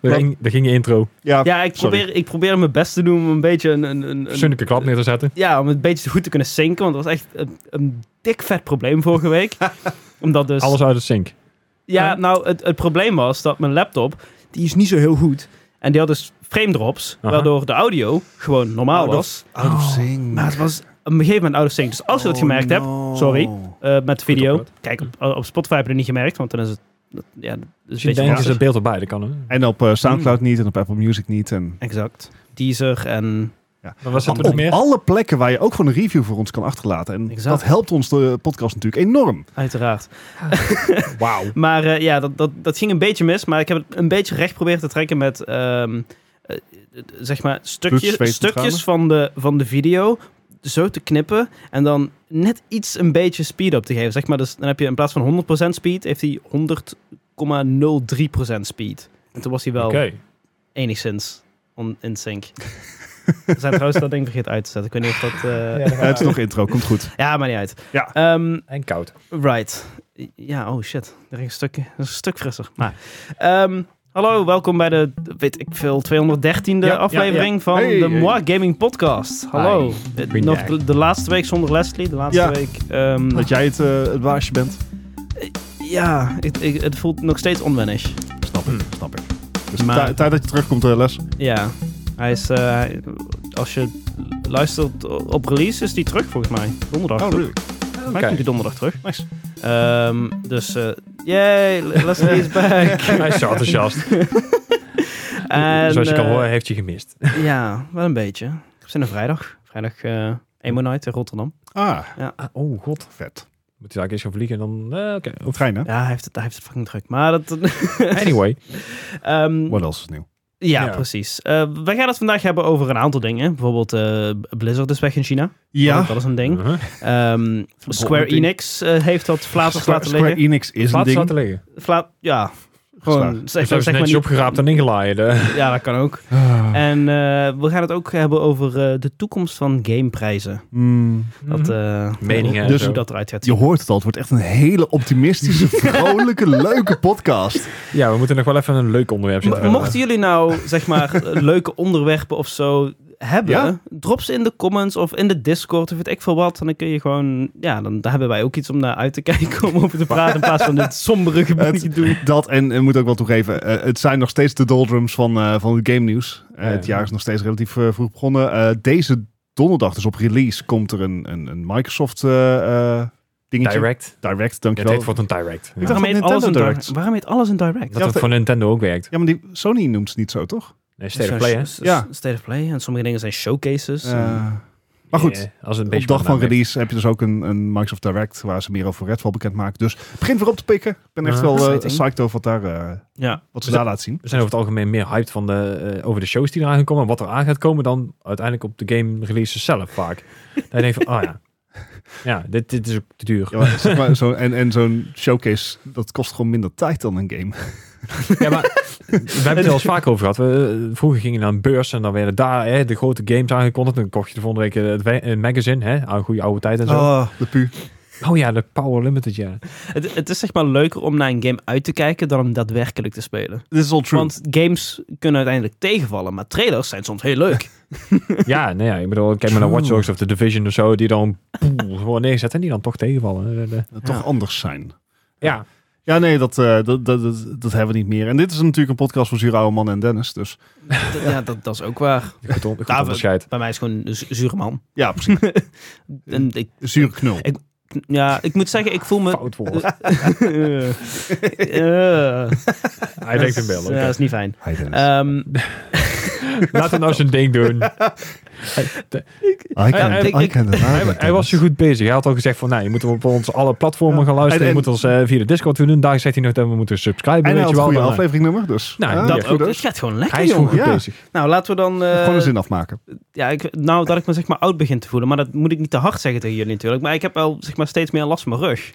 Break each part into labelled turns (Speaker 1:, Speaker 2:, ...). Speaker 1: Daar
Speaker 2: Wat?
Speaker 1: ging, daar ging je intro.
Speaker 2: Ja,
Speaker 3: Ja, ik
Speaker 2: Ah, sorry.
Speaker 3: probeer, ik probeer mijn best te doen om een beetje een... een, een, een-
Speaker 1: Persoonlijke klap neer te zetten.
Speaker 3: ja, om het een beetje goed te kunnen zinken. Want dat was echt een, een dik vet probleem vorige week. Omdat dus...
Speaker 1: Alles uit de sync.
Speaker 3: Ja, nou, het, het probleem was dat mijn laptop, die is niet zo heel goed. En die had dus frame drops,
Speaker 1: Aha.
Speaker 3: waardoor de audio gewoon normaal
Speaker 2: Out of-
Speaker 3: was.
Speaker 2: Out of sync.
Speaker 3: Maar het was op een gegeven moment out of sync. Dus als je dat
Speaker 2: Oh,
Speaker 3: gemerkt hebt,
Speaker 2: no.
Speaker 3: sorry. eh, met de video.
Speaker 1: opgelet.
Speaker 3: Kijk, op, op Spotify heb je het niet gemerkt, want dan is het... dat- ja, dat is een
Speaker 1: Misschien
Speaker 3: beetje
Speaker 1: denken ze
Speaker 3: lastig.
Speaker 1: Dus het beeld erbij. Dat kan. Hè?
Speaker 2: En op eh, Soundcloud niet en op Apple Music niet. En
Speaker 3: Exact. Deezer en...
Speaker 1: Maar wat zit er nog
Speaker 2: op
Speaker 1: meer?
Speaker 2: alle plekken waar je ook gewoon een review voor ons kan achterlaten. En
Speaker 3: Exact.
Speaker 2: dat helpt ons de podcast natuurlijk enorm.
Speaker 3: Uiteraard.
Speaker 1: Wauw.
Speaker 3: Maar eh, ja, dat, dat, dat ging een beetje mis. Maar ik heb het een beetje recht proberen te trekken met... ehm, eh, eh, zeg maar
Speaker 2: Bloed,
Speaker 3: stukjes,
Speaker 2: zweet en
Speaker 3: stukjes
Speaker 2: tranen.
Speaker 3: van, de, van de video zo te knippen. En dan net iets een beetje speed op te geven. Zeg maar, dus dan heb je in plaats van 100% speed, heeft hij 100,03% speed. En toen was hij wel
Speaker 1: Oké.
Speaker 3: enigszins on, in sync. We zijn trouwens dat ding vergeten uit te zetten. Ik weet niet of dat... eh, ja.
Speaker 1: Ja, dat
Speaker 2: Eh, het is
Speaker 1: gaat.
Speaker 2: nog intro, komt goed.
Speaker 3: maar niet uit.
Speaker 2: Ja.
Speaker 3: Ehm,
Speaker 1: En koud.
Speaker 3: Right. Ja, oh shit. Er ging een stuk, een stuk frisser.
Speaker 1: Ah.
Speaker 3: Maar, ehm, hallo, welkom bij de, weet ik veel, 213e
Speaker 1: Ja, ja,
Speaker 3: aflevering van
Speaker 2: Hey,
Speaker 3: de
Speaker 2: hey.
Speaker 3: Moi Gaming Podcast. Hallo. Eh,
Speaker 1: Goedendag.
Speaker 3: Nog de, de laatste week zonder Leslie, de laatste
Speaker 2: Ja.
Speaker 3: week... ehm,
Speaker 2: Dat jij het, eh, het baasje bent,
Speaker 3: ja, het, ik- het voelt nog steeds onwennig.
Speaker 2: snap ik. Snap ik. Dus
Speaker 3: Maar-
Speaker 2: tij- tijd dat je terugkomt, eh, Les.
Speaker 3: Ja, hij is, eh, hij- als je luistert op release, is die terug volgens mij. Donderdag. toch? Maar
Speaker 1: Oh, Oké.
Speaker 3: ik kom die donderdag terug.
Speaker 2: Nice.
Speaker 3: Ehm, dus, eh yay, Leslie is back.
Speaker 1: Hij is zo enthousiast.
Speaker 3: En,
Speaker 1: Zoals je kan
Speaker 3: eh,
Speaker 1: horen, heeft je gemist.
Speaker 3: Ja, wel een beetje. Ik heb zin in vrijdag. Vrijdag eh Emo Night in Rotterdam.
Speaker 2: Ah,
Speaker 1: oh god.
Speaker 2: vet.
Speaker 1: Moet hij eigenlijk eens gaan vliegen en dan... eh, Oké.
Speaker 2: Op trein, hè?
Speaker 3: Ja, hij heeft het, hij heeft het fucking druk. Maar dat...
Speaker 1: Anyway.
Speaker 3: ehm,
Speaker 2: What else is nieuw?
Speaker 3: ja,
Speaker 1: Ja.
Speaker 3: precies. Eh we gaan het vandaag hebben over een aantal dingen. Bijvoorbeeld eh, Blizzard is weg in China. Oh,
Speaker 2: Ja,
Speaker 3: Dat is een ding.
Speaker 1: Uh-huh.
Speaker 3: Ehm, Square
Speaker 1: ding.
Speaker 3: Enix eh, heeft dat flaters
Speaker 2: Square,
Speaker 3: laten
Speaker 2: Square
Speaker 3: liggen.
Speaker 2: Enix is
Speaker 1: Plaats
Speaker 2: een
Speaker 1: laten
Speaker 2: ding.
Speaker 1: liggen.
Speaker 3: Fla ja,
Speaker 1: Ze
Speaker 3: gewoon... Zeg,
Speaker 1: hebben
Speaker 3: zeg
Speaker 1: ze
Speaker 3: maar
Speaker 1: netjes
Speaker 3: niet-
Speaker 1: opgeraapt en ingelaaid. eh.
Speaker 3: Ja, dat kan ook.
Speaker 2: Ah.
Speaker 3: En eh, we gaan het ook hebben over eh, de toekomst van gameprijzen.
Speaker 2: Mm.
Speaker 3: Dat, eh,
Speaker 1: Mhm. Meningen en
Speaker 3: Dus
Speaker 1: zo.
Speaker 3: hoe dat eruit gaat
Speaker 2: Je
Speaker 3: zien.
Speaker 2: hoort het al, het wordt echt een hele optimistische, vrolijke, leuke podcast.
Speaker 1: Ja, we moeten nog wel even een leuk onderwerp
Speaker 3: Mo-
Speaker 1: zitten.
Speaker 3: Mochten jullie nou, zeg maar, eh, leuke onderwerpen of zo hebben,
Speaker 2: Ja?
Speaker 3: drop ze in de comments of in de Discord of weet ik veel wat. En dan kun je gewoon, ja, dan daar hebben wij ook iets om naar uit te kijken, om over te praten in plaats van dit sombere gebied.
Speaker 2: Het, dat en ik moet ook wel toegeven, eh, het zijn nog steeds de doldrums van, eh, van het game nieuws. Eh,
Speaker 1: Ja.
Speaker 2: Het jaar is nog steeds relatief eh, vroeg begonnen. Eh, deze donderdag, dus op release, komt er een, een, een Microsoft eh, eh, dingetje.
Speaker 1: Direct.
Speaker 2: Direct,
Speaker 1: Ja, het
Speaker 2: dankjewel.
Speaker 1: heet wordt een direct. Ja.
Speaker 2: dacht-
Speaker 3: Waarom heet,
Speaker 2: Nintendo
Speaker 3: alles een
Speaker 2: Direct.
Speaker 3: direct? waarom heet alles een direct?
Speaker 1: Dat
Speaker 2: Ja,
Speaker 1: het voor Nintendo ook werkt.
Speaker 2: Ja, maar die, Sony noemt ze niet zo, toch?
Speaker 1: Nee, State of Play, hè?
Speaker 2: Ja.
Speaker 3: Ja. State of Play. En sommige dingen zijn showcases.
Speaker 2: Eh, maar goed,
Speaker 1: Ja, als het een
Speaker 2: op
Speaker 1: beetje
Speaker 2: dag van
Speaker 1: vandaan
Speaker 2: release heb je dus ook een, een Microsoft Direct waar ze meer over Redfall bekend maken. Dus begin weer op te pikken. Ik ben echt
Speaker 1: Ja.
Speaker 2: wel eh
Speaker 3: Exciting.
Speaker 2: psyched over wat, daar, eh,
Speaker 3: ja.
Speaker 2: wat ze
Speaker 1: Dus
Speaker 2: daar laten zien.
Speaker 1: We zijn over het algemeen meer hyped van de, eh, over de shows die eraan gaan komen en wat er aan gaat komen dan uiteindelijk op de game releases zelf vaak. Dan denk je van, oh ja, ja dit, dit is ook te duur.
Speaker 2: Ja, maar, zeg maar, zo, en en zo'n showcase, dat kost gewoon minder tijd dan een game.
Speaker 1: Ja, maar we hebben het er al eens vaak over gehad. We, eh, vroeger gingen we naar een beurs en dan werden daar hè, de grote games aangekondigd. Dan kocht je de volgende week eh, het we- een magazine, hè, aan goede oude tijd en zo. Oh,
Speaker 2: de pu.
Speaker 1: ja, de Power Limited, ja.
Speaker 3: Het, het is zeg maar leuker om naar een game uit te kijken dan om daadwerkelijk te spelen.
Speaker 2: This is all true.
Speaker 3: Want games kunnen uiteindelijk tegenvallen, maar trailers zijn soms heel leuk.
Speaker 1: Ja, nou ja, ik bedoel, kijk maar naar Watch Dogs of The Division of zo, die dan poeh, gewoon neerzetten en die dan toch tegenvallen. Eh, de-
Speaker 2: Dat Toch
Speaker 3: Ja.
Speaker 2: anders zijn.
Speaker 1: Ja,
Speaker 2: Ja, nee, dat, eh, dat, dat, dat, dat hebben we niet meer. En dit is natuurlijk een podcast voor Zure Oude Man en Dennis. Dus
Speaker 3: D- ja, dat, dat is ook waar.
Speaker 1: goed, on- goed
Speaker 3: David.
Speaker 1: onderscheid.
Speaker 3: Bij mij is gewoon een zu- zure man.
Speaker 2: ja, precies.
Speaker 3: En ik,
Speaker 2: Zure knul.
Speaker 3: ja, ik moet zeggen, ik voel me...
Speaker 1: Fout woord.
Speaker 3: Eh, eh.
Speaker 1: Hij denkt in beeld.
Speaker 3: Ja, dat is niet fijn.
Speaker 2: Hi Dennis.
Speaker 3: Ehm,
Speaker 1: Laat hem nou zijn ding doen.
Speaker 2: I can,
Speaker 1: eh,
Speaker 2: I
Speaker 3: ik- ik-
Speaker 2: can deny
Speaker 1: Hij,
Speaker 2: that,
Speaker 1: hij was zo goed bezig. Hij had al gezegd van, nou, je moet op ons alle platformen gaan luisteren.
Speaker 2: En-
Speaker 1: Je
Speaker 2: en-
Speaker 1: moet ons eh, via de Discord doen. Daar zegt hij nog dat we moeten subscriben.
Speaker 2: En hij
Speaker 1: weet
Speaker 2: had
Speaker 1: je
Speaker 2: een
Speaker 1: wel.
Speaker 2: goede
Speaker 1: Dan-
Speaker 2: afleveringnummer, dus.
Speaker 1: Nou,
Speaker 2: Ja,
Speaker 1: dat
Speaker 2: goed
Speaker 3: ook,
Speaker 2: dus.
Speaker 3: het gaat gewoon
Speaker 1: Hij
Speaker 3: lekker,
Speaker 1: is gewoon
Speaker 3: jongen.
Speaker 1: goed
Speaker 2: Ja.
Speaker 1: bezig.
Speaker 3: Nou, laten we dan... eh,
Speaker 2: Gewoon een zin afmaken.
Speaker 3: Ja, ik, nou dat ik me zeg maar oud begin te voelen. Maar dat moet ik niet te hard zeggen tegen jullie natuurlijk. Maar ik heb wel zeg maar steeds meer last van mijn rug.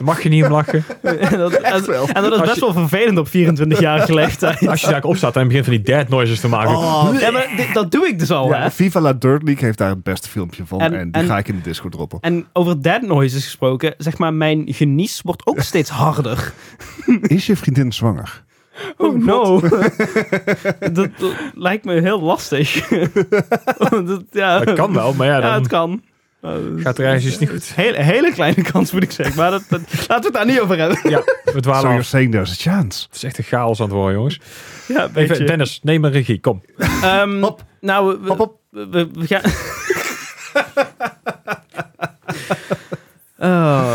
Speaker 1: Mag je niet om lachen.
Speaker 3: en, dat, en,
Speaker 2: wel.
Speaker 3: en dat is
Speaker 1: Als
Speaker 3: best
Speaker 1: je-
Speaker 3: wel vervelend op 24-jarige leeftijd.
Speaker 1: Als je daar opstaat en begint van die dead noises te
Speaker 2: Oh,
Speaker 1: maken.
Speaker 3: Ja, maar dit- dat doe ik dus al, hè.
Speaker 2: Ja, Viva La Dirt League heeft daar het beste filmpje van. oh, En,
Speaker 3: En-
Speaker 2: die
Speaker 3: en-
Speaker 2: ga ik in de Discord droppen.
Speaker 3: En over dead noises gesproken, zeg maar, mijn genies wordt ook steeds harder.
Speaker 2: Is je vriendin zwanger?
Speaker 3: Oh no. dat, dat lijkt me heel lastig. dat, ja.
Speaker 1: Dat kan wel, maar ja,
Speaker 3: Ja,
Speaker 1: dan
Speaker 3: het kan. Nou, dat is-
Speaker 1: gaat er ergens iets niet goed.
Speaker 3: Hele, hele kleine kans moet ik zeggen, maar dat, dat- laten we het daar niet over hebben.
Speaker 1: Ja, we dwalen
Speaker 2: So
Speaker 1: af.
Speaker 2: you're saying there's a chance.
Speaker 1: Het is echt een chaos aan het worden, jongens.
Speaker 3: Ja, een
Speaker 1: Even,
Speaker 3: beetje.
Speaker 1: Dennis, neem een regie, kom.
Speaker 3: Ehm,
Speaker 2: Hop.
Speaker 3: Nou, we,
Speaker 2: Hop, hop.
Speaker 3: we, we- we gaan... Oh.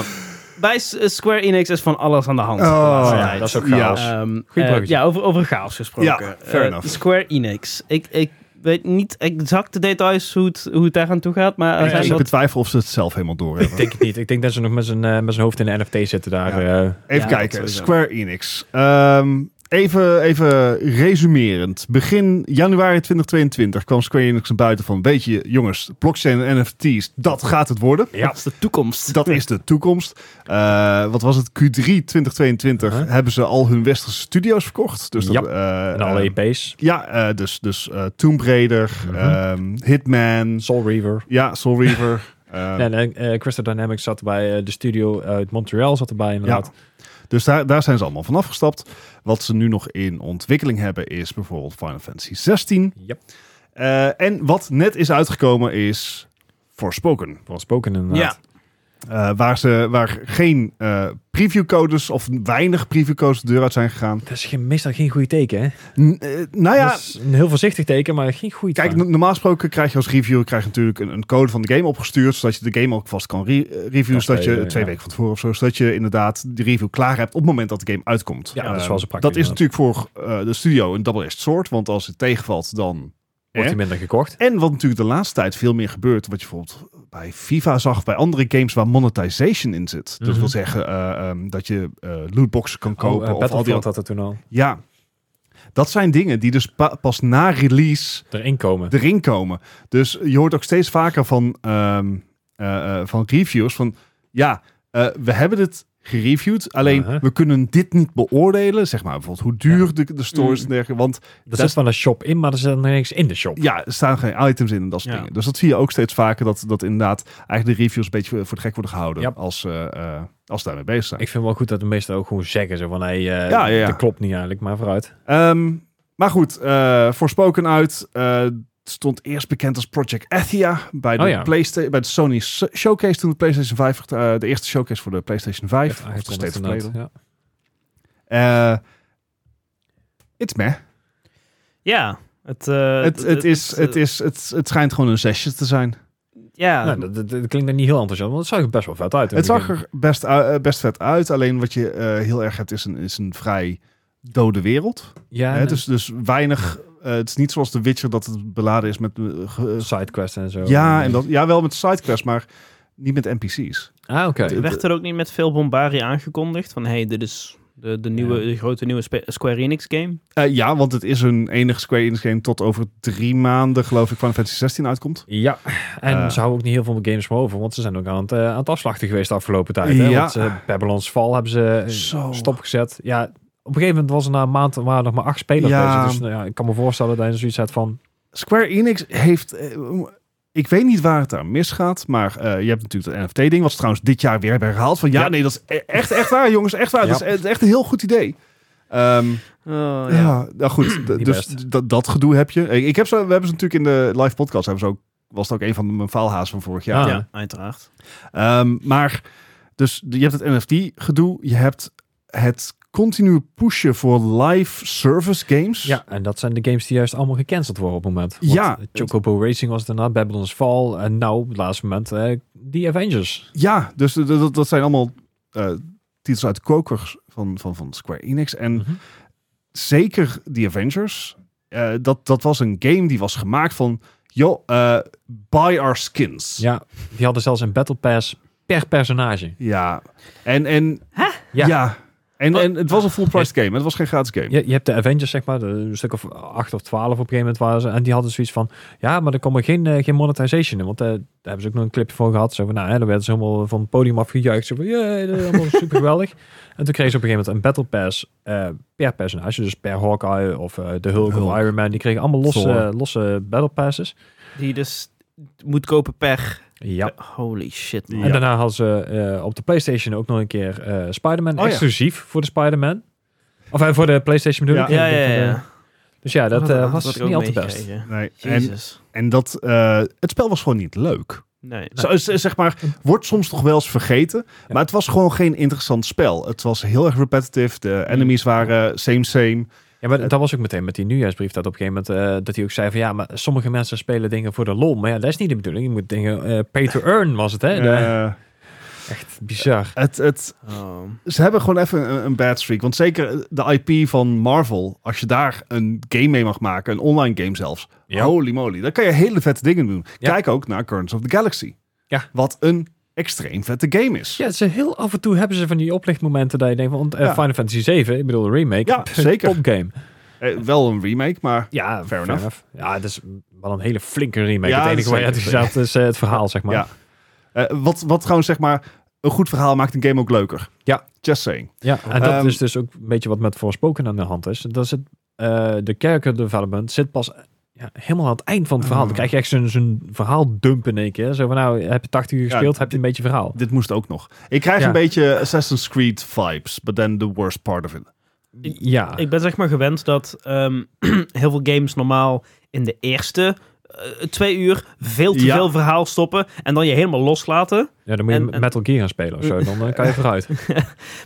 Speaker 3: Bij S- Square Enix is van alles aan de
Speaker 2: Oh.
Speaker 3: hand. de laatste
Speaker 1: Oh, ja,
Speaker 3: tijd.
Speaker 1: dat is ook chaos.
Speaker 3: Ehm,
Speaker 1: Goed
Speaker 3: eh,
Speaker 1: bruggetje.
Speaker 3: ja, over, over chaos gesproken.
Speaker 2: Ja, fair
Speaker 3: Eh,
Speaker 2: enough.
Speaker 3: Square Enix. Ik, ik weet niet exact de details hoe het, hoe het daar aan toe gaat, maar... er
Speaker 2: Ik-
Speaker 3: zijn
Speaker 2: ik
Speaker 3: wel-
Speaker 2: betwijfel of ze het zelf helemaal door
Speaker 1: Ik
Speaker 2: hebben.
Speaker 1: denk het niet. Ik denk dat ze nog met zijn, eh, met zijn hoofd in de NFT zitten daar. eh.
Speaker 2: Even
Speaker 3: Ja,
Speaker 2: kijken,
Speaker 3: dat sowieso.
Speaker 2: Square Enix. Ehm, even, even resumerend. Begin januari 2022 kwam Square Enix naar buiten van... weet je, jongens, blockchain en NFT's, dat gaat het worden.
Speaker 1: ja.
Speaker 3: Dat is de toekomst.
Speaker 2: Dat is de toekomst. Eh, wat was het? Q3 2022
Speaker 1: Huh?
Speaker 2: hebben ze al hun westerse studio's verkocht. Dus dat,
Speaker 1: Ja,
Speaker 2: eh,
Speaker 1: En alle E
Speaker 2: eh,
Speaker 1: EP's.
Speaker 2: ja, eh, dus, dus eh, Tomb Raider,
Speaker 1: Mhm.
Speaker 2: ehm, Hitman,
Speaker 1: Soul Reaver.
Speaker 2: ja, Soul Reaver. eh,
Speaker 1: En eh, eh, Crystal Dynamics zat erbij. eh, de studio uit Montreal zat erbij inderdaad.
Speaker 2: Dus daar, daar zijn ze allemaal van afgestapt. Wat ze nu nog in ontwikkeling hebben is bijvoorbeeld Final Fantasy 16.
Speaker 1: Ja.
Speaker 2: Eh, en wat net is uitgekomen is Forspoken.
Speaker 1: Voorspoken inderdaad.
Speaker 3: ja.
Speaker 2: Eh, waar, ze, waar geen eh, previewcodes of weinig previewcodes de deur uit zijn gegaan.
Speaker 1: Dat is geen- meestal geen goede teken, hè?
Speaker 2: N- eh, nou ja,
Speaker 1: Dat is een heel voorzichtig teken, maar geen goede
Speaker 2: Kijk,
Speaker 1: teken.
Speaker 2: no- normaal gesproken krijg je als reviewer krijg je natuurlijk een, een code van de game opgestuurd, zodat je de game ook vast kan re- eh, reviewen,
Speaker 1: Kan
Speaker 2: zodat je
Speaker 1: spelen,
Speaker 2: twee
Speaker 1: ja.
Speaker 2: weken van tevoren of zo, zodat je inderdaad de review klaar hebt op het moment dat de game uitkomt.
Speaker 1: Ja, dat is
Speaker 2: Eh,
Speaker 1: wel zo praktisch,
Speaker 2: Dat is natuurlijk voor eh, de studio een double-edged sword, want als het tegenvalt dan...
Speaker 1: Wordt
Speaker 2: hè?
Speaker 1: hij minder gekocht.
Speaker 2: En wat natuurlijk de laatste tijd veel meer gebeurt, wat je bijvoorbeeld bij FIFA zag, bij andere games waar monetization in zit. Dat
Speaker 1: Mhm.
Speaker 2: wil zeggen eh, ehm, dat je eh, lootboxen kan kopen
Speaker 1: oh, eh,
Speaker 2: of al die
Speaker 1: Battlefield had dat toen al.
Speaker 2: Ja, dat zijn dingen die dus pa- pas na release
Speaker 1: Erin komen.
Speaker 2: erin komen. Dus je hoort ook steeds vaker van, ehm eh, eh, van reviews van... Ja, eh, we hebben dit gereviewd, alleen
Speaker 1: Uh-huh.
Speaker 2: we kunnen dit niet beoordelen. Zeg maar bijvoorbeeld hoe duur de, de store
Speaker 1: Mm.
Speaker 2: is en dergelijke. Want
Speaker 1: Er zit wel een shop in, maar er zit nog niks in de shop.
Speaker 2: ja, er staan geen items in en dat soort
Speaker 3: Ja.
Speaker 2: dingen. Dus dat zie je ook steeds vaker, dat, dat inderdaad eigenlijk de reviews een beetje voor de gek worden gehouden.
Speaker 1: Ja.
Speaker 2: Als, eh, eh, als ze daarmee bezig zijn.
Speaker 1: Ik vind wel goed dat de meesten ook gewoon zeggen zo van, hey, eh,
Speaker 2: Ja, ja, ja.
Speaker 1: dat klopt niet eigenlijk, maar vooruit.
Speaker 2: Ehm, maar goed, eh Forspoken uit. eh, het stond eerst bekend als Project Athia bij de,
Speaker 1: Oh ja.
Speaker 2: Playsta- bij de Sony S- Showcase toen de PlayStation 5, werd- eh, de eerste showcase voor de PlayStation 5.
Speaker 1: Ja,
Speaker 2: Of
Speaker 1: het
Speaker 2: nog steeds
Speaker 1: inderdaad,
Speaker 2: geleden.
Speaker 1: ja.
Speaker 2: Eh, It's meh.
Speaker 3: Ja. Het, eh,
Speaker 2: Eh, Het, het, is,
Speaker 3: eh,
Speaker 2: het, is, het, het schijnt gewoon een zesje te zijn.
Speaker 3: Ja.
Speaker 1: Nou, dat, dat- dat klinkt dan niet heel enthousiast, want het zag er best wel vet uit. in
Speaker 2: Het zag
Speaker 1: begin.
Speaker 2: er best, u- eh, best vet uit. Alleen wat je eh, heel erg hebt is een, is een vrij dode wereld.
Speaker 1: Ja,
Speaker 2: Hè,
Speaker 1: en
Speaker 2: dus, dus weinig... eh, het is niet zoals The Witcher dat het beladen is met eh, ge-
Speaker 1: sidequests en zo.
Speaker 2: Ja, en dat, ja, wel eh, met sidequests, maar niet met NPC's.
Speaker 1: Ah, oké.
Speaker 2: Het-
Speaker 3: Werd er ook niet met veel bombarie aangekondigd? Van, hey, dit is de, de, nieuwe, de grote nieuwe spe- Square Enix game.
Speaker 2: Eh, ja, want het is een enige Square Enix game tot over drie maanden, geloof ik, Final Fantasy 16 uitkomt.
Speaker 1: Ja, en
Speaker 2: Eh.
Speaker 1: ze houden ook niet heel veel games meer over, want ze zijn ook aan het, eh, aan het afslachten geweest de afgelopen tijd. Hè?
Speaker 2: Ja.
Speaker 1: Want eh, Babylon's Fall hebben ze eh,
Speaker 2: Zo.
Speaker 1: stopgezet. Ja, op een gegeven moment was er na een maand waren er nog maar acht spelers
Speaker 2: Ja.
Speaker 1: bezig. Dus nou ja, ik kan me voorstellen dat hij zoiets had van...
Speaker 2: Square Enix heeft... eh, ik weet niet waar het aan misgaat, maar eh, je hebt natuurlijk dat NFT-ding, wat ze trouwens dit jaar weer hebben herhaald. Van ja,
Speaker 1: Ja.
Speaker 2: nee, dat is e- echt, echt waar, jongens, echt waar. Dat
Speaker 1: Ja.
Speaker 2: is e- dat is echt een heel goed idee. Ehm,
Speaker 3: Oh,
Speaker 2: ja. nou goed, d-
Speaker 1: Niet
Speaker 2: dus
Speaker 1: best.
Speaker 2: d- dat- dat gedoe heb je. Ik ik heb ze, we hebben ze natuurlijk in de live podcast, hebben ze ook, was het ook een van mijn faalhaas van vorig jaar.
Speaker 1: Ah.
Speaker 3: Ja, uiteraard.
Speaker 2: Ehm, maar dus je hebt het NFT-gedoe, je hebt het continue pushen voor live service games.
Speaker 1: Ja, en dat zijn de games die juist allemaal gecanceld worden op het moment. Want
Speaker 2: Ja.
Speaker 1: Chocobo Racing was daarna, Babylon's Fall, en nou, op het laatste moment, eh die Avengers.
Speaker 2: Ja, dus d- d- dat, dat zijn allemaal eh, titels uit de koker van, van, van Square Enix. En
Speaker 1: Mhm.
Speaker 2: zeker The Avengers, eh, dat, dat was een game die was gemaakt van, joh, eh, buy our skins.
Speaker 1: Ja, die hadden zelfs een Battle Pass per personage.
Speaker 2: Ja. En, en,
Speaker 1: Ja. Oh.
Speaker 2: ja. En, en het was een full-priced game, het was geen gratis game.
Speaker 1: Je, je hebt de Avengers, zeg maar, de- een stuk of acht of twaalf op een gegeven moment waren ze. En die hadden zoiets van, ja, maar er komt geen, eh, geen monetization in. Want eh, daar hebben ze ook nog een clipje voor gehad. Zo van, nou, hè, dan werden ze helemaal van het podium afgejuicht. Zo van, yeah, dat is allemaal super geweldig. En toen kregen ze op een gegeven moment een Battle Pass eh, per personage. Dus per Hawkeye of eh, de Hulk,
Speaker 2: Hulk.
Speaker 1: of Iron Man. Die kregen allemaal losse,
Speaker 2: Thor.
Speaker 1: losse Battle Passes.
Speaker 3: Die dus moet kopen per...
Speaker 1: Ja.
Speaker 3: Holy shit, man.
Speaker 1: En
Speaker 2: Ja.
Speaker 1: daarna hadden ze eh, op de PlayStation ook nog een keer eh Spider-Man
Speaker 2: Oh ja.
Speaker 1: exclusief voor de Spider-Man. Of eh, voor de PlayStation bedoel ik.
Speaker 3: Ja, ja, ja.
Speaker 1: Dus ja, dat eh, was
Speaker 3: had ik
Speaker 1: niet
Speaker 3: ook
Speaker 1: al te best.
Speaker 3: meegekregen.
Speaker 2: Nee. En,
Speaker 3: Jezus.
Speaker 2: en dat, eh, het spel was gewoon niet leuk.
Speaker 3: Nee.
Speaker 2: Zo,
Speaker 1: Nou.
Speaker 2: z- zeg maar, wordt soms nog wel eens vergeten. Maar het was gewoon geen interessant spel. Het was heel erg repetitive. De
Speaker 1: Hmm.
Speaker 2: enemies waren same, same.
Speaker 1: Ja, maar dat was ook meteen met die nieuwjaarsbrief. Dat op een gegeven moment eh, dat hij ook zei van ja, maar sommige mensen spelen dingen voor de lol. Maar ja, dat is niet de bedoeling. Je moet dingen eh, pay to earn was het, hè? De-
Speaker 2: Eh,
Speaker 1: echt bizar.
Speaker 2: het, het,
Speaker 3: Oh.
Speaker 2: ze hebben gewoon even een, een bad streak. Want zeker de IP van Marvel, als je daar een game mee mag maken, een online game zelfs.
Speaker 1: Ja.
Speaker 2: Holy moly, dan kan je hele vette dingen doen.
Speaker 1: Ja.
Speaker 2: Kijk ook naar Currents of the Galaxy.
Speaker 1: Ja.
Speaker 2: Wat een extreem vette game is.
Speaker 1: Ja, ze heel af en toe hebben ze van die oplichtmomenten dat je denkt van want, eh,
Speaker 2: Ja.
Speaker 1: Final Fantasy 7, ik bedoel de remake,
Speaker 2: Ja, zeker.
Speaker 1: top game.
Speaker 2: Eh, wel een remake, maar
Speaker 1: Ja, fair,
Speaker 2: enough.
Speaker 1: enough. Ja, dat is wel een hele flinke remake.
Speaker 2: Ja,
Speaker 1: het enige waar je
Speaker 2: zeker,
Speaker 1: uit staat is eh, het verhaal, zeg maar.
Speaker 2: Ja. eh, wat, wat trouwens zeg maar, een goed verhaal maakt een game ook leuker.
Speaker 1: Ja.
Speaker 2: Just saying.
Speaker 1: Ja, en dat
Speaker 2: Ehm,
Speaker 1: is dus ook een beetje wat met Voorspoken aan de hand is. Dat is het, eh, de character development zit pas ja, helemaal aan het eind van het verhaal. Dan krijg je echt zo'n zo'n verhaaldump in één keer. Zo van, nou, heb je 80 uur
Speaker 2: Ja,
Speaker 1: gespeeld, heb je een beetje verhaal.
Speaker 2: Dit moest ook nog. Ik krijg
Speaker 1: Ja.
Speaker 2: een beetje Assassin's Creed vibes, but then the worst part of it.
Speaker 1: Ja,
Speaker 3: Ah. Ik ben zeg maar gewend dat ehm, heel veel games normaal in de eerste eh, twee uur veel te
Speaker 2: Ja.
Speaker 3: veel verhaal stoppen en dan je helemaal loslaten.
Speaker 1: ja dan moet je
Speaker 3: en- en-
Speaker 1: Metal Gear gaan spelen of zo. Dan eh, kan je vooruit.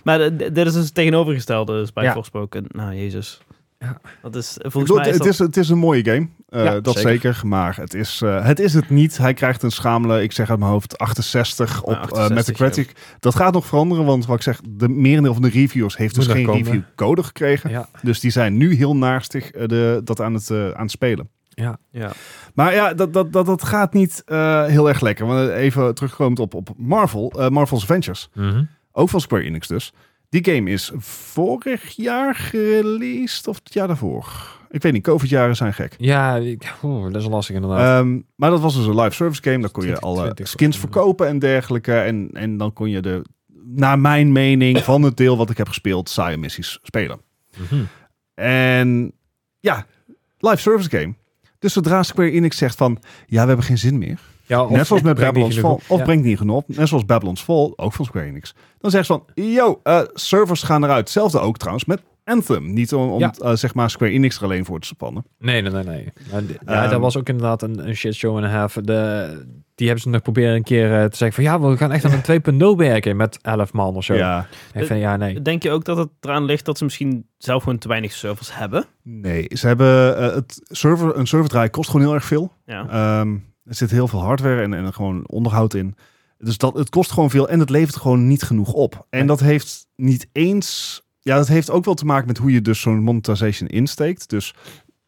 Speaker 3: Maar eh, d- dit is dus het tegenovergestelde dus bij
Speaker 1: Ja.
Speaker 3: Forspoken. Nou, jezus.
Speaker 1: Ja.
Speaker 3: Dat is eh,
Speaker 2: Ik
Speaker 3: volgens
Speaker 2: bedoel,
Speaker 3: mij is
Speaker 2: het,
Speaker 3: dat...
Speaker 2: is, het is een mooie game, eh,
Speaker 1: Ja,
Speaker 2: dat
Speaker 1: zeker.
Speaker 2: zeker. Maar het is, eh, het is het niet. Hij krijgt een schamele, ik zeg uit mijn hoofd, 68
Speaker 1: Ah,
Speaker 2: op eh
Speaker 3: 68,
Speaker 2: Metacritic. Dat gaat nog veranderen, want wat ik zeg, de merendeel van de reviewers heeft
Speaker 1: Moet
Speaker 2: dus
Speaker 1: nog
Speaker 2: geen
Speaker 1: komen.
Speaker 2: reviewcode gekregen.
Speaker 1: Ja,
Speaker 2: Dus die zijn nu heel naastig eh, de, dat aan het, eh, aan het spelen.
Speaker 1: ja.
Speaker 3: Ja.
Speaker 2: Maar ja, dat, dat, dat, dat gaat niet eh, heel erg lekker. Want eh, even terugkomend op, op Marvel, eh, Marvel's Adventures.
Speaker 1: Mhm.
Speaker 2: Ook van Square Enix dus. Die game is vorig jaar gereleased of het jaar daarvoor. Ik weet niet, COVID-jaren zijn gek.
Speaker 1: Ja, ik- oeh, dat is lastig inderdaad.
Speaker 2: Ehm, maar dat was dus een live service game. Daar kon je
Speaker 1: 20,
Speaker 2: alle
Speaker 1: 20,
Speaker 2: skins verkopen en dergelijke. En, en dan kon je de, naar mijn mening, van het deel wat ik heb gespeeld, saaie missies spelen.
Speaker 1: Mhm.
Speaker 2: En ja, live service game. Dus zodra Square Enix zegt van, ja, we hebben geen zin meer.
Speaker 1: ja, of-
Speaker 2: Net zoals met
Speaker 1: brengt niet
Speaker 2: Babylon's
Speaker 1: genoeg
Speaker 2: Fall.
Speaker 1: op.
Speaker 2: Of
Speaker 1: Ja.
Speaker 2: brengt niet genoeg op. Net zoals Babylon's Fall, ook van Square Enix. Dan zeggen ze van, yo, eh, servers gaan eruit. Hetzelfde ook trouwens met Anthem. Niet om, om
Speaker 1: Ja.
Speaker 2: eh, zeg maar Square Enix er alleen voor te spannen.
Speaker 1: Nee, nee, nee. nee. Maar d- ja,
Speaker 2: Ehm,
Speaker 1: dat was ook inderdaad een, een shit show en een half. De, die hebben ze nog proberen een keer eh, te zeggen van ja, we gaan echt aan een 2.0 werken met 11 man of zo.
Speaker 2: Ja.
Speaker 1: Ik vind, ja, nee.
Speaker 3: Denk je ook dat het eraan ligt dat ze misschien zelf gewoon te weinig servers hebben?
Speaker 2: Nee, ze hebben eh, het server, een serverdraai kost gewoon heel erg veel.
Speaker 3: Ja.
Speaker 2: Ehm, er zit heel veel hardware en, en gewoon onderhoud in. Dus dat, het kost gewoon veel en het levert gewoon niet genoeg op. En dat heeft niet eens. Ja, dat heeft ook wel te maken met hoe je dus zo'n monetization insteekt. Dus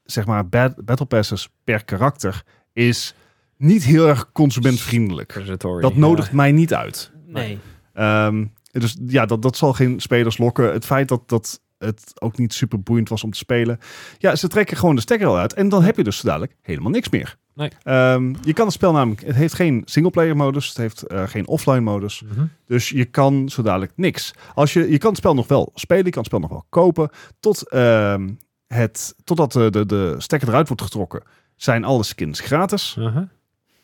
Speaker 2: zeg maar, bat- battle passes per karakter is niet heel erg consumentvriendelijk.
Speaker 1: Predatory,
Speaker 2: Dat
Speaker 1: ja.
Speaker 2: nodigt mij niet uit.
Speaker 3: Nee.
Speaker 2: Ehm, dus ja, dat, dat zal geen spelers lokken. Het feit dat, dat het ook niet super boeiend was om te spelen. Ja, ze trekken gewoon de stekker al uit. En dan heb je dus zo dadelijk helemaal niks meer.
Speaker 1: Nee.
Speaker 2: Ehm, je kan het spel namelijk... Het heeft geen singleplayer modus. Het heeft eh, geen offline modus.
Speaker 1: Mhm.
Speaker 2: Dus je kan zo dadelijk niks. Als je, je kan het spel nog wel spelen. Je kan het spel nog wel kopen. Tot, ehm, het, totdat de, de, de stekker eruit wordt getrokken... zijn alle skins gratis.
Speaker 1: Aha.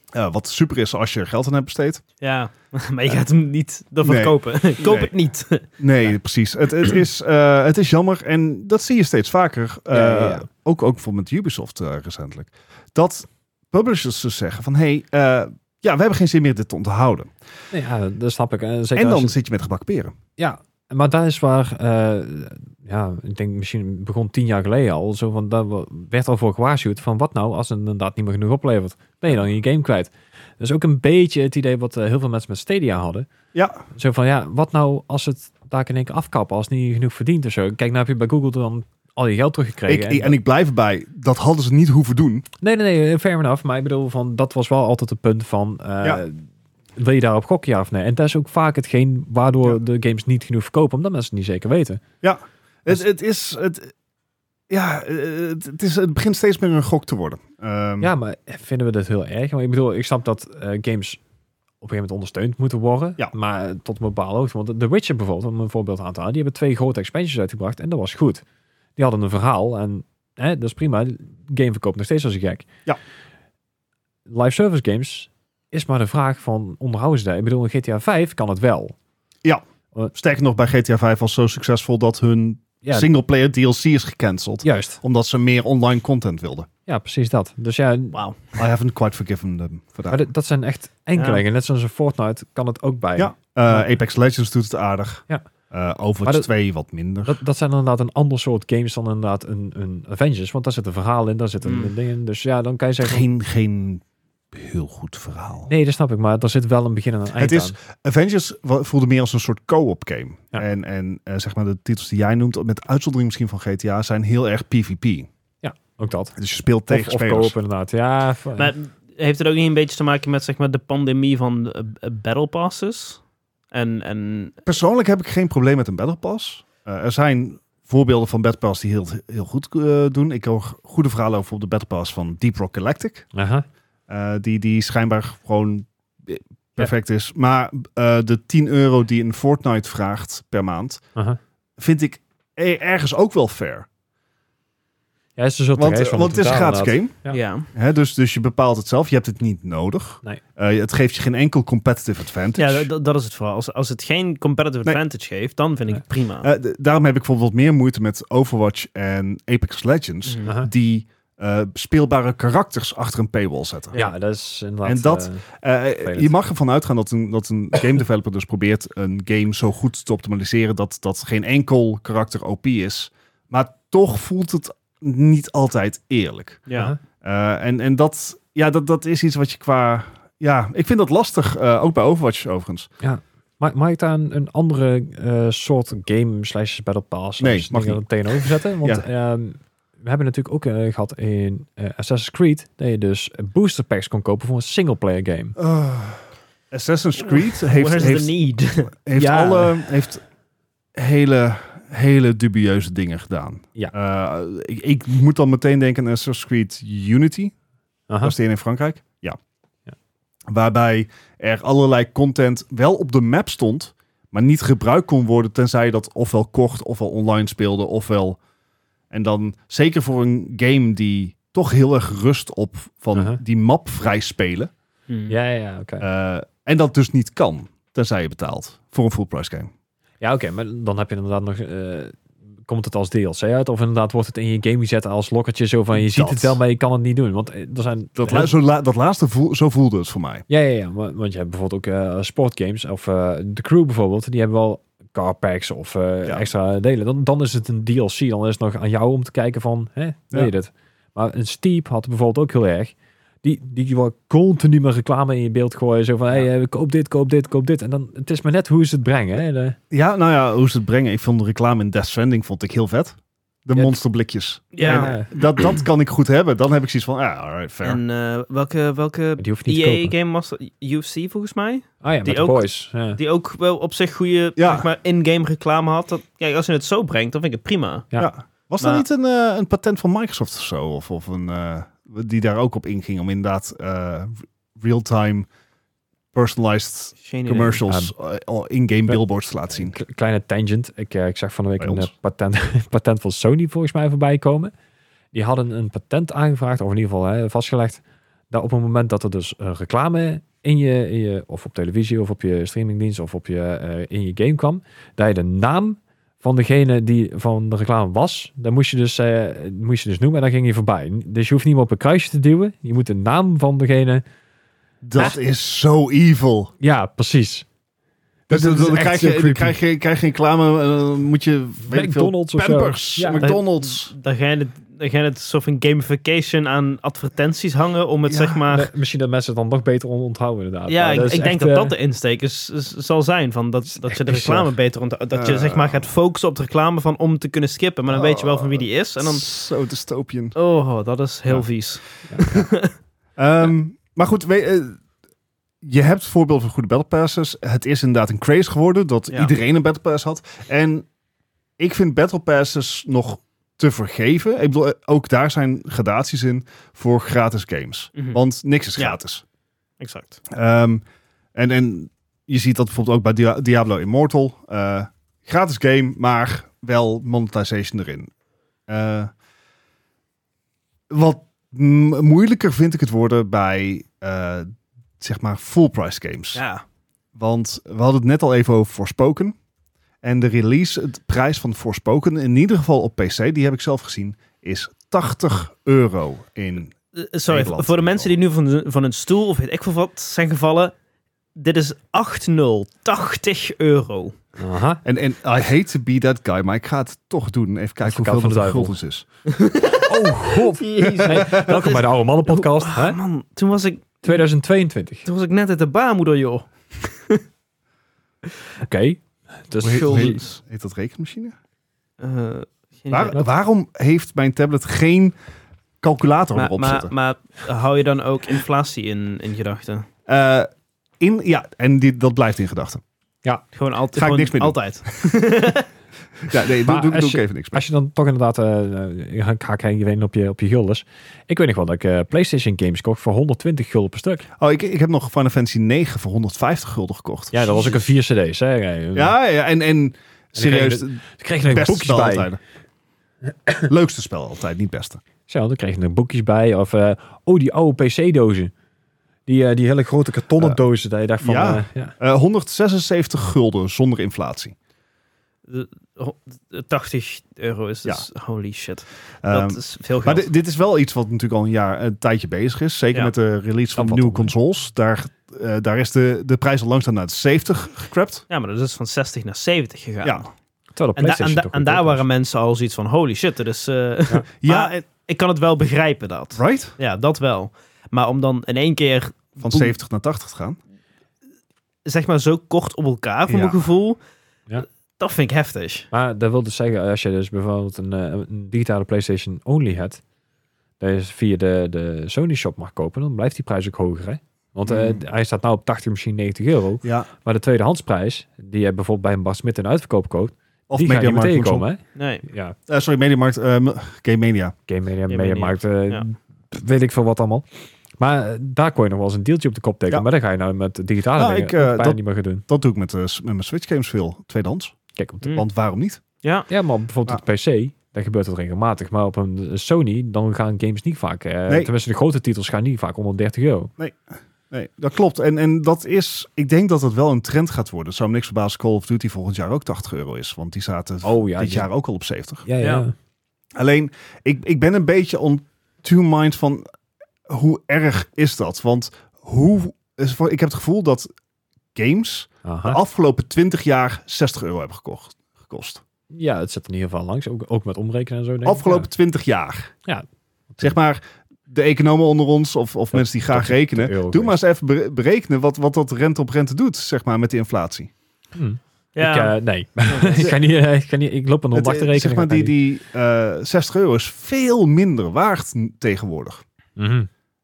Speaker 2: Eh, wat super is als je er geld aan hebt besteed.
Speaker 3: Ja, maar je gaat hem niet ervan
Speaker 2: Nee.
Speaker 3: kopen. Koop
Speaker 2: Nee.
Speaker 3: het niet.
Speaker 2: Nee, precies. Het, het, is, eh, het is jammer en dat zie je steeds vaker. eh,
Speaker 1: Ja, ja, ja.
Speaker 2: Ook, ook voor met Ubisoft eh, recentelijk. Dat publishers dus zeggen van... hey, eh, ja, we hebben geen zin meer dit te onthouden.
Speaker 1: Nee, ja, dat snap ik. En, zeker
Speaker 2: en
Speaker 1: als
Speaker 2: dan
Speaker 1: je-
Speaker 2: zit je met gebakken peren.
Speaker 1: Ja, maar daar is waar... eh, ja, ik denk misschien begon tien jaar geleden al. Zo van, daar we- werd al voor gewaarschuwd van wat nou als het inderdaad niet meer genoeg oplevert. Ben je dan je game kwijt. Dat is ook een beetje het idee wat eh, heel veel mensen met Stadia hadden.
Speaker 2: Ja,
Speaker 1: Zo van, ja, wat nou als het daar in één keer afkappen, als het niet genoeg verdient of zo. Kijk, nou heb je bij Google dan al je geld
Speaker 2: ik,
Speaker 1: teruggekregen.
Speaker 2: ik- en ik blijf erbij. Dat hadden ze niet hoeven doen.
Speaker 1: Nee, nee, nee, fair enough. Maar ik bedoel, van, dat was wel altijd het punt van, eh,
Speaker 2: Ja.
Speaker 1: wil je daarop gokken, ja of nee? En dat is ook vaak hetgeen waardoor
Speaker 2: Ja.
Speaker 1: de games niet genoeg verkopen, omdat mensen het niet zeker weten. Dus-
Speaker 2: Het, het is... Het, ja, eh, het, het is, het begint steeds meer een gok te worden. Ehm,
Speaker 1: Ja, maar vinden we dat heel erg? Maar ik bedoel, ik snap dat eh, games op een gegeven moment ondersteund moeten worden,
Speaker 2: Ja.
Speaker 1: maar eh, tot een bepaalde hoogte. Want The Witcher bijvoorbeeld, om een voorbeeld aan te halen, die hebben twee grote expansions uitgebracht en dat was goed. Die hadden een verhaal en hè, dat is prima. Game verkoopt nog steeds als een gek.
Speaker 2: Ja.
Speaker 1: Live service games is maar de vraag van onderhouden ze dat? Ik bedoel, in GTA 5 kan het wel.
Speaker 2: Sterker nog, bij GTA 5 was zo succesvol dat hun
Speaker 1: ja,
Speaker 2: Singleplayer DLC is gecanceld.
Speaker 1: juist.
Speaker 2: Omdat ze meer online content wilden.
Speaker 1: Ja, precies dat. Dus ja,
Speaker 3: Wauw.
Speaker 2: I haven't quite forgiven them for that.
Speaker 1: maar dit- dat zijn echt enkelingen. Net zoals een Fortnite kan het ook bij.
Speaker 2: Ja, eh, Apex Legends doet het aardig.
Speaker 1: Ja.
Speaker 2: Eh,
Speaker 1: Maar
Speaker 2: Overwatch
Speaker 1: dat-
Speaker 2: 2 wat minder.
Speaker 1: Dat, dat zijn inderdaad een ander soort games dan inderdaad een, een Avengers. Want daar zit een verhaal in, daar zitten
Speaker 3: Mm.
Speaker 1: dingen in. Dus ja, dan kan je zeggen...
Speaker 2: Hmm. geen, geen heel goed verhaal.
Speaker 1: Nee, dat snap ik. Maar er zit wel een begin en een eind
Speaker 2: Het is-
Speaker 1: aan.
Speaker 2: Avengers wa- voelde meer als een soort co-op game.
Speaker 1: Ja.
Speaker 2: En, en eh, zeg maar de titels die jij noemt, met uitzondering misschien van GTA, zijn heel erg PvP.
Speaker 1: Ook dat.
Speaker 2: Dus je speelt tegen
Speaker 1: Of, of
Speaker 2: spelers.
Speaker 1: kopen inderdaad. Ja, v-
Speaker 3: Maar heeft het ook niet een beetje te maken met zeg maar, de pandemie van eh, eh, battle passes? En, en
Speaker 2: Persoonlijk heb ik geen probleem met een Battle Pass. Eh, er zijn voorbeelden van Battle Pass die heel, heel goed eh, doen. Ik hoor goede verhalen over op de Battle Pass van Deep Rock Galactic.
Speaker 1: Aha.
Speaker 2: Eh, die, die schijnbaar gewoon perfect is. Maar eh, de 10 euro die een Fortnite vraagt per maand,
Speaker 1: Aha.
Speaker 2: vind ik e- ergens ook wel fair.
Speaker 1: Ja, het is een soort
Speaker 2: Want,
Speaker 1: race van
Speaker 2: want het is een
Speaker 1: betalen,
Speaker 2: gratis game.
Speaker 1: Ja.
Speaker 3: ja.
Speaker 2: Hè, dus, dus je bepaalt het zelf. Je hebt het niet nodig.
Speaker 1: Nee.
Speaker 2: Eh, het geeft je geen enkel competitive advantage.
Speaker 3: Ja, dat, dat is het vooral. Als, als het geen competitive
Speaker 2: Nee.
Speaker 3: advantage geeft, dan vind ik het prima.
Speaker 2: Eh, d- daarom heb ik bijvoorbeeld meer moeite met Overwatch en Apex Legends.
Speaker 3: Mhm.
Speaker 1: inderdaad. Aha.
Speaker 2: Die eh, speelbare karakters achter een paywall zetten.
Speaker 1: Ja, dat is inderdaad...
Speaker 2: En dat-
Speaker 1: eh,
Speaker 2: Eh, je mag ervan uitgaan dat een, dat een game developer dus probeert een game zo goed te optimaliseren dat, dat geen enkel karakter OP is. Maar toch voelt het niet altijd eerlijk.
Speaker 3: ja.
Speaker 1: aha.
Speaker 2: Eh, en en dat, ja, dat, dat is iets wat je qua. Ja, ik vind dat lastig. eh, ook bij Overwatch overigens.
Speaker 1: Ma- Mag ik daar een, een andere eh, soort game slash battle pass
Speaker 2: Nee,
Speaker 1: slash
Speaker 2: mag
Speaker 1: dingen tegenover zetten? Want ehm, we hebben natuurlijk ook eh, gehad in eh, Assassin's Creed dat je dus booster packs kon kopen voor een singleplayer game.
Speaker 2: Assassin's Creed heeft,
Speaker 3: Where's
Speaker 2: heeft,
Speaker 3: the need?
Speaker 2: heeft,
Speaker 1: Ja.
Speaker 2: alle, heeft hele, hele dubieuze dingen gedaan.
Speaker 1: Ja.
Speaker 2: Eh, ik, ik moet dan meteen denken aan Assassin's Creed Unity.
Speaker 1: Aha.
Speaker 2: Was die in Frankrijk? Ja.
Speaker 1: Ja.
Speaker 2: Waarbij er allerlei content wel op de map stond, maar niet gebruikt kon worden tenzij je dat ofwel kocht, ofwel online speelde, ofwel... En dan zeker voor een game die toch heel erg rust op van
Speaker 1: Uh-huh.
Speaker 2: die map vrij spelen. Hmm.
Speaker 1: Hm. Ja, ja, ja, oké.
Speaker 2: eh, en dat dus niet kan, tenzij je betaalt voor een full price game.
Speaker 1: Ja, oké, maar dan heb je inderdaad nog... eh, Komt het als DLC uit? Of inderdaad wordt het in je game gezet als lokkertje zo van... Je ziet
Speaker 2: Dat.
Speaker 1: het wel, maar je kan het niet doen. Want eh, er zijn...
Speaker 2: Dat,
Speaker 1: heel-
Speaker 2: la- zo la- dat laatste voel- zo voelde het voor mij.
Speaker 1: Ja, ja, ja. wa- Want je hebt bijvoorbeeld ook eh, sportgames of eh, de crew bijvoorbeeld. Die hebben wel car packs of eh,
Speaker 2: Ja.
Speaker 1: extra delen. Dan, dan is het een DLC. Dan is het nog aan jou om te kijken van, hè, weet je dit? Maar een Steep had bijvoorbeeld ook heel erg. Die, die wil continu maar reclame in je beeld gooien. Zo van, hey, eh, koop dit, koop dit, koop dit. En dan, het is maar net hoe ze het brengen. Hè? De-
Speaker 2: Ja, nou ja, hoe ze het brengen. Ik vond de reclame in Death Stranding vond ik heel vet. De
Speaker 1: Ja.
Speaker 2: monsterblikjes.
Speaker 3: Ja.
Speaker 1: En, eh,
Speaker 2: Dat, dat kan ik goed hebben. Dan heb ik zoiets van, ja, alright, fair.
Speaker 3: En eh, welke, welke E
Speaker 1: die hoeft niet te kopen.
Speaker 3: EA-game was dat? UFC volgens mij?
Speaker 1: Ah ja,
Speaker 3: die
Speaker 1: met de
Speaker 3: ook-
Speaker 1: boys. Ja.
Speaker 3: Die ook wel op zich goede
Speaker 2: Ja.
Speaker 3: zeg maar, in-game reclame had. Dat, kijk, als je het zo brengt, dan vind ik het prima.
Speaker 1: Ja.
Speaker 2: Ja. Was dat
Speaker 3: Maar-
Speaker 2: niet een, eh, een patent van Microsoft of zo? Of, of een, eh, die daar ook op inging om inderdaad eh, real-time personalized
Speaker 3: Geen idee.
Speaker 2: commercials eh, in-game
Speaker 1: Ja.
Speaker 2: billboards te laten zien.
Speaker 1: K- Kleine tangent. Ik, eh, ik zag van de week
Speaker 2: Bij
Speaker 1: een eh,
Speaker 2: ons.
Speaker 1: patent, patent van Sony volgens mij voorbij komen. Die hadden een patent aangevraagd, of in ieder geval hè, vastgelegd, dat op het moment dat er dus eh, reclame in je, in je, of op televisie, of op je streamingdienst, of op je, eh, in je game kwam, dat je de naam van degene die van de reclame was, dan moest je dus, eh, moest je dus noemen en dan ging je voorbij. Dus je hoeft niet meer op een kruisje te duwen. Je moet de naam van degene...
Speaker 2: Dat is zo evil.
Speaker 1: Ja, precies.
Speaker 2: Dus,
Speaker 1: dat
Speaker 2: dan
Speaker 1: is
Speaker 2: dan
Speaker 1: echt
Speaker 2: krijg,
Speaker 1: zo
Speaker 2: je, dan
Speaker 1: creepy.
Speaker 2: krijg, je, krijg je reclame en dan moet je weet ik veel,
Speaker 1: McDonald's of zo.
Speaker 2: Pampers,
Speaker 1: Ja.
Speaker 2: McDonald's.
Speaker 3: Dan ga je het, dan ga je het soort van gamification aan advertenties hangen om het
Speaker 2: Ja,
Speaker 3: zeg maar...
Speaker 1: Nee, misschien dat mensen het dan nog beter on- onthouden inderdaad.
Speaker 3: Ja,
Speaker 1: Maar
Speaker 3: ik,
Speaker 2: dus
Speaker 1: dat is
Speaker 3: ik denk
Speaker 1: echt,
Speaker 3: dat
Speaker 1: eh,
Speaker 3: dat de insteek is, is- zal zijn. Van dat, dat je de
Speaker 1: bizar.
Speaker 3: reclame beter onthoudt. Dat je
Speaker 2: Eh.
Speaker 3: zeg maar gaat focussen op de reclame van om te kunnen skippen. Maar dan weet je wel van wie die is. En dan...
Speaker 2: Zo dystopian.
Speaker 3: Oh, dat is heel
Speaker 2: Ja.
Speaker 3: vies.
Speaker 2: Ehm, Maar goed, we- eh, je hebt voorbeelden van goede battle passes. Het is inderdaad een craze geworden dat
Speaker 3: Ja.
Speaker 2: iedereen een battle pass had. En ik vind battle passes nog te vergeven. Ik bedoel, eh, ook daar zijn gradaties in voor gratis games.
Speaker 3: Mhm.
Speaker 2: Want niks is
Speaker 3: Ja.
Speaker 2: gratis.
Speaker 3: Exact.
Speaker 2: Ehm, en, en je ziet dat bijvoorbeeld ook bij Dia- Diablo Immortal. Eh, gratis game, maar wel monetization erin. Eh, wat m- moeilijker vind ik het worden bij eh, zeg maar full price games.
Speaker 3: Ja.
Speaker 2: Want we hadden het net al even over Forspoken. En de release, het prijs van Forspoken, in ieder geval op PC, die heb ik zelf gezien, is 80 euro in.
Speaker 3: Eh, Sorry,
Speaker 2: Nederland
Speaker 3: voor de
Speaker 2: in
Speaker 3: mensen die nu van, hun- van hun stoel of weet ik veel wat zijn gevallen. Dit is 8-0, 80 euro.
Speaker 1: Aha.
Speaker 2: En, en I hate to be that guy, maar ik ga het toch doen. Even kijken
Speaker 1: Advocaat van
Speaker 2: hoeveel
Speaker 1: de
Speaker 2: dat in
Speaker 1: duivel.
Speaker 2: guldens is.
Speaker 1: Oh god. Hey, welkom bij de Oude Mannen podcast. Hè?
Speaker 3: Man, toen was, ik,
Speaker 1: 2022.
Speaker 3: toen was ik net uit de baarmoeder, joh.
Speaker 1: Oké. Dus
Speaker 2: Hoe heet- hoe
Speaker 1: gulden.
Speaker 2: heet, heet dat rekenmachine?
Speaker 3: Eh, geen idee.
Speaker 2: Waar- waarom heeft mijn tablet geen calculator
Speaker 3: maar,
Speaker 2: erop
Speaker 3: maar,
Speaker 2: zitten?
Speaker 3: maar hou je dan ook inflatie in, in gedachten?
Speaker 2: Eh, in, ja, en die, dat blijft in gedachten.
Speaker 3: Gewoon altijd.
Speaker 2: Ga ik
Speaker 3: gewoon
Speaker 2: niks meer doen.
Speaker 3: altijd.
Speaker 2: Ja, nee, doe,
Speaker 1: Maar
Speaker 2: doe,
Speaker 1: als
Speaker 2: doe ik
Speaker 1: je-
Speaker 2: even niks mee.
Speaker 1: Als je dan toch inderdaad, eh eh, ga ik even op je, op je guldens. Ik weet nog wel dat ik eh, PlayStation games kocht voor 120 gulden per stuk.
Speaker 2: Oh, ik, ik heb nog Final Fantasy 9 voor 150 gulden gekocht.
Speaker 1: Ja, dat was ook een 4 cd's. Hè?
Speaker 3: Eh,
Speaker 1: Ja,
Speaker 2: Ja, ja, en, en serieus,
Speaker 1: kreeg
Speaker 2: het
Speaker 1: ik kreeg er nog
Speaker 2: beste
Speaker 1: boekjes
Speaker 2: spel
Speaker 1: bij.
Speaker 2: altijd. Leukste spel altijd, niet beste.
Speaker 1: Zo, dan kreeg je er boekjes bij. Of, eh, oh, die oude PC-dozen. Die, eh, die hele grote kartonnen
Speaker 2: Eh,
Speaker 1: dozen. Dat je dacht van,
Speaker 2: ja.
Speaker 1: eh, ja.
Speaker 2: Eh, 176 gulden zonder inflatie.
Speaker 3: Ho- 80 euro is dus holy shit.
Speaker 2: Ehm,
Speaker 3: dat is veel
Speaker 2: maar
Speaker 3: geld.
Speaker 2: di- dit is wel iets wat natuurlijk al een jaar een tijdje bezig is. Zeker
Speaker 3: Ja.
Speaker 2: met de release van
Speaker 1: wat
Speaker 2: nieuwe
Speaker 1: op, hè?
Speaker 2: consoles. Daar, eh, daar is de, de prijs al langzaam naar de 70 gecrapt.
Speaker 3: ja, maar dat is dus van 60 naar 70 gegaan.
Speaker 2: Ja.
Speaker 1: Terwijl de
Speaker 3: En, da- en,
Speaker 1: PlayStation
Speaker 3: da-
Speaker 1: toch
Speaker 3: en daar
Speaker 1: goedkoop
Speaker 3: waren mensen al zoiets van holy shit. Dat is, eh,
Speaker 2: Ja,
Speaker 3: Maar-
Speaker 2: en-
Speaker 3: ik kan het wel begrijpen dat.
Speaker 2: right?
Speaker 3: Ja, dat wel. Maar om dan in één keer,
Speaker 2: Van
Speaker 3: Boem.
Speaker 2: 70 naar 80 te gaan.
Speaker 3: zeg maar, zo kort op elkaar
Speaker 2: Ja.
Speaker 3: voor mijn gevoel,
Speaker 1: Ja.
Speaker 3: dat vind ik heftig.
Speaker 1: Maar dat wil dus zeggen, als je dus bijvoorbeeld een, eh, een digitale PlayStation only hebt, dat je via de, de Sony shop mag kopen, dan blijft die prijs ook hoger. Hè? Want eh,
Speaker 2: Mm.
Speaker 1: hij staat nou op 80, misschien 90 euro.
Speaker 2: Ja.
Speaker 1: Maar de tweedehandsprijs, die je bijvoorbeeld bij een Bas Smit in de uitverkoop koopt,
Speaker 2: Of
Speaker 1: die ga je niet meer
Speaker 2: Mediamarkt moet
Speaker 1: tegenkomen. Hè?
Speaker 3: Nee.
Speaker 1: Ja,
Speaker 2: zo- eh, sorry, Mediamarkt. ehm Game Mania.
Speaker 1: Game Media,
Speaker 3: Game
Speaker 1: Media
Speaker 3: Media.
Speaker 1: Markt, eh,
Speaker 3: Ja.
Speaker 1: weet ik veel wat allemaal. Maar eh, daar kon je nog wel eens een deeltje op de kop tekenen.
Speaker 2: Ja.
Speaker 1: Maar dan ga je nou met de digitale
Speaker 2: Nou,
Speaker 1: dingen
Speaker 2: ik, eh,
Speaker 1: bijna
Speaker 2: dat-
Speaker 1: niet meer gaan doen.
Speaker 2: Dat doe ik met, eh, s- met mijn Switch games veel. Tweedehands.
Speaker 1: Kijk, op de,
Speaker 3: Mm.
Speaker 2: Want waarom niet?
Speaker 3: Ja.
Speaker 1: ja, maar bijvoorbeeld op de PC, dan gebeurt dat regelmatig. Maar op een Sony, dan gaan games niet vaak... eh,
Speaker 2: Nee.
Speaker 1: Tenminste, de grote titels gaan niet vaak onder 30 euro.
Speaker 2: Nee, dat klopt. En, en dat is, ik denk dat dat wel een trend gaat worden. Het zou me niks verbazen als Call of Duty volgend jaar ook 80 euro is. Want die zaten
Speaker 1: Oh ja,
Speaker 2: dit
Speaker 1: die-
Speaker 2: jaar ook al op 70.
Speaker 1: Ja,
Speaker 3: Ja.
Speaker 1: ja.
Speaker 2: Alleen, ik, ik ben een beetje on two minds van hoe erg is dat? Want hoe, is voor- ik heb het gevoel dat games de
Speaker 1: Aha.
Speaker 2: afgelopen 20 jaar 60 euro hebben gekocht, gekost.
Speaker 1: ja, het zit in ieder geval langs. Ook, ook met omrekenen en zo. Denk ik.
Speaker 2: afgelopen 20 jaar.
Speaker 1: Ja.
Speaker 2: Zeg maar, de economen onder ons of, of mensen die graag
Speaker 1: dat is de euro
Speaker 2: rekenen. Doe maar eens even bere- berekenen wat, wat dat rente op rente doet, zeg maar, met de inflatie.
Speaker 1: Ja. Hm.
Speaker 3: Ja.
Speaker 1: Ik, eh, nee, ik, ga niet, eh, ik, ga niet, ik loop een
Speaker 2: Het, eh,
Speaker 1: ondachterrekening.
Speaker 2: zeg maar, die, die eh, 60 euro is veel minder waard n- tegenwoordig.
Speaker 1: Mhm.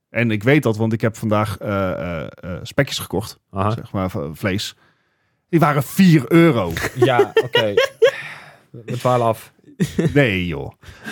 Speaker 2: En ik weet dat, want ik heb vandaag eh, eh, eh, spekjes gekocht,
Speaker 1: Aha.
Speaker 2: zeg maar, v- vlees. Die waren 4 euro.
Speaker 1: Ja, oké. We dwalen af.
Speaker 2: Nee, joh.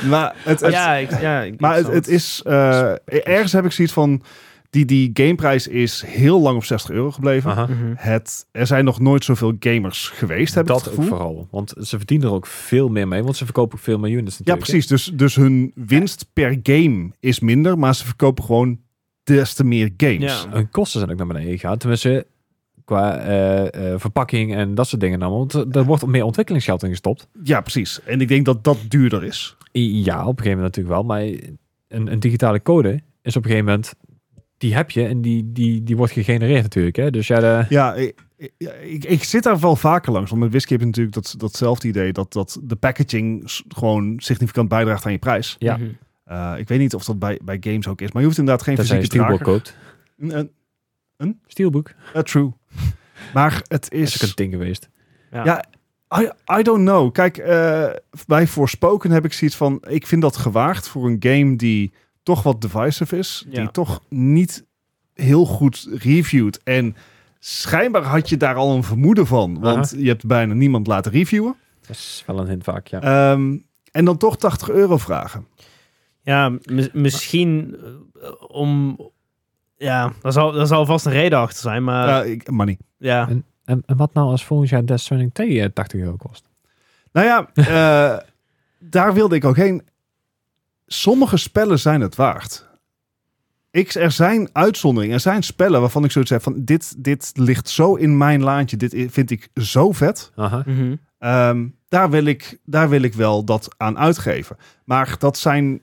Speaker 2: Maar het, het-
Speaker 3: ja, ik, ja, ik-
Speaker 2: maar het,
Speaker 3: ik snap
Speaker 2: het is... eh, ergens heb ik zoiets van... Die, die gameprijs is heel lang op 60 euro gebleven.
Speaker 1: Aha.
Speaker 3: Mhm.
Speaker 2: Het, er zijn nog nooit zoveel gamers geweest, heb ik
Speaker 1: Dat
Speaker 2: het
Speaker 1: ook
Speaker 2: gevoel.
Speaker 1: vooral. Want ze verdienen er ook veel meer mee. Want ze verkopen ook veel meer units
Speaker 2: Ja,
Speaker 1: natuurlijk. hè.
Speaker 2: precies. Dus, dus hun winst per game is minder, maar ze verkopen gewoon des te meer games.
Speaker 3: Ja.
Speaker 1: Hun kosten zijn ook naar beneden gegaan. Tenminste, qua eh, eh, verpakking en dat soort dingen. allemaal. Want er- er wordt meer ontwikkelingsgeld in gestopt.
Speaker 2: Ja, precies. En ik denk dat dat duurder is.
Speaker 1: I- Ja, op een gegeven moment natuurlijk wel. Maar een, een digitale code is op een gegeven moment... Die heb je en die, die, die wordt gegenereerd natuurlijk. Hè? Dus ja, de-
Speaker 2: Ja, ik, ik, ik zit daar wel vaker langs. Want met Whisky heb je natuurlijk dat, datzelfde idee dat, dat de packaging s- gewoon significant bijdraagt aan je prijs.
Speaker 1: ja.
Speaker 3: Mhm.
Speaker 2: Eh, ik weet niet of dat bij, bij games ook is, maar je hoeft inderdaad geen
Speaker 1: dat je een
Speaker 2: fysieke
Speaker 1: steelbook
Speaker 2: drager.
Speaker 1: koopt.
Speaker 2: Een- een-
Speaker 1: Steelbook
Speaker 2: eh, true. Maar het
Speaker 1: is ook een
Speaker 2: is...
Speaker 1: ding geweest.
Speaker 2: Ja, I, I don't know. Kijk, eh, bij Forspoken heb ik zoiets van... Ik vind dat gewaagd voor een game die toch wat divisive is.
Speaker 3: Ja.
Speaker 2: Die toch niet heel goed reviewt. En schijnbaar had je daar al een vermoeden van. Want je hebt bijna niemand laten reviewen.
Speaker 1: Dat is wel een hint vaak, ja.
Speaker 2: Ehm, en dan toch 80 euro vragen.
Speaker 3: Ja, mi- misschien eh, om... Ja, daar zal, daar zal vast een reden achter zijn, maar
Speaker 2: Eh, ik, money.
Speaker 3: ja.
Speaker 1: En, en wat nou als volgend jaar Death Stranding 2 eh, 80 euro kost?
Speaker 2: Nou ja, eh, daar wilde ik ook heen. Sommige spellen zijn het waard. Ik, er zijn uitzonderingen. Er zijn spellen waarvan ik zoiets heb van... Dit, dit ligt zo in mijn laantje. Dit i- vind ik zo vet.
Speaker 1: Aha.
Speaker 3: Mhm.
Speaker 2: Eh, Ehm, daar, wil ik, daar wil ik wel dat aan uitgeven. Maar dat zijn.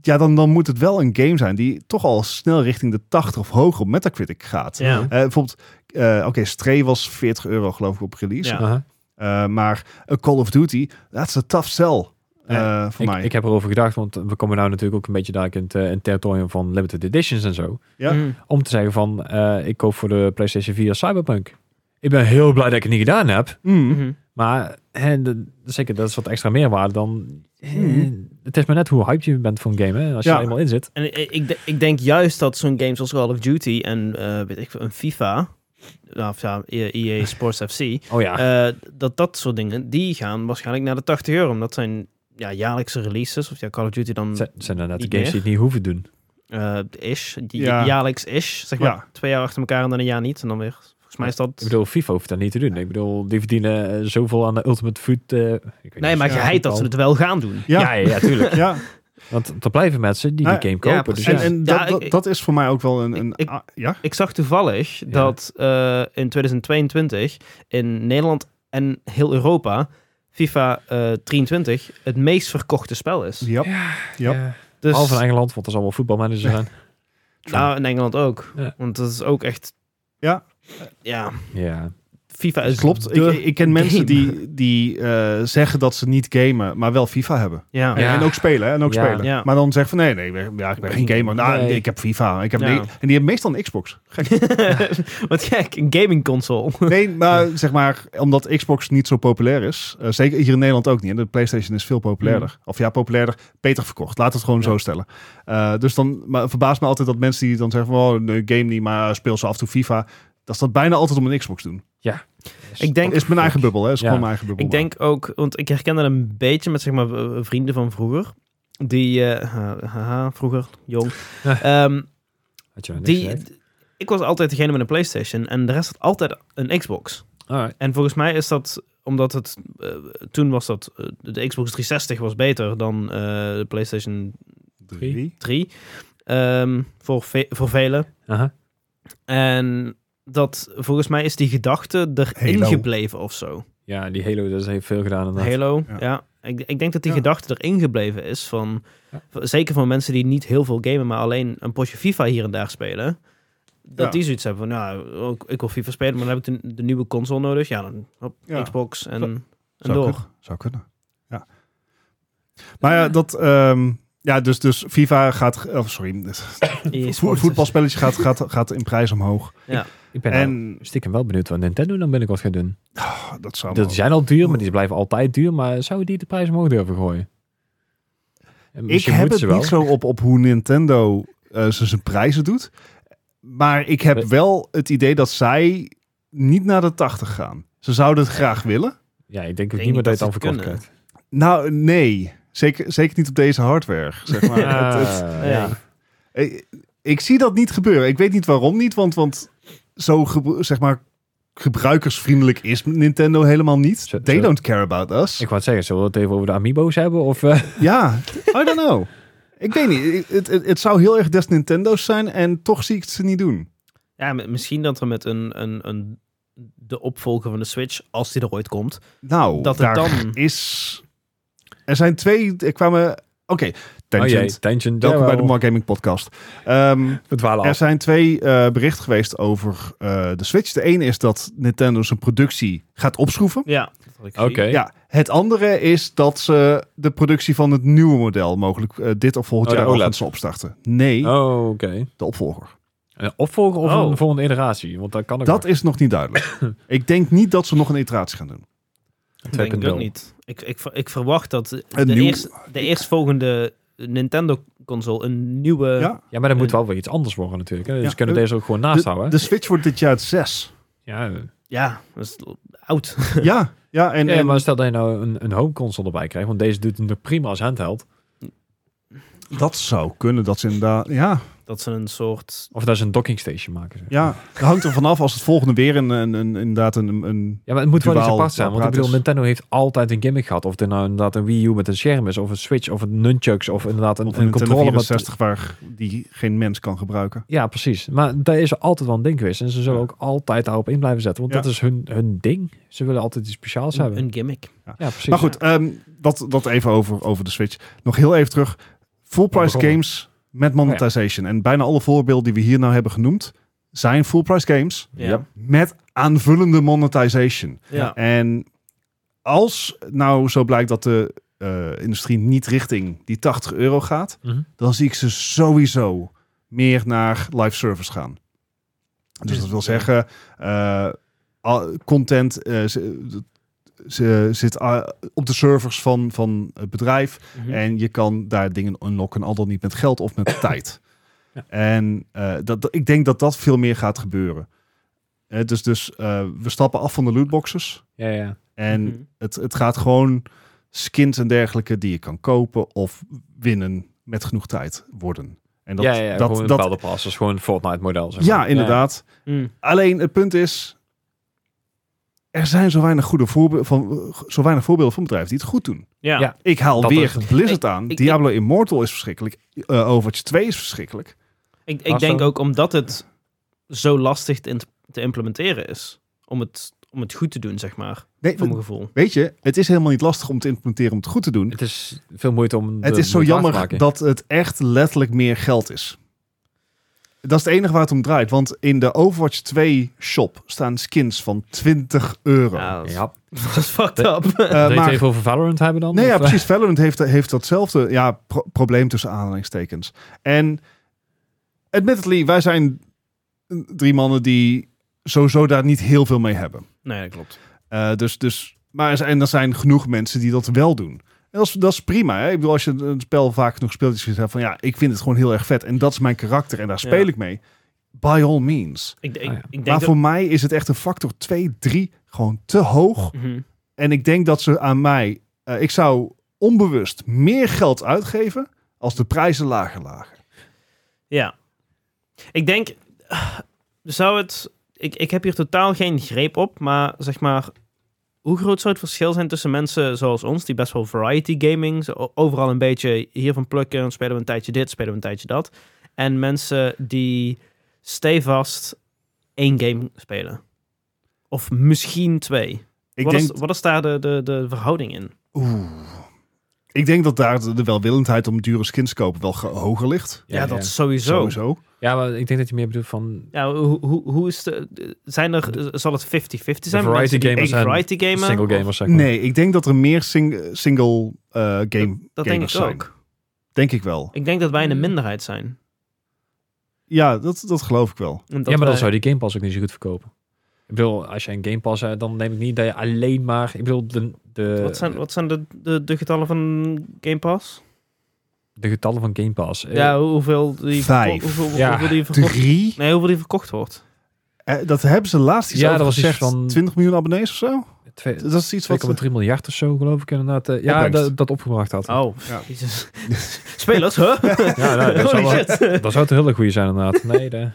Speaker 2: Ja, dan, dan moet het wel een game zijn die toch al snel richting de 80 of hoger op Metacritic gaat.
Speaker 3: Ja.
Speaker 2: Eh, bijvoorbeeld, eh, oké, Stray was 40 euro geloof ik op release.
Speaker 3: Ja.
Speaker 1: Aha.
Speaker 2: Eh, maar een Call of Duty, that's a tough sell eh, voor
Speaker 1: ik,
Speaker 2: mij.
Speaker 1: ik heb erover gedacht, want we komen nou natuurlijk ook een beetje daar in het, eh, in het territorium van limited editions en zo.
Speaker 2: Ja.
Speaker 3: Mm.
Speaker 1: Om te zeggen van, eh, ik koop voor de PlayStation 4 Cyberpunk. Ik ben heel blij dat ik het niet gedaan heb.
Speaker 2: Mm.
Speaker 3: Mhm.
Speaker 1: Maar hè, de- zeker, dat is wat extra meerwaarde dan... eh,
Speaker 2: Hmm.
Speaker 1: Het is maar net hoe hyped je bent voor een game, hè, als je
Speaker 2: Ja.
Speaker 1: er eenmaal in zit.
Speaker 3: En ik, ik, de- ik denk juist dat zo'n games als Call of Duty en eh, weet ik, veel, een FIFA, nou, of ja, EA Sports FC,
Speaker 1: Oh ja.
Speaker 3: eh, dat dat soort dingen, die gaan waarschijnlijk naar de 80 euro. Omdat zijn ja, jaarlijkse releases, of ja, Call of Duty dan
Speaker 1: Het zijn er net de
Speaker 3: niet
Speaker 1: games die
Speaker 3: meer.
Speaker 1: het niet hoeven doen.
Speaker 3: eh, ish, die
Speaker 2: Ja.
Speaker 3: jaarlijks-ish, zeg maar.
Speaker 2: Ja.
Speaker 3: Twee jaar achter elkaar en dan een jaar niet. En dan weer, volgens mij is dat...
Speaker 1: Ik bedoel, FIFA hoeft dat niet te doen. Ik bedoel, die verdienen eh, zoveel aan de Ultimate Food. eh, ik weet niet
Speaker 3: nee,
Speaker 1: of
Speaker 3: maar je heit dat ze het wel gaan doen.
Speaker 1: Ja,
Speaker 2: Ja.
Speaker 1: ja, ja, tuurlijk.
Speaker 2: Ja,
Speaker 1: Want er blijven mensen die
Speaker 2: Nou,
Speaker 1: die game
Speaker 3: ja,
Speaker 1: kopen. dus
Speaker 3: precies.
Speaker 2: en,
Speaker 1: ja.
Speaker 2: en
Speaker 3: Ja,
Speaker 2: dat, dat,
Speaker 3: ik-
Speaker 2: dat is voor mij ook wel een... een
Speaker 3: ik-
Speaker 2: ah, ja?
Speaker 3: Ik zag toevallig dat eh, in 2022 in Nederland en heel Europa FIFA eh, 23 het meest verkochte spel is.
Speaker 2: Ja. Ja.
Speaker 1: Ja.
Speaker 3: Dus,
Speaker 1: Behalve in Engeland, want dat is allemaal voetbalmanagers zijn.
Speaker 3: nou, in Engeland ook.
Speaker 1: Ja.
Speaker 3: Want dat is ook echt... eh,
Speaker 2: Ja.
Speaker 3: Ja,
Speaker 1: Ja.
Speaker 3: FIFA is...
Speaker 2: Klopt. Ik,
Speaker 3: de
Speaker 2: ik ken mensen
Speaker 3: game.
Speaker 2: die, die eh, zeggen dat ze niet gamen, maar wel FIFA hebben.
Speaker 3: Ah, Ja.
Speaker 1: Ja.
Speaker 2: En ook spelen, hè, en ook
Speaker 1: Ja.
Speaker 2: spelen.
Speaker 3: Ja.
Speaker 2: Maar dan zeggen van, nee, nee, ik ben- ja, ik ben geen gamer. Nou,
Speaker 1: Nee.
Speaker 2: ik heb FIFA. Ik heb
Speaker 3: Ja.
Speaker 2: nee. En die hebben meestal een Xbox. Gek.
Speaker 3: Wat gek, een gaming console.
Speaker 2: Nee, maar zeg maar, omdat Xbox niet zo populair is. eh, zeker hier in Nederland ook niet. En de PlayStation is veel populairder. Of ja, populairder, beter verkocht. Laat het gewoon zo stellen. Eh, dus dan maar verbaast me altijd dat mensen die dan zeggen van, oh, nee, game niet, maar speel ze af en toe FIFA. Dat ze dat bijna altijd om een Xbox doen.
Speaker 3: Ik denk,
Speaker 2: is mijn eigen bubbel, hè? Is
Speaker 1: Ja.
Speaker 2: gewoon mijn eigen bubbel.
Speaker 3: ik denk ook, want ik herken dat een beetje met zeg maar eh, vrienden van vroeger. Die, eh, ha- haha, vroeger, jong.
Speaker 1: Ja.
Speaker 3: Ehm,
Speaker 1: Had je nog niks
Speaker 3: Die,
Speaker 1: gezegd?
Speaker 3: ik was altijd degene met een PlayStation en de rest had altijd een Xbox.
Speaker 1: Alright.
Speaker 3: En volgens mij is dat omdat het eh, toen was dat eh, de Xbox 360 was beter dan eh, de PlayStation
Speaker 2: maar.
Speaker 1: Drie.
Speaker 3: 3 ehm, voor, ve- voor velen.
Speaker 1: Aha.
Speaker 3: En dat volgens mij is die gedachte erin
Speaker 2: Halo.
Speaker 3: gebleven of zo.
Speaker 1: Ja, die Halo dat heeft veel gedaan. inderdaad.
Speaker 3: Halo,
Speaker 2: Ja.
Speaker 3: ja. Ik, ik denk dat die
Speaker 2: Ja.
Speaker 3: gedachte erin gebleven is van...
Speaker 1: Ja.
Speaker 3: v- Zeker voor mensen die niet heel veel gamen, maar alleen een potje FIFA hier en daar spelen. Dat
Speaker 2: Ja.
Speaker 3: die zoiets hebben van, nou, ook, ik wil FIFA spelen, maar dan heb ik de, de nieuwe console nodig. Ja, dan op
Speaker 2: Ja.
Speaker 3: Xbox en,
Speaker 2: Zo-
Speaker 3: en
Speaker 2: Zou
Speaker 3: door.
Speaker 2: kunnen. Zou kunnen. Ja. Maar ja, dat. ehm, ja, dus, dus FIFA gaat. Oh, sorry.
Speaker 3: EA
Speaker 2: Vo-
Speaker 3: Sports.
Speaker 2: voetbalspelletje gaat, gaat, gaat in prijs omhoog.
Speaker 1: Ik ben nou
Speaker 2: en
Speaker 1: stiekem wel benieuwd wat Nintendo dan binnenkort gaat doen.
Speaker 2: oh, dat zou.
Speaker 1: Dat
Speaker 2: wel-
Speaker 1: zijn al duur, maar die blijven altijd duur. Maar zou die de prijs omhoog durven gooien? En
Speaker 2: ik
Speaker 1: misschien
Speaker 2: heb
Speaker 1: moeten
Speaker 2: het
Speaker 1: dus ze
Speaker 2: niet zo op, op hoe Nintendo eh, ze zijn prijzen doet. Maar ik heb
Speaker 1: We-
Speaker 2: wel het idee dat zij niet naar de 80 gaan. Ze zouden het graag willen.
Speaker 1: Ja, ik denk ook
Speaker 3: Ik
Speaker 1: niet
Speaker 3: denk
Speaker 1: meer dat je het
Speaker 3: niet
Speaker 1: dan
Speaker 3: dat
Speaker 1: verkocht
Speaker 3: ze het
Speaker 1: krijgt.
Speaker 2: Nou, nee. Zeker, zeker niet op deze hardware. Zeg maar.
Speaker 1: Ah,
Speaker 2: Het- het-
Speaker 1: ja.
Speaker 2: Ik, Eh, ik zie dat niet gebeuren. Ik weet niet waarom niet, want, want zo gebru- zeg maar gebruikersvriendelijk is Nintendo helemaal niet.
Speaker 1: Zo-
Speaker 2: They
Speaker 1: zo-
Speaker 2: don't care about us.
Speaker 1: Ik wou het zeggen, zullen we het even over de Amiibo's hebben? Of, eh,
Speaker 2: Ja, I don't know. Ik weet niet. Ik- Het, het, het zou heel erg des Nintendo's zijn en toch zie ik het ze niet doen.
Speaker 3: Ja, m- misschien dat er met een, een, een, de opvolger van de Switch, als die er ooit komt,
Speaker 2: Nou,
Speaker 3: dat
Speaker 2: daar
Speaker 3: het dan...
Speaker 2: is... Er zijn twee... Er kwamen... Oké,
Speaker 1: oh jee,
Speaker 2: Tangent.
Speaker 1: Tangent.
Speaker 2: Welkom bij de
Speaker 1: jawel.
Speaker 2: Mark Gaming Podcast. Ehm,
Speaker 1: We dwalen
Speaker 2: Er
Speaker 1: af.
Speaker 2: zijn twee eh, berichten geweest over eh, de Switch. De ene is dat Nintendo zijn productie gaat opschroeven.
Speaker 3: Ja, dat had ik
Speaker 1: Oké.
Speaker 3: gezien.
Speaker 2: Ja, het andere is dat ze de productie van het nieuwe model mogelijk eh, dit of volgend
Speaker 1: Oh, de
Speaker 2: jaar al
Speaker 1: OLED.
Speaker 2: gaan ze opstarten. Nee,
Speaker 1: Oh, oké.
Speaker 2: de opvolger.
Speaker 1: Een opvolger of
Speaker 3: Oh.
Speaker 1: een volgende iteratie? Want dat kan ook
Speaker 2: Dat is nog niet duidelijk. ik denk niet dat ze nog een iteratie gaan doen.
Speaker 3: Dat denk ik
Speaker 1: 2.0.
Speaker 3: ook niet. Ik, ik, ver- ik verwacht dat de,
Speaker 2: nieuw-
Speaker 3: eerst, de eerstvolgende Nintendo-console een nieuwe...
Speaker 2: ja,
Speaker 1: Ja, maar dat moet
Speaker 3: Eh.
Speaker 1: wel weer iets anders worden natuurlijk. Hè? Dus
Speaker 2: Ja.
Speaker 1: we kunnen
Speaker 2: De-
Speaker 1: deze ook gewoon naast
Speaker 2: de,
Speaker 1: houden.
Speaker 2: de Switch wordt dit jaar 6.
Speaker 1: ja, eh.
Speaker 3: Ja, dat is oud.
Speaker 2: ja, ja, en,
Speaker 1: Ja,
Speaker 2: en
Speaker 1: maar stel dat je nou een, een home console erbij krijgt, want deze doet het nog prima als handheld.
Speaker 2: dat zou kunnen. Dat ze inderdaad. Ja,
Speaker 3: Dat ze een soort...
Speaker 1: Of dat ze een docking station maken. zeg.
Speaker 2: Ja, dat hangt er vanaf als het volgende weer een, een, een, inderdaad een, een...
Speaker 1: Ja, maar het moet wel iets
Speaker 2: Duaal
Speaker 1: apart zijn. Want ik
Speaker 2: apparaat
Speaker 1: bedoel,
Speaker 2: is.
Speaker 1: Nintendo heeft altijd een gimmick gehad. Of het nou inderdaad een Wii U met een scherm is. Of een Switch. Of een nunchucks. Of inderdaad een,
Speaker 2: Of
Speaker 1: een,
Speaker 2: een Nintendo
Speaker 1: controller met
Speaker 2: 64 waar die geen mens kan gebruiken.
Speaker 1: Ja, precies. Maar daar is er altijd wel een ding geweest. En ze zullen
Speaker 2: Ja.
Speaker 1: ook altijd daarop in blijven zetten. Want
Speaker 2: Ja.
Speaker 1: dat is hun, hun ding. Ze willen altijd iets speciaals
Speaker 3: Een,
Speaker 1: hebben.
Speaker 3: een gimmick.
Speaker 1: Ja, precies.
Speaker 2: Maar goed, ehm, dat, dat even over, over de Switch. Nog heel even terug. Full price
Speaker 1: begonnen.
Speaker 2: games met monetization. En bijna alle voorbeelden die we hier nou hebben genoemd... zijn full price games
Speaker 3: Ja.
Speaker 1: Ja.
Speaker 2: met aanvullende monetization.
Speaker 3: Ja.
Speaker 2: En als nou zo blijkt dat de eh, industrie niet richting die 80 euro gaat,
Speaker 1: Mhm.
Speaker 2: dan zie ik ze sowieso meer naar live service gaan. Dus dat wil zeggen, eh, al- content eh, ze- ze zit ah, op de servers van, van het bedrijf.
Speaker 3: Mhm.
Speaker 2: En je kan daar dingen unlocken, al dan niet met geld of met tijd.
Speaker 1: Ja.
Speaker 2: En eh, dat, dat- ik denk dat dat veel meer gaat gebeuren. Eh, dus dus eh, we stappen af van de lootboxes.
Speaker 1: Ja, ja.
Speaker 2: En
Speaker 3: Mhm.
Speaker 2: het, het gaat gewoon skins en dergelijke die je kan kopen of winnen met genoeg tijd worden. En dat,
Speaker 1: ja, ja,
Speaker 2: dat,
Speaker 1: gewoon een
Speaker 2: dat-
Speaker 1: bepaalde pas. Dat is gewoon een Fortnite model. Zeg
Speaker 2: ja
Speaker 1: maar.
Speaker 2: inderdaad.
Speaker 3: Mm.
Speaker 2: Alleen het punt is, er zijn zo weinig, goede voorbe van, zo weinig voorbeelden van bedrijven die het goed doen.
Speaker 3: Ja.
Speaker 1: Ja.
Speaker 2: Ik haal
Speaker 1: Dat
Speaker 2: weer
Speaker 1: is het.
Speaker 2: Blizzard aan.
Speaker 3: ik-
Speaker 2: Diablo Immortal is verschrikkelijk. Eh, Overwatch 2 is verschrikkelijk.
Speaker 3: Ik, ik
Speaker 1: Was
Speaker 3: denk
Speaker 1: dat-
Speaker 3: ook omdat het zo lastig te, int- te implementeren is. Om het, om het goed te doen, zeg maar.
Speaker 2: Nee,
Speaker 3: Voor mijn gevoel.
Speaker 2: weet je, het is helemaal niet lastig om te implementeren om het goed te doen.
Speaker 1: Het is veel moeite om
Speaker 2: Het
Speaker 1: de
Speaker 2: is
Speaker 1: moeite
Speaker 2: zo
Speaker 1: waard te
Speaker 2: jammer
Speaker 1: maken.
Speaker 2: dat het echt letterlijk meer geld is. Dat is het enige waar het om draait. Want in de Overwatch 2 shop staan skins van 20 euro.
Speaker 3: Ja, dat is-
Speaker 1: Ja.
Speaker 3: dat is fucked up.
Speaker 2: Eh,
Speaker 1: Zou je het
Speaker 2: maar-
Speaker 1: even over Valorant hebben dan?
Speaker 2: nee, ja,
Speaker 1: Of, eh,
Speaker 2: precies. Valorant heeft, heeft datzelfde ja, pro- probleem tussen aanhalingstekens. En admittedly, wij zijn drie mannen die sowieso daar niet heel veel mee hebben.
Speaker 3: nee, dat klopt.
Speaker 2: Eh, dus, dus, maar er zijn, er zijn genoeg mensen die dat wel doen. En dat, is, dat is prima. Hè? Ik bedoel, als je een spel vaak genoeg speelt, is je zegt van ja, ik vind het gewoon heel erg vet en dat is mijn karakter en daar speel
Speaker 3: Ja.
Speaker 2: ik mee. By all means.
Speaker 3: Ik, ik,
Speaker 1: Ah, ja.
Speaker 3: ik denk
Speaker 2: maar
Speaker 3: dat-
Speaker 2: voor mij is het echt een factor 2, 3 gewoon te hoog.
Speaker 3: Mhm.
Speaker 2: En ik denk dat ze aan mij, eh, ik zou onbewust meer geld uitgeven als de prijzen lager lagen.
Speaker 3: Ja. Ik denk, eh, zou het... Ik, ik heb hier totaal geen greep op, maar zeg maar... Hoe groot zou het verschil zijn tussen mensen zoals ons, die best wel variety gaming, zo overal een beetje hiervan plukken, spelen we een tijdje dit, spelen we een tijdje dat, en mensen die stevast één game spelen? Of misschien twee.
Speaker 2: Ik
Speaker 3: wat,
Speaker 2: denk,
Speaker 3: is, wat is daar de, de, de verhouding in?
Speaker 2: oeh, ik denk dat daar de, de welwillendheid om dure skins te kopen wel ge- hoger ligt.
Speaker 3: Ja, dat sowieso.
Speaker 2: Sowieso.
Speaker 1: Ja, maar ik denk dat je meer bedoelt van
Speaker 3: Ja, hoe, hoe, hoe is de, de- zijn er, zal het 50-50 zijn?
Speaker 1: variety
Speaker 3: Mensen die
Speaker 1: gamers
Speaker 3: één
Speaker 1: en
Speaker 3: variety gamen?
Speaker 1: single
Speaker 3: Of-
Speaker 1: gamers, zeg maar.
Speaker 2: Nee, ik denk dat er meer sing- single eh, game
Speaker 3: Dat denk ik
Speaker 2: gamers zijn.
Speaker 3: ook.
Speaker 2: Denk ik wel.
Speaker 3: Ik denk dat wij in de
Speaker 1: Hmm.
Speaker 3: minderheid zijn.
Speaker 2: Ja, dat, dat geloof ik wel.
Speaker 3: En dat
Speaker 1: ja, maar dan
Speaker 3: wij-
Speaker 1: zou die Game Pass ook niet zo goed verkopen. Ik bedoel, als je een Game Pass hebt, dan neem ik niet dat je alleen maar... Ik bedoel, de, de,
Speaker 3: Wat zijn, wat zijn de, de, de getallen van Game Pass?
Speaker 1: de getallen van Game Pass. Eh,
Speaker 3: ja, hoeveel die,
Speaker 2: vijf.
Speaker 3: Hoeveel, hoeveel,
Speaker 1: Ja,
Speaker 3: die verkocht,
Speaker 2: Drie?
Speaker 3: nee, hoeveel die verkocht wordt.
Speaker 2: Eh, dat hebben ze laatst iets
Speaker 1: Ja,
Speaker 2: over
Speaker 1: dat was iets
Speaker 2: gezegd.
Speaker 1: van-
Speaker 2: 20 miljoen abonnees of zo?
Speaker 1: twee-
Speaker 2: Dat is iets wat...
Speaker 1: 2,3 miljard of zo, geloof ik inderdaad. eh, ja,
Speaker 2: Opbrengst.
Speaker 1: dat, dat opgebracht had.
Speaker 3: Oh,
Speaker 2: Ja.
Speaker 3: jezus. Spelers, huh?
Speaker 1: Ja, nou, dat, zou
Speaker 3: Holy
Speaker 1: wel,
Speaker 3: shit.
Speaker 1: dat zou het een hele goede zijn inderdaad. Nee, de,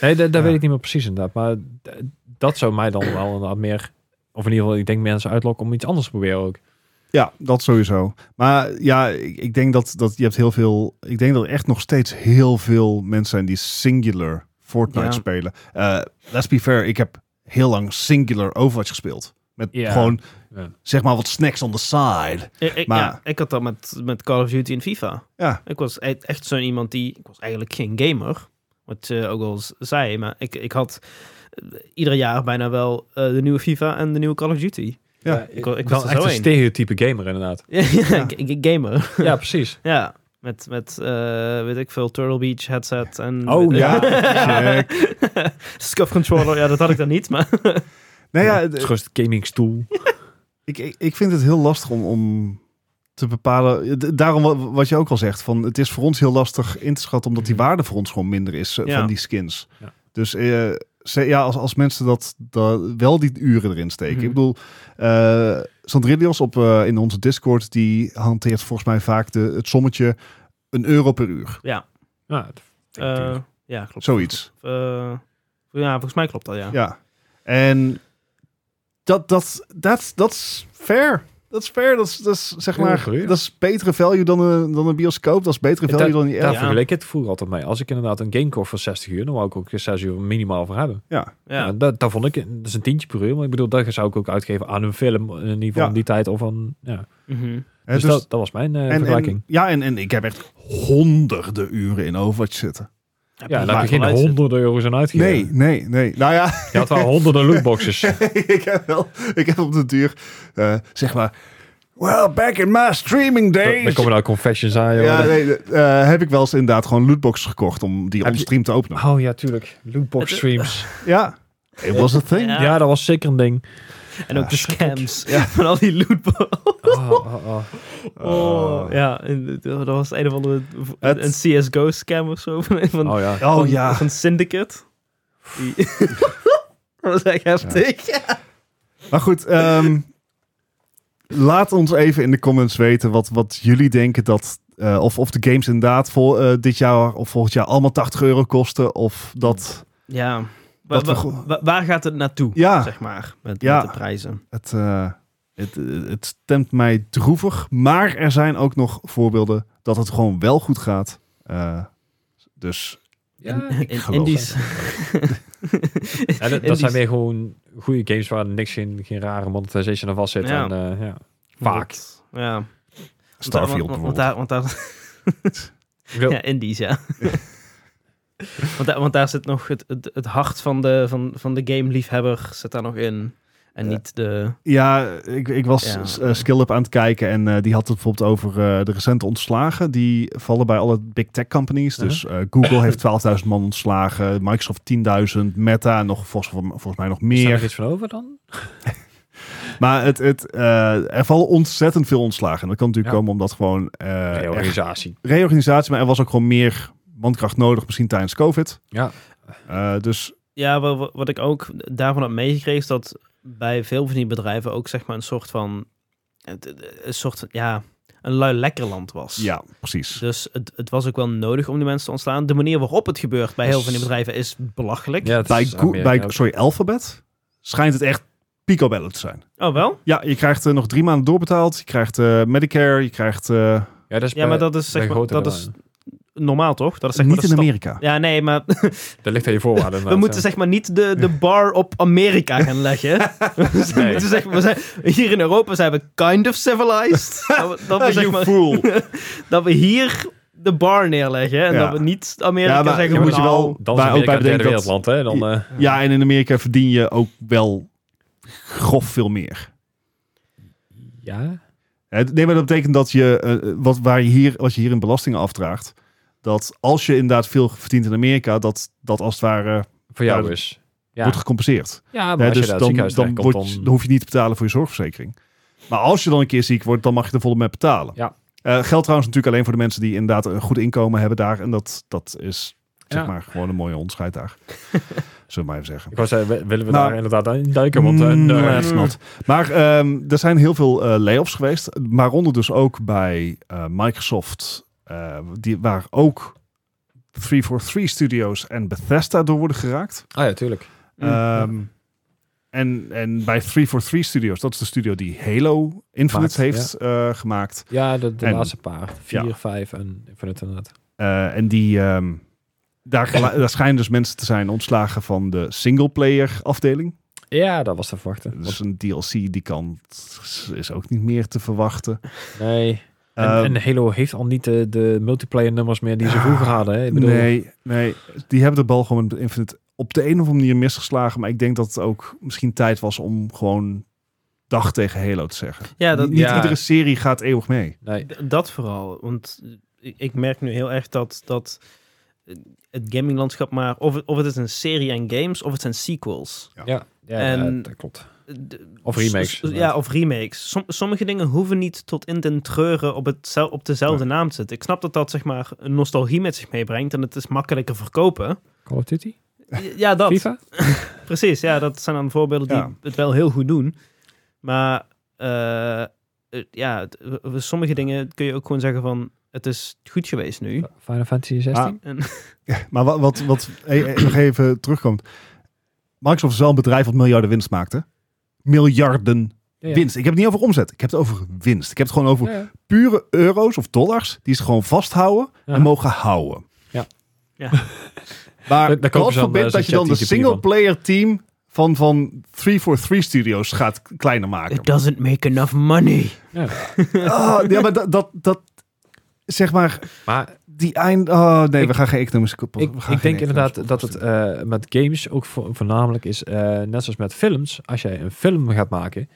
Speaker 1: nee de- dat
Speaker 2: Ja.
Speaker 1: weet ik niet meer precies inderdaad. Maar d- dat zou mij dan wel inderdaad meer... Of in ieder geval, ik denk mensen uitlokken om iets anders te proberen ook.
Speaker 2: eh, Ja, dat sowieso. Maar ja, ik, ik denk dat, dat je hebt heel veel... Ik denk dat er echt nog steeds heel veel mensen zijn die singular Fortnite
Speaker 3: Ja.
Speaker 2: spelen. Eh, let's be fair, ik heb heel lang singular Overwatch gespeeld. Met
Speaker 1: Ja.
Speaker 2: gewoon,
Speaker 1: Ja.
Speaker 2: zeg maar, wat snacks on the side.
Speaker 3: Ik, ik-
Speaker 2: Maar-
Speaker 3: ja, ik had dat met, met Call of Duty en FIFA.
Speaker 2: Ja.
Speaker 3: Ik was e- echt zo'n iemand die... Ik was eigenlijk geen gamer. Wat je ook al z- zei. Maar ik, ik had eh, ieder jaar bijna wel eh, de nieuwe FIFA en de nieuwe Call of Duty.
Speaker 2: Ja,
Speaker 3: ik was- ik
Speaker 1: dan
Speaker 3: was er
Speaker 1: echt
Speaker 3: zo
Speaker 1: een
Speaker 3: een.
Speaker 1: stereotype gamer inderdaad.
Speaker 3: Ja, g- gamer.
Speaker 1: Ja, precies.
Speaker 3: Ja, met, met eh, weet ik veel, Turtle Beach headset en...
Speaker 1: Oh, ja.
Speaker 3: Scuff controller, ja, dat had ik dan niet, maar... eh,
Speaker 2: Nou ja,
Speaker 1: het is gewoon een gaming stoel.
Speaker 2: Ik, ik, ik vind het heel lastig om, om te bepalen. D- Daarom wa- wat je ook al zegt. Van, het is voor ons heel lastig in te schatten. Omdat die waarde voor ons gewoon minder is eh,
Speaker 3: Mhm. Ja.
Speaker 2: van die skins.
Speaker 1: Ja.
Speaker 2: Dus eh, ze, ja, als, als mensen dat, dat wel die uren erin steken.
Speaker 3: Mhm.
Speaker 2: Ik bedoel, eh Sandrilios op, eh, in onze Discord. Die hanteert volgens mij vaak de, het sommetje een euro per uur.
Speaker 1: Ja,
Speaker 2: denk ik.
Speaker 3: Eh, ja, klopt.
Speaker 2: Zoiets.
Speaker 3: Eh, ja, volgens mij klopt dat, ja.
Speaker 2: Ja. En dat, dat, dat, dat is fair. Dat is fair. Dat is, dat is zeg
Speaker 1: Ja,
Speaker 2: maar,
Speaker 1: goeie.
Speaker 2: dat is betere value dan een, dan een bioscoop. Dat is betere
Speaker 1: Dat-
Speaker 2: value dan die
Speaker 1: Daar
Speaker 2: app.
Speaker 3: Ja.
Speaker 1: vergeleek ik het vroeger altijd mee. Als ik inderdaad een game kocht voor 60 uur, dan wou ik ook 6 uur minimaal voor hebben.
Speaker 2: Ja.
Speaker 1: Ja.
Speaker 3: Ja,
Speaker 1: dat, dat vond ik, dat is een tientje per uur. Maar ik bedoel, dat zou ik ook uitgeven aan een film in ieder geval
Speaker 2: Ja.
Speaker 1: in die tijd. Of aan, ja.
Speaker 3: Mhm.
Speaker 2: Hè,
Speaker 1: Dus,
Speaker 2: dus-
Speaker 1: dat, dat was mijn eh,
Speaker 2: en,
Speaker 1: vergelijking.
Speaker 2: en, ja, en, en ik heb echt honderden uren in Overwatch zitten.
Speaker 1: ja, en
Speaker 3: prima.
Speaker 1: daar heb je geen
Speaker 3: Geluid zit.
Speaker 1: honderden euro's aan uitgegeven.
Speaker 2: Nee, nee, nee. Nou ja,
Speaker 1: Je had wel honderden lootboxes.
Speaker 2: ik heb wel. Ik heb op de duur, eh, zeg maar. Well, back in my streaming days.
Speaker 1: Dan komen nou confessions aan, joh.
Speaker 2: ja, nee, eh, heb ik wel eens inderdaad gewoon lootboxes gekocht om die
Speaker 1: Heb
Speaker 2: op
Speaker 1: je-
Speaker 2: stream te openen.
Speaker 1: Oh ja, tuurlijk. Lootbox
Speaker 3: Het-
Speaker 1: streams.
Speaker 2: Ja, it was a thing.
Speaker 3: Ja.
Speaker 1: Ja, dat was zeker een ding.
Speaker 3: En ook de scams van al die lootballs.
Speaker 1: Oh, oh, oh.
Speaker 3: Oh, ja, en, eh, dat was een of andere
Speaker 2: Het-
Speaker 3: een CSGO-scam of zo. Van, van,
Speaker 1: Oh ja.
Speaker 2: Oh
Speaker 3: van,
Speaker 2: ja.
Speaker 3: van Syndicate. Die- dat was echt heftig.
Speaker 2: Maar goed, ehm, laat ons even in de comments weten wat, wat jullie denken dat. eh, of, of de games inderdaad vol, eh, dit jaar of volgend jaar allemaal 80 euro kosten. Of dat
Speaker 3: Ja, Wa-
Speaker 2: Wat
Speaker 3: wa-
Speaker 2: we go-
Speaker 3: wa- waar gaat het naartoe,
Speaker 2: Ja.
Speaker 3: zeg maar, met,
Speaker 2: Ja.
Speaker 3: met de prijzen?
Speaker 2: het, eh, het, het stemt mij droevig. Maar er zijn ook nog voorbeelden dat het gewoon wel goed gaat. Eh, dus
Speaker 1: Ja,
Speaker 3: In,
Speaker 1: ik
Speaker 3: in
Speaker 1: geloof
Speaker 3: die,
Speaker 1: het. Ja, dat,
Speaker 3: in
Speaker 1: dat
Speaker 3: die-
Speaker 1: zijn weer gewoon goede games waar niks geen, geen rare monetization aan vast zit.
Speaker 3: Ja.
Speaker 1: En, eh, ja. Vaak.
Speaker 3: Ja.
Speaker 2: Starfield
Speaker 3: want, want,
Speaker 2: bijvoorbeeld.
Speaker 3: want daar, want daar,
Speaker 1: Ik bedoel,
Speaker 3: ja, indies, ja. want, daar, want daar zit nog het, het, het hart van de, van, van de game-liefhebber zit daar nog in. En
Speaker 2: Ja.
Speaker 3: niet de...
Speaker 2: Ja, ik, ik was
Speaker 3: Ja.
Speaker 2: s- eh, SkillUp aan het kijken en eh, die had het bijvoorbeeld over eh, de recente ontslagen. Die vallen bij alle big tech companies.
Speaker 1: Uh-huh.
Speaker 2: Dus eh, Google heeft 12.000 man ontslagen, Microsoft 10.000, Meta nog volgens,
Speaker 1: is
Speaker 2: volgens mij nog
Speaker 1: daar nog
Speaker 2: meer.
Speaker 1: iets van over dan?
Speaker 2: Maar het, het, eh, er vallen ontzettend veel ontslagen. En dat kan natuurlijk
Speaker 1: Ja.
Speaker 2: komen omdat gewoon eh,
Speaker 1: Nee,
Speaker 2: er-
Speaker 1: organisatie.
Speaker 2: reorganisatie, maar er was ook gewoon meer mankracht nodig, misschien tijdens COVID.
Speaker 1: Ja.
Speaker 2: Eh, dus
Speaker 3: Ja, wa- wa- wat, ik ook daarvan heb meegekregen is dat bij veel van die bedrijven ook zeg maar een soort van... het- het- Een soort van, ja, een lui lekker land was.
Speaker 2: ja, precies.
Speaker 3: Dus het, het was ook wel nodig om die mensen te ontslaan. De manier waarop het gebeurt bij heel
Speaker 2: Dus-
Speaker 3: veel van die bedrijven is belachelijk.
Speaker 1: Ja, het
Speaker 2: Bij,
Speaker 1: is
Speaker 2: Go-
Speaker 1: Amerika
Speaker 2: bij
Speaker 1: ook.
Speaker 2: sorry, Alphabet schijnt het echt picobello te zijn.
Speaker 3: Oh, wel?
Speaker 2: Ja, je krijgt eh, nog drie maanden doorbetaald. Je krijgt eh, Medicare. Je krijgt. eh,
Speaker 1: Ja, dat is,
Speaker 3: Ja, maar dat is, zeg
Speaker 1: bij
Speaker 3: maar,
Speaker 1: grotere
Speaker 3: dat is
Speaker 1: bedrijven.
Speaker 3: normaal, toch? Dat is, zeg maar,
Speaker 2: niet
Speaker 3: de
Speaker 2: in
Speaker 3: stap-
Speaker 2: Amerika.
Speaker 3: Ja, nee, maar
Speaker 1: Dat ligt aan je voorwaarden.
Speaker 3: we moeten zeg maar niet de, de bar op Amerika gaan leggen. we,
Speaker 1: Nee.
Speaker 3: moeten, zeg maar, we zijn, hier in Europa zijn we kind of civilized. dat, we, dat we, zeg maar,
Speaker 2: fool.
Speaker 3: dat we hier de bar neerleggen en
Speaker 2: Ja.
Speaker 3: dat we niet Amerika
Speaker 2: Ja, maar
Speaker 3: zeggen...
Speaker 2: je
Speaker 3: van,
Speaker 2: moet je wel-
Speaker 1: Dan
Speaker 2: maar
Speaker 1: is
Speaker 2: ook
Speaker 1: ook
Speaker 2: bij
Speaker 1: bij het derde
Speaker 2: bedenken dat-
Speaker 1: wereldland, hè? Dan, eh,
Speaker 2: Ja, en in Amerika verdien je ook wel grof veel meer.
Speaker 1: ja.
Speaker 2: Hè, Nee, maar dat betekent dat je, eh, wat, waar je hier, wat je hier in belastingen afdraagt, dat als je inderdaad veel verdient in Amerika, dat dat als het ware
Speaker 1: Voor
Speaker 2: Ja,
Speaker 1: jou
Speaker 2: dat-
Speaker 1: is. Ja,
Speaker 2: wordt gecompenseerd.
Speaker 1: ja maar
Speaker 2: Hè,
Speaker 1: als
Speaker 2: dus
Speaker 1: je
Speaker 2: dan,
Speaker 1: daar
Speaker 2: dan,
Speaker 1: dan,
Speaker 2: word,
Speaker 1: komt,
Speaker 2: je-
Speaker 1: dan...
Speaker 2: dan hoef je niet te betalen voor je zorgverzekering. Maar als je dan een keer ziek wordt, dan mag je er volle mee betalen.
Speaker 1: Ja.
Speaker 2: Eh, geldt trouwens natuurlijk alleen voor de mensen die inderdaad een goed inkomen hebben daar. En dat, dat is zeg
Speaker 1: Ja.
Speaker 2: maar gewoon een mooie onderscheid daar. Zullen we maar even zeggen.
Speaker 1: Ik wou zeggen, wi- willen we
Speaker 2: Nou,
Speaker 1: daar inderdaad in duiken? Want eh,
Speaker 2: Mm,
Speaker 1: nee.
Speaker 2: nee, it's not. Maar ehm, er zijn heel veel eh lay-offs geweest. Maar onder dus ook bij eh, Microsoft. eh, die, waar ook 343 Studios en Bethesda door worden geraakt.
Speaker 1: Ah ja, tuurlijk.
Speaker 3: Mm.
Speaker 2: Ehm, en, en bij 343 Studios, dat is de studio die Halo Infinite
Speaker 1: Maakt,
Speaker 2: heeft eh, gemaakt.
Speaker 1: Ja, de, de
Speaker 2: En-
Speaker 1: laatste paar. Vier,
Speaker 2: ja.
Speaker 1: vijf en Infinite inderdaad.
Speaker 2: Eh, en die, ehm, daar, gela- daar schijnen dus mensen te zijn ontslagen van de singleplayer afdeling.
Speaker 1: Ja, dat was te verwachten.
Speaker 2: Dus een DLC die kan, is ook niet meer te verwachten.
Speaker 1: Nee. En,
Speaker 2: Ehm,
Speaker 1: en Halo heeft al niet de, de multiplayer nummers meer die ze
Speaker 2: Ja,
Speaker 1: vroeger hadden. Hè? Ik bedoel,
Speaker 2: Nee, nee, die hebben de bal gewoon met Infinite op de een of andere manier misgeslagen. Maar ik denk dat het ook misschien tijd was om gewoon dag tegen Halo te zeggen.
Speaker 3: ja, dat,
Speaker 2: niet
Speaker 1: ja.
Speaker 2: iedere serie gaat eeuwig mee.
Speaker 1: nee.
Speaker 3: D- Dat vooral, want ik ik merk nu heel erg dat, dat het gaminglandschap maar... Of het, of het is een serie aan games, of het zijn sequels.
Speaker 1: Ja, ja,
Speaker 3: En-
Speaker 1: ja, dat klopt.
Speaker 3: De-
Speaker 1: Of remakes,
Speaker 3: s- s-
Speaker 1: inderdaad.
Speaker 3: Ja, of remakes. Som- sommige dingen hoeven niet tot in den treuren op, het, op dezelfde naam te zitten. Ik snap dat dat zeg maar een nostalgie met zich meebrengt en het is makkelijker verkopen.
Speaker 1: Call of Duty?
Speaker 3: Ja, dat.
Speaker 1: FIFA?
Speaker 3: Precies, ja, dat zijn dan voorbeelden die
Speaker 2: Ja.
Speaker 3: het wel heel goed doen. Maar eh, eh, ja, het- eh, sommige dingen kun je ook gewoon zeggen van... het is goed geweest nu.
Speaker 1: Final Fantasy 16.
Speaker 2: Maar-
Speaker 3: En,
Speaker 2: Maar wat, wat, wat eh, eh, nog even terugkomt. Microsoft is wel een bedrijf wat miljarden winst maakte. Miljarden
Speaker 1: Ja, ja.
Speaker 2: winst. Ik heb het niet over omzet. Ik heb het over winst. Ik heb het gewoon over
Speaker 1: Ja, ja.
Speaker 2: pure euro's of dollars die ze gewoon vasthouden
Speaker 1: Ja.
Speaker 2: en mogen houden.
Speaker 1: Ja.
Speaker 3: Ja.
Speaker 1: Daar-
Speaker 2: Maar
Speaker 1: daar
Speaker 2: dat
Speaker 1: kopen
Speaker 2: God
Speaker 1: ze dan, eh,
Speaker 2: forbid dat je
Speaker 1: zo'n
Speaker 2: dan de
Speaker 1: ChatGPT van.
Speaker 2: single player team van, van 343 Studios gaat k- kleiner maken.
Speaker 3: It doesn't make enough money.
Speaker 2: Ah, ja, maar dat, dat, dat zeg maar
Speaker 1: Maar
Speaker 2: die eind... Oh nee,
Speaker 1: Ik-
Speaker 2: we gaan geen economische... kop- we
Speaker 1: ik,
Speaker 2: gaan geen
Speaker 1: ik denk
Speaker 2: economische
Speaker 1: inderdaad dat het
Speaker 2: oplossing.
Speaker 1: eh, met games ook vo- voornamelijk is, eh, net zoals met films, als jij een film gaat maken,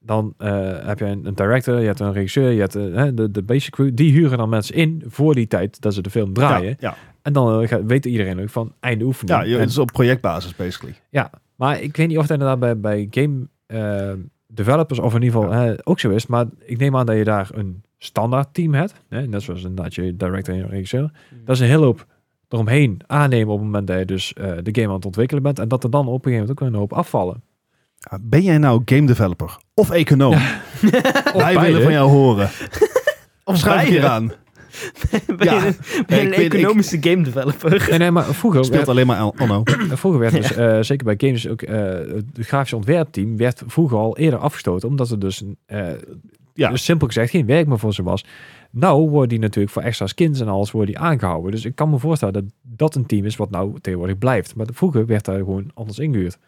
Speaker 1: dan eh, heb je een, een director, je hebt een regisseur, je hebt eh, hè, de, de basic crew, die huren dan mensen in voor die tijd dat ze de film draaien.
Speaker 2: Ja, ja.
Speaker 1: En dan eh, gaat- weet iedereen ook van einde oefening.
Speaker 2: ja je-
Speaker 1: En-
Speaker 2: het is op projectbasis, basically.
Speaker 1: Ja, maar ik weet niet of het inderdaad bij, bij game eh, developers of in ieder geval hè, ook zo is. Maar ik neem aan dat je daar een standaard team hebt. Hè? Net zoals inderdaad je director en je regisseur. Dat is een hele hoop eromheen aannemen op het moment dat je dus eh, de game aan het ontwikkelen bent. En dat er dan op een gegeven moment ook een hoop afvallen.
Speaker 2: Ja, Ben jij nou game developer of econoom? Wij
Speaker 1: beide.
Speaker 2: willen van jou horen. Of schrijf je
Speaker 3: beide.
Speaker 2: aan.
Speaker 3: ben
Speaker 2: Ja.
Speaker 3: je, een- ben
Speaker 2: Ik
Speaker 3: je een
Speaker 2: weet- ik-
Speaker 3: economische game developer?
Speaker 1: Nee, nee, maar vroeger
Speaker 2: Speelt
Speaker 1: werd,
Speaker 2: alleen maar aan- Anno.
Speaker 1: vroeger werd dus, eh, zeker bij games, ook eh, het grafische ontwerpteam werd vroeger al eerder afgestoten. Omdat er dus eh,
Speaker 2: Ja.
Speaker 1: Dus simpel gezegd geen werk meer voor ze was. Nou worden die natuurlijk voor extra skins en alles worden die aangehouden. Dus ik kan me voorstellen dat dat een team is wat nou tegenwoordig blijft. Maar vroeger werd daar gewoon anders ingehuurd.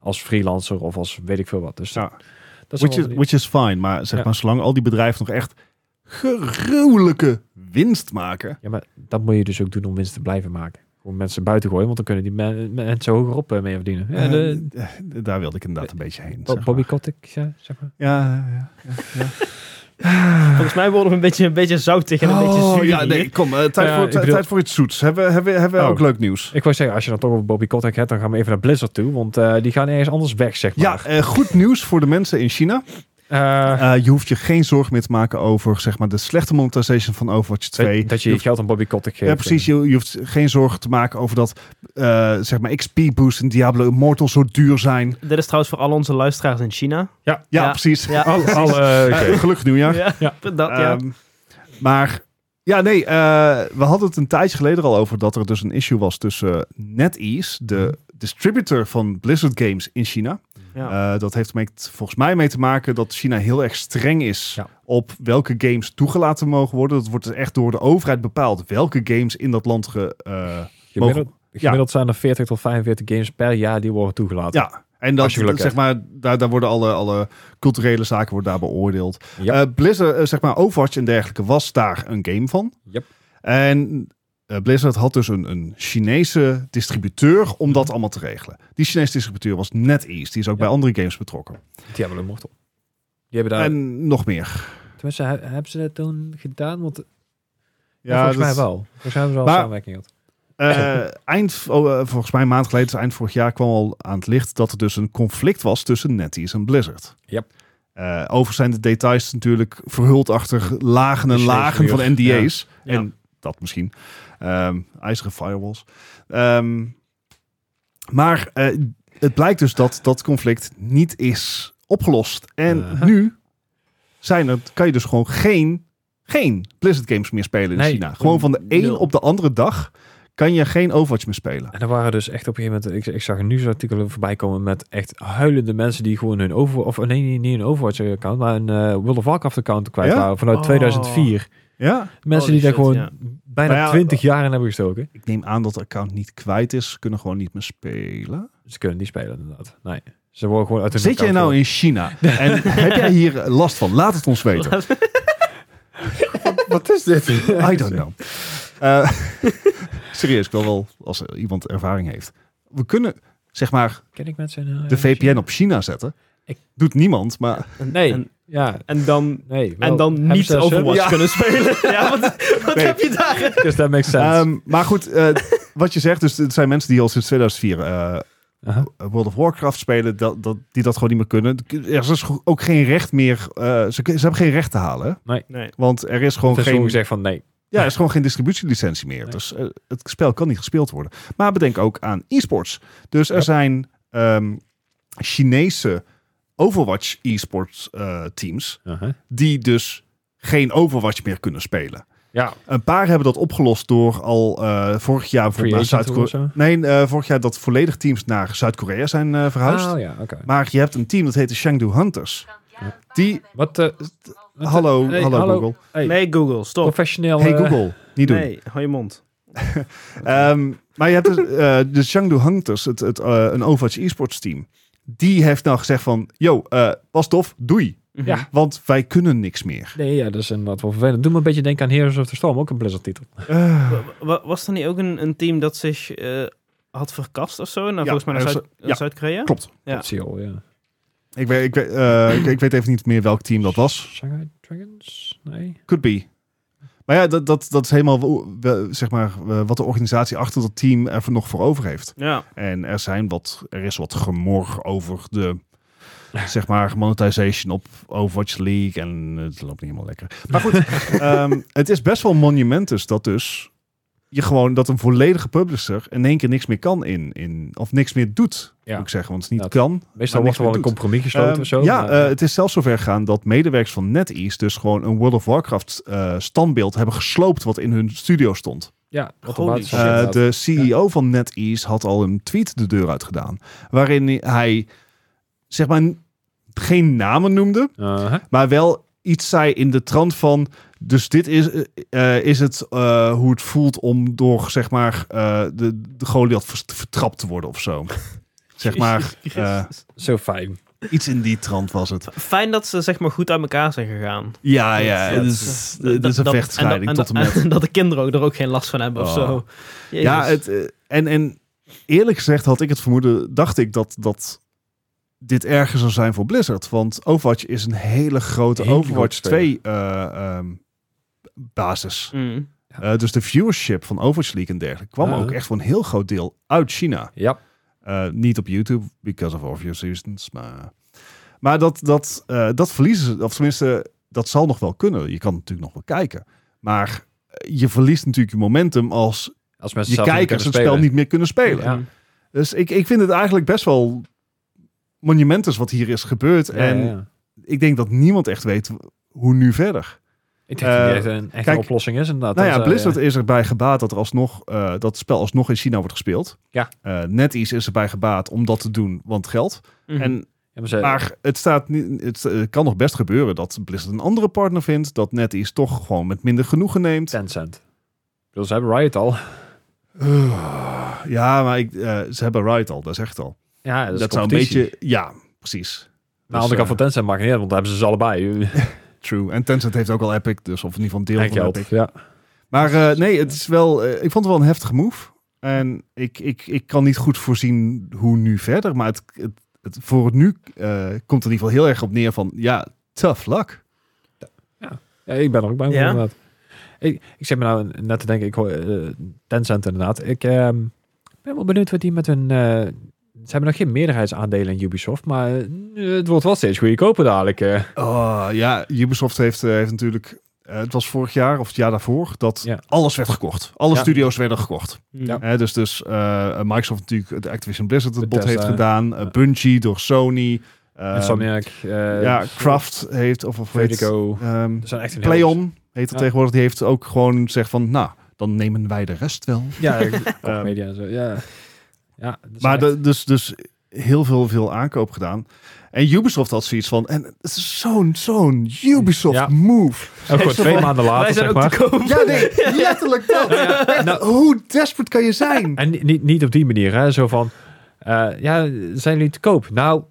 Speaker 1: Als freelancer of als weet ik veel wat. Dus
Speaker 2: Ja.
Speaker 1: dat is
Speaker 2: Which is,
Speaker 1: allemaal-
Speaker 2: which is fine, maar zeg
Speaker 1: Ja.
Speaker 2: maar, zolang al die bedrijven nog echt gruwelijke winst maken.
Speaker 1: ja, maar dat moet je dus ook doen om winst te blijven maken. Gewoon mensen buiten gooien, want dan kunnen die men- mensen hogerop eh, mee verdienen. Ja,
Speaker 2: eh,
Speaker 1: de,
Speaker 2: eh, daar wilde ik inderdaad een beetje heen.
Speaker 1: Bo-
Speaker 2: zeg
Speaker 1: Bobby
Speaker 2: maar.
Speaker 1: Kotick, ja, zeg maar.
Speaker 2: Ja, ja, ja.
Speaker 3: Volgens mij worden we een beetje, een beetje zoutig en een beetje
Speaker 2: Oh,
Speaker 3: zuur.
Speaker 2: ja,
Speaker 3: hier.
Speaker 2: nee, kom. eh, tijd,
Speaker 1: Ja,
Speaker 2: voor,
Speaker 1: ik bedoel-
Speaker 2: tijd voor iets zoets. Hebben, hebben, hebben we
Speaker 1: Oh.
Speaker 2: ook leuk nieuws?
Speaker 1: Ik wou zeggen, als je dan toch over Bobby Kotick hebt, dan gaan we even naar Blizzard toe. Want eh, die gaan ergens anders weg, zeg maar.
Speaker 2: Ja, eh, goed nieuws voor de mensen in China.
Speaker 1: Eh,
Speaker 2: Eh, je hoeft je geen zorgen meer te maken over zeg maar, de slechte monetization van Overwatch 2.
Speaker 1: dat je je geld aan Bobby Kotick geeft.
Speaker 2: Ja, precies. Je, je hoeft geen zorgen te maken over dat eh, zeg maar XP-boost en Diablo Immortal zo duur zijn.
Speaker 3: Dit is trouwens voor al onze luisteraars in China.
Speaker 1: Ja,
Speaker 2: Ja,
Speaker 3: Ja.
Speaker 2: precies. Oh,
Speaker 3: Ja.
Speaker 1: Al, al, eh, oké.
Speaker 2: Eh, gelukkig nieuwjaar.
Speaker 3: Ja,
Speaker 1: Ja.
Speaker 3: dat ja.
Speaker 2: Ehm, maar ja, nee, eh, we hadden het een tijdje geleden al over dat er dus een issue was tussen NetEase, de distributor van Blizzard Games in China.
Speaker 3: Mhm. ja.
Speaker 2: Eh, dat heeft ermee- volgens mij mee te maken dat China heel erg streng is
Speaker 1: Ja.
Speaker 2: op welke games toegelaten mogen worden. Dat wordt dus echt door de overheid bepaald welke games in dat land ge, eh,
Speaker 1: Gemiddeld,
Speaker 2: mogen-
Speaker 1: gemiddeld zijn er 40 tot 45 games per jaar die worden toegelaten.
Speaker 2: Ja, en dat,
Speaker 1: Als je geluk
Speaker 2: zeg maar, daar, daar worden alle, alle culturele zaken worden daar beoordeeld.
Speaker 1: Ja.
Speaker 2: Eh, Blizzard, eh, zeg maar Overwatch en dergelijke, was daar een game van.
Speaker 1: Yep.
Speaker 2: En eh, Blizzard had dus een, een Chinese distributeur om dat allemaal te regelen. Die Chinese distributeur was NetEase. Die is ook
Speaker 1: Mhm. Ja.
Speaker 2: bij andere games betrokken.
Speaker 1: Diablo Immortal. Die hebben daar...
Speaker 2: En nog meer.
Speaker 1: tenminste, he- hebben ze dat toen gedaan? Want, ja,
Speaker 2: Ja,
Speaker 1: volgens
Speaker 2: dat-
Speaker 1: mij wel. Volgens mij hebben ze al
Speaker 2: Maar-
Speaker 1: samenwerking gehad.
Speaker 2: Eh, eind, oh, eh, volgens mij een maand geleden, dus eind vorig jaar, kwam al aan het licht dat er dus een conflict was tussen NetEase en Blizzard.
Speaker 1: Yep.
Speaker 2: Eh, overigens zijn de details natuurlijk verhuld achter lagen en
Speaker 1: Is
Speaker 2: lagen van
Speaker 1: steeds weer.
Speaker 2: NDA's.
Speaker 3: Ja.
Speaker 2: En dat misschien. Ehm ijzeren firewalls. Ehm, maar eh, het blijkt dus dat dat conflict niet is opgelost. En
Speaker 1: Eh.
Speaker 2: nu zijn er, kan je dus gewoon geen, geen Blizzard games meer spelen in
Speaker 1: Nee,
Speaker 2: China. Gewoon van de een
Speaker 1: nul.
Speaker 2: op de andere dag kan je geen Overwatch meer spelen.
Speaker 1: En er waren dus echt op een gegeven moment... Ik, ik zag een nieuwsartikel voorbij komen met echt huilende mensen die gewoon hun over... Of nee, niet, niet een Overwatch-account, maar een eh, World of Warcraft-account kwijt
Speaker 2: Ja?
Speaker 1: waren vanuit
Speaker 3: Oh.
Speaker 1: 2004.
Speaker 2: Ja,
Speaker 1: Mensen die
Speaker 3: Holy
Speaker 1: daar
Speaker 3: shit,
Speaker 1: gewoon
Speaker 3: ja.
Speaker 1: bijna
Speaker 2: Maar ja,
Speaker 1: 20 jaar in hebben gestoken.
Speaker 2: ik neem aan dat de account niet kwijt is. Kunnen gewoon niet meer spelen.
Speaker 1: dus Ze kunnen niet spelen, inderdaad. Nee. Ze worden gewoon uit hun
Speaker 2: Zit jij
Speaker 1: account
Speaker 2: nou in China? En heb jij hier last van? Laat het ons weten. Wat is dit? I don't know. Eh, serieus, ik wil wel, als er iemand ervaring heeft. We kunnen, zeg maar,
Speaker 1: Ken ik mensen? in, eh,
Speaker 2: de VPN op China zetten.
Speaker 1: Ik-
Speaker 2: Doet niemand, maar...
Speaker 1: Nee,
Speaker 3: En-
Speaker 1: ja.
Speaker 3: En dan,
Speaker 1: Nee, wel,
Speaker 3: en dan
Speaker 1: hebben
Speaker 3: niet
Speaker 1: ze daar
Speaker 3: Overwatch
Speaker 2: Ja.
Speaker 3: kunnen spelen. ja, wat, wat
Speaker 2: Nee.
Speaker 3: heb je daar?
Speaker 1: Dus dat makes sense.
Speaker 2: Ehm, maar goed, eh, wat je zegt, dus het zijn mensen die al sinds 2004 eh,
Speaker 1: Aha.
Speaker 2: World of Warcraft spelen, dat, dat, die dat gewoon niet meer kunnen. Er is dus ook geen recht meer, eh, ze, ze hebben geen recht te halen.
Speaker 3: Nee.
Speaker 2: Want er is gewoon
Speaker 1: Dus
Speaker 2: geen...
Speaker 1: gewoon gezegd van nee.
Speaker 2: Ja, er is gewoon geen distributielicentie meer.
Speaker 1: Nee.
Speaker 2: Dus eh, het spel kan niet gespeeld worden. Maar bedenk ook aan e-sports. Dus er
Speaker 1: Ja.
Speaker 2: zijn ehm, Chinese Overwatch e-sports eh, teams...
Speaker 1: Aha.
Speaker 2: die dus geen Overwatch meer kunnen spelen.
Speaker 1: Ja,
Speaker 2: Een paar hebben dat opgelost door al eh, vorig jaar
Speaker 1: free
Speaker 2: bijvoorbeeld naar
Speaker 1: agent tour of
Speaker 2: Zuid-Korea.
Speaker 1: zo.
Speaker 2: Nee, eh, vorig jaar dat volledig teams naar Zuid-Korea zijn eh, verhuisd.
Speaker 1: Ah, ja, oké.
Speaker 2: Maar je hebt een team dat heet de Chengdu Hunters. Die,
Speaker 1: Wat, eh, wat,
Speaker 2: hallo,
Speaker 1: hey,
Speaker 2: hallo,
Speaker 1: hallo.
Speaker 2: Google.
Speaker 1: hey,
Speaker 3: Nee, Google, stop.
Speaker 1: professioneel.
Speaker 2: Hey
Speaker 1: eh,
Speaker 2: Google, niet doen.
Speaker 3: Nee, hou je mond.
Speaker 2: Ehm, maar je hebt dus, eh, de Chengdu Hunters, het, het, eh, een Overwatch e-sports team. Die heeft nou gezegd van, yo, eh, was tof, doei.
Speaker 3: Mhm.
Speaker 1: Ja.
Speaker 2: Want wij kunnen niks meer.
Speaker 1: Nee, ja, dat is inderdaad wel vervelend. Doe me een beetje denken aan Heroes of the Storm, ook een Blizzard titel.
Speaker 2: Eh,
Speaker 3: Wa- wa- Was er niet ook een, een team dat zich eh, had verkast of zo? Nou, volgens mij naar
Speaker 2: er is-
Speaker 3: Zuid-
Speaker 2: ja.
Speaker 3: Zuid-Korea?
Speaker 2: klopt.
Speaker 3: Ja.
Speaker 1: Dat zie je al, ja.
Speaker 2: Ik weet, ik, weet, eh, ik, ik weet even niet meer welk team dat was.
Speaker 1: Shanghai Dragons? Nee.
Speaker 2: Could be. Maar ja, dat, dat, dat is helemaal wo- we- zeg maar, eh, wat de organisatie achter dat team er voor- nog voor over heeft.
Speaker 3: Ja.
Speaker 2: En er, zijn wat, er is wat gemor over de zeg maar, monetization op Overwatch League. En het loopt niet helemaal lekker. Maar goed, ehm, het is best wel monumentus dat dus je gewoon dat een volledige publisher in één keer niks meer kan in, in of niks meer doet,
Speaker 1: Ja.
Speaker 2: moet ik zeggen. Want het niet
Speaker 1: Dat-
Speaker 2: kan,
Speaker 1: Meestal
Speaker 2: niks
Speaker 1: wordt er wel
Speaker 2: meer
Speaker 1: een
Speaker 2: doet.
Speaker 1: compromis gesloten
Speaker 2: Ehm,
Speaker 1: of zo.
Speaker 2: ja,
Speaker 1: maar-
Speaker 2: eh, het is zelfs zover gegaan dat medewerkers van NetEase dus gewoon een World of Warcraft eh, standbeeld hebben gesloopt wat in hun studio stond.
Speaker 1: ja, wat
Speaker 3: Holy
Speaker 1: automatisch
Speaker 3: shit.
Speaker 1: is
Speaker 2: Eh,
Speaker 1: inderdaad.
Speaker 2: de CEO van NetEase had al een tweet de deur uit gedaan, waarin hij zeg maar n- geen namen noemde,
Speaker 1: Aha.
Speaker 2: maar wel iets zei in de trant van dus dit is, eh, eh, is het eh, hoe het voelt om door zeg maar eh, de, de Goliath vers- vertrapt te worden of zo. zeg maar
Speaker 3: Jezus
Speaker 2: eh,
Speaker 3: Christus.
Speaker 1: Zo fijn.
Speaker 2: iets in die trant was het.
Speaker 3: Fijn dat ze zeg maar goed uit elkaar zijn gegaan.
Speaker 2: Ja, ja,
Speaker 1: Dat-
Speaker 2: het is,
Speaker 3: Dat-
Speaker 2: het is een
Speaker 3: dat-
Speaker 2: vechtscheiding
Speaker 3: en dat-
Speaker 2: tot en
Speaker 3: en
Speaker 2: met.
Speaker 3: dat- dat de kinderen ook er ook geen last van hebben of
Speaker 2: Oh.
Speaker 3: zo. Jezus.
Speaker 2: Ja, het, eh, en, en eerlijk gezegd had ik het vermoeden, dacht ik dat, dat dit erger zou zijn voor Blizzard. Want Overwatch is een hele grote
Speaker 1: Hele grote
Speaker 2: Overwatch
Speaker 1: speler.
Speaker 2: 2 eh, ehm, basis.
Speaker 3: Mm.
Speaker 2: Eh, dus de viewership van Overwatch League en dergelijke kwam
Speaker 1: Ah.
Speaker 2: ook echt voor een heel groot deel uit China.
Speaker 1: Ja,
Speaker 2: Eh, niet op YouTube, because of obvious reasons. Maar, maar dat, dat, eh, dat verliezen ze, of tenminste, dat zal nog wel kunnen. Je kan natuurlijk nog wel kijken. Maar eh, je verliest natuurlijk je momentum als
Speaker 1: als mensen
Speaker 2: je
Speaker 1: zelf niet
Speaker 2: kijkers
Speaker 1: kunnen
Speaker 2: het spel
Speaker 1: spelen.
Speaker 2: niet meer kunnen spelen.
Speaker 1: Ja.
Speaker 2: Dus ik, ik vind het eigenlijk best wel monumentous wat hier is gebeurd.
Speaker 1: Ja,
Speaker 2: en
Speaker 1: ja, ja.
Speaker 2: ik denk dat niemand echt weet hoe nu verder.
Speaker 1: Ik denk dat
Speaker 2: eh,
Speaker 1: het echt een echte
Speaker 2: kijk,
Speaker 1: oplossing is eh, inderdaad.
Speaker 2: nou
Speaker 1: Dan
Speaker 2: ja,
Speaker 1: zou je-
Speaker 2: Blizzard is erbij gebaat dat, er alsnog, eh, dat het spel alsnog in China wordt gespeeld.
Speaker 1: Ja.
Speaker 2: Eh, NetEase is erbij gebaat om dat te doen, want geld.
Speaker 3: Mhm.
Speaker 2: En
Speaker 1: Ja, maar ze-
Speaker 2: Maar het, staat niet, het eh, kan nog best gebeuren dat Blizzard een andere partner vindt. Dat NetEase toch gewoon met minder genoegen neemt.
Speaker 1: Tencent. Ik bedoel, ze hebben Riot al.
Speaker 2: Ja, maar ik, eh, ze hebben Riot al, dat is echt al.
Speaker 1: Ja,
Speaker 2: Dat,
Speaker 1: is
Speaker 2: zou een
Speaker 1: competitie.
Speaker 2: beetje... Ja, precies.
Speaker 1: Maar aan de andere kant
Speaker 2: Dus,
Speaker 1: van Tencent maakt niet uit, want daar hebben ze ze allebei.
Speaker 2: eh, True. En Tencent heeft ook al Epic, dus of in ieder geval een
Speaker 1: En
Speaker 2: deel van
Speaker 1: geld.
Speaker 2: Epic.
Speaker 1: Ja.
Speaker 2: Maar eh, nee, het is wel... eh, ik vond het wel een heftige move. En ik, ik, ik kan niet goed voorzien hoe nu verder. Maar het, het, het- voor het nu eh, komt er in ieder geval heel erg op neer van... Ja, tough luck.
Speaker 1: Ja, ik ben er ook bang voor
Speaker 3: Ja?
Speaker 1: inderdaad. Ik, ik zit me nou net te denken, ik hoor eh, Tencent inderdaad. Ik ehm, ben wel benieuwd wat die met hun... eh, ze hebben nog geen meerderheidsaandelen in Ubisoft, maar eh, het wordt wel steeds goedkoper dadelijk. eh.
Speaker 2: Oh, ja, Ubisoft heeft, eh, heeft natuurlijk... eh, het was vorig jaar of het jaar daarvoor dat
Speaker 1: Ja.
Speaker 2: alles werd gekocht. Alle
Speaker 1: Ja.
Speaker 2: studio's werden gekocht.
Speaker 1: Ja.
Speaker 2: Hè, dus dus eh, Microsoft natuurlijk, de Activision Blizzard het bot
Speaker 1: Bethesda.
Speaker 2: heeft gedaan. eh,
Speaker 1: Ja.
Speaker 2: Bungie door Sony. eh,
Speaker 1: En Sonic, eh,
Speaker 2: ja, Kraft heeft, of, of heet,
Speaker 1: Vertigo.
Speaker 2: ehm,
Speaker 1: Dat zijn echt een heel-
Speaker 2: Playon heet dat
Speaker 1: Dus- Ja.
Speaker 2: tegenwoordig. Die heeft ook gewoon gezegd van, nou, dan nemen wij de rest wel.
Speaker 1: Ja, eh, media en zo. Ja, ja dat is
Speaker 2: Maar
Speaker 1: echt-
Speaker 2: de- dus, dus heel veel, veel aankoop gedaan. En Ubisoft had zoiets van, en het is zo'n, zo'n Ubisoft
Speaker 1: Ja.
Speaker 2: move.
Speaker 1: ook gewoon oh, twee maanden later,
Speaker 3: Wij zijn
Speaker 1: zeg
Speaker 3: ook te
Speaker 1: maar.
Speaker 3: koop.
Speaker 2: Ja, nee, letterlijk dat. Echt,
Speaker 1: Nou-
Speaker 2: hoe desperate kan je zijn?
Speaker 1: En ni- niet, niet op die manier, hè. Zo van, eh, ja, zijn jullie te koop? Nou,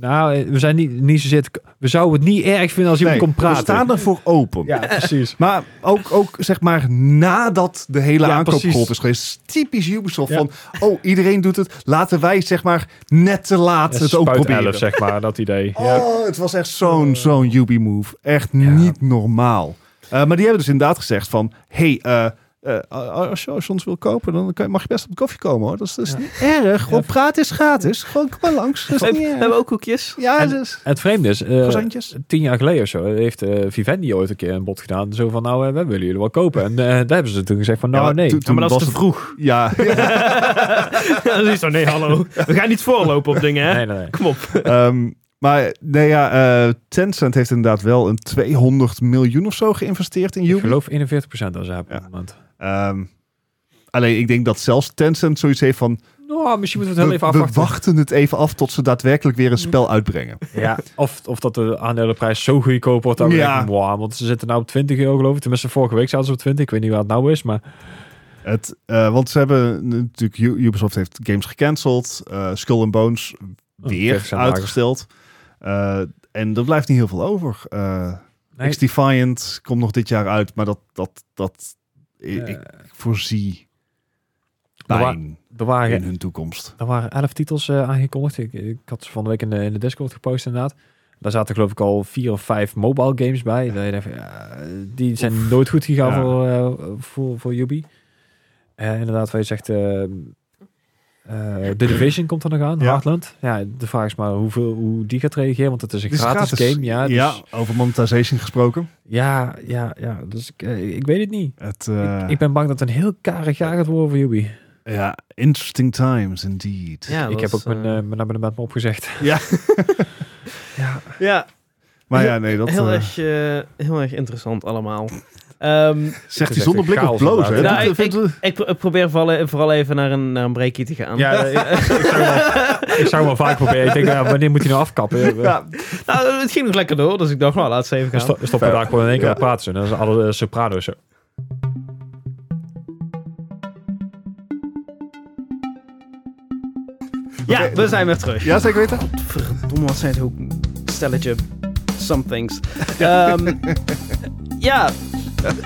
Speaker 1: nou eh, we zijn niet, niet zozeer te ko- We zouden het niet erg vinden als iemand
Speaker 2: Nee,
Speaker 1: komt praten.
Speaker 2: We staan ervoor open.
Speaker 1: Ja, precies.
Speaker 2: Maar ook, ook zeg maar nadat de hele
Speaker 1: Ja,
Speaker 2: aankoopgolf
Speaker 1: precies.
Speaker 2: is geweest. Typisch Ubisoft
Speaker 1: Ja.
Speaker 2: van, oh iedereen doet het. Laten wij zeg maar net te laat
Speaker 1: Ja,
Speaker 2: het ook
Speaker 1: spuit
Speaker 2: proberen.
Speaker 1: elf, zeg maar, dat idee. Ja.
Speaker 2: Oh, het was echt zo'n zo'n Yubi move. Echt niet normaal. Eh, maar die hebben dus inderdaad gezegd van... hey, eh, eh, als, je, als je ons wil kopen, dan kan, je- mag je best op de koffie komen hoor. Dat is, dat is
Speaker 1: Ja.
Speaker 2: niet erg. Gewoon praten is gratis. Gewoon kom maar langs. Dat
Speaker 3: We
Speaker 2: is niet
Speaker 3: hebben- we
Speaker 2: erg.
Speaker 3: hebben ook koekjes.
Speaker 2: Ja, dus...
Speaker 1: Het vreemde is, eh,
Speaker 2: Croissantjes?
Speaker 1: tien jaar geleden of zo, heeft eh, Vivendi ooit een keer een bod gedaan. Zo van, nou, eh, wij willen jullie wel kopen. En eh, daar hebben ze toen gezegd van, nou,
Speaker 2: Ja, maar
Speaker 1: nee.
Speaker 2: toen-
Speaker 3: Ja, maar dat is te
Speaker 2: was
Speaker 3: vroeg.
Speaker 2: Ja,
Speaker 3: dat is zo, nee, hallo. We gaan niet voorlopen op dingen, hè?
Speaker 1: Nee, nee, nee.
Speaker 3: Kom op.
Speaker 2: Ehm, Maar nee, ja, eh, Tencent heeft inderdaad wel een 200 miljoen of zo geïnvesteerd in
Speaker 1: Ik
Speaker 2: Ubi.
Speaker 1: geloof 41% aan ze op
Speaker 2: Ja.
Speaker 1: het moment.
Speaker 2: Ehm, alleen ik denk dat zelfs Tencent zoiets heeft van...
Speaker 1: Nou, misschien moeten we
Speaker 2: We,
Speaker 1: het heel even
Speaker 2: we
Speaker 1: afwachten. Mm.
Speaker 2: wachten het even af tot ze daadwerkelijk weer een spel uitbrengen.
Speaker 1: Ja, of, of dat de aandelenprijs zo goedkoop wordt. Dat we
Speaker 2: Ja.
Speaker 1: denken, wow, want ze zitten nou op 20 euro geloof ik. Tenminste, vorige week zaten ze op 20. Ik weet niet waar het nou is, maar
Speaker 2: Het, eh, want ze hebben natuurlijk... U- Ubisoft heeft games gecanceld. eh Skull and Bones
Speaker 1: Oh,
Speaker 2: weer
Speaker 1: 40% lager.
Speaker 2: uitgesteld. Eh, en er blijft niet heel veel over. Eh
Speaker 1: Nee.
Speaker 2: X-Defiant komt nog dit jaar uit, maar dat... dat, dat i-
Speaker 1: eh,
Speaker 2: ik voorzie
Speaker 1: Maar waar-
Speaker 2: pijn
Speaker 1: er, waren,
Speaker 2: in hun toekomst.
Speaker 1: er waren 11 titels eh, aangekondigd. Ik, ik had ze van de week in de, in de Discord gepost inderdaad. Daar zaten geloof ik al vier of vijf mobile games bij. Dat je denkt van, ja, die zijn nooit goed gegaan
Speaker 2: Ja.
Speaker 1: voor, eh, voor, voor Yubi. Eh, inderdaad, wat je zegt... eh eh, The Division komt er nog aan,
Speaker 2: Ja.
Speaker 1: Heartland. Ja, de vraag is maar hoeveel, hoe die gaat reageren, want het is een
Speaker 2: Het is
Speaker 1: gratis,
Speaker 2: gratis.
Speaker 1: game. Ja, dus-
Speaker 2: ja, over monetization gesproken.
Speaker 1: Ja, ja, ja. Dus ik, eh, ik weet het niet.
Speaker 2: Het, eh,
Speaker 1: Ik, ik ben bang dat het een heel karig jaar gaat worden voor Yubi.
Speaker 2: Ja, interesting times indeed.
Speaker 3: Ja,
Speaker 1: ik
Speaker 3: dat
Speaker 1: heb
Speaker 3: is,
Speaker 1: ook mijn,
Speaker 3: eh,
Speaker 1: eh, mijn abonnement maar opgezegd.
Speaker 2: Ja.
Speaker 1: ja.
Speaker 3: ja,
Speaker 2: Maar ja, nee, dat
Speaker 3: heel,
Speaker 2: eh,
Speaker 3: erg, eh, heel erg interessant allemaal. Ehm,
Speaker 2: zegt
Speaker 1: Het
Speaker 2: hij
Speaker 1: is
Speaker 2: zonder
Speaker 1: echt
Speaker 2: blik of
Speaker 1: chaos
Speaker 2: bloos. Hè?
Speaker 1: inderdaad.
Speaker 2: Dat-
Speaker 3: Nou, ik-
Speaker 2: dat- dat-
Speaker 3: ik, pro- ik probeer vooral, vooral even naar een, naar een breakie te gaan.
Speaker 1: Ja, eh, ik, ik zou wel, ik zou wel vaak proberen. Ik denk, ja, wanneer moet hij nou afkappen? Eh,
Speaker 3: Ja. Nou, het ging nog lekker door, dus ik dacht, nou, laat ze even
Speaker 1: we
Speaker 3: gaan.
Speaker 1: sto- we stoppen daar gewoon in één keer aan praten. zo. Dan zijn alle eh, soprano's zo.
Speaker 3: Ja, we zijn weer terug.
Speaker 2: Ja, zeker weten.
Speaker 3: Verdomme, wat zijn het ook een stelletje somethings. Ehm ja,